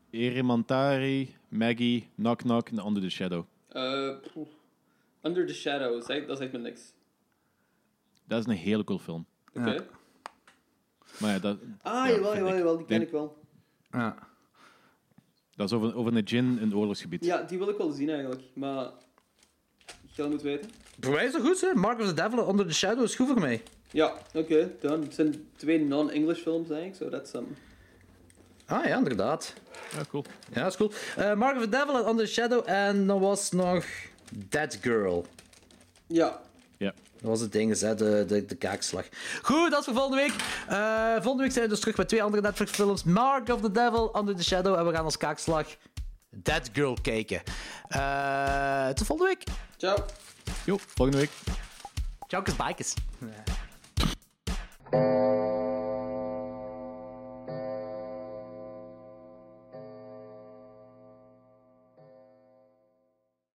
Erimantari, Maggie, Knock Knock en Under the Shadow. Eh, poeh. Under the Shadows, hè, dat zegt me niks. Dat is een hele cool film. Oké. Ja. Maar ja, dat, Ah, ja, jawel, vind jawel, ik. jawel, die ken Die- ik wel. Ja. dat is over, over een gin in het oorlogsgebied. Ja, die wil ik wel zien eigenlijk, maar... Jij moet weten. Voor mij is dat goed, hè? Mark of the Devil Under the Shadow is goed voor mij. Ja, oké, dan. Het zijn twee non-English films eigenlijk, zo dat is um, Ah ja, inderdaad. Ja, cool. Ja, dat is cool. Eh, Mark of the Devil en Under the Shadow en dan was nog That Girl. Ja. Ja. Dat was het ding, hè, de, de, de kaakslag. Goed, dat is voor volgende week. Eh, volgende week zijn we dus terug met twee andere Netflix-films. Mark of the Devil, Under the Shadow. En we gaan als kaakslag That Girl kijken. Eh, tot volgende week. Ciao. Jo, volgende week. Ciao, bikers.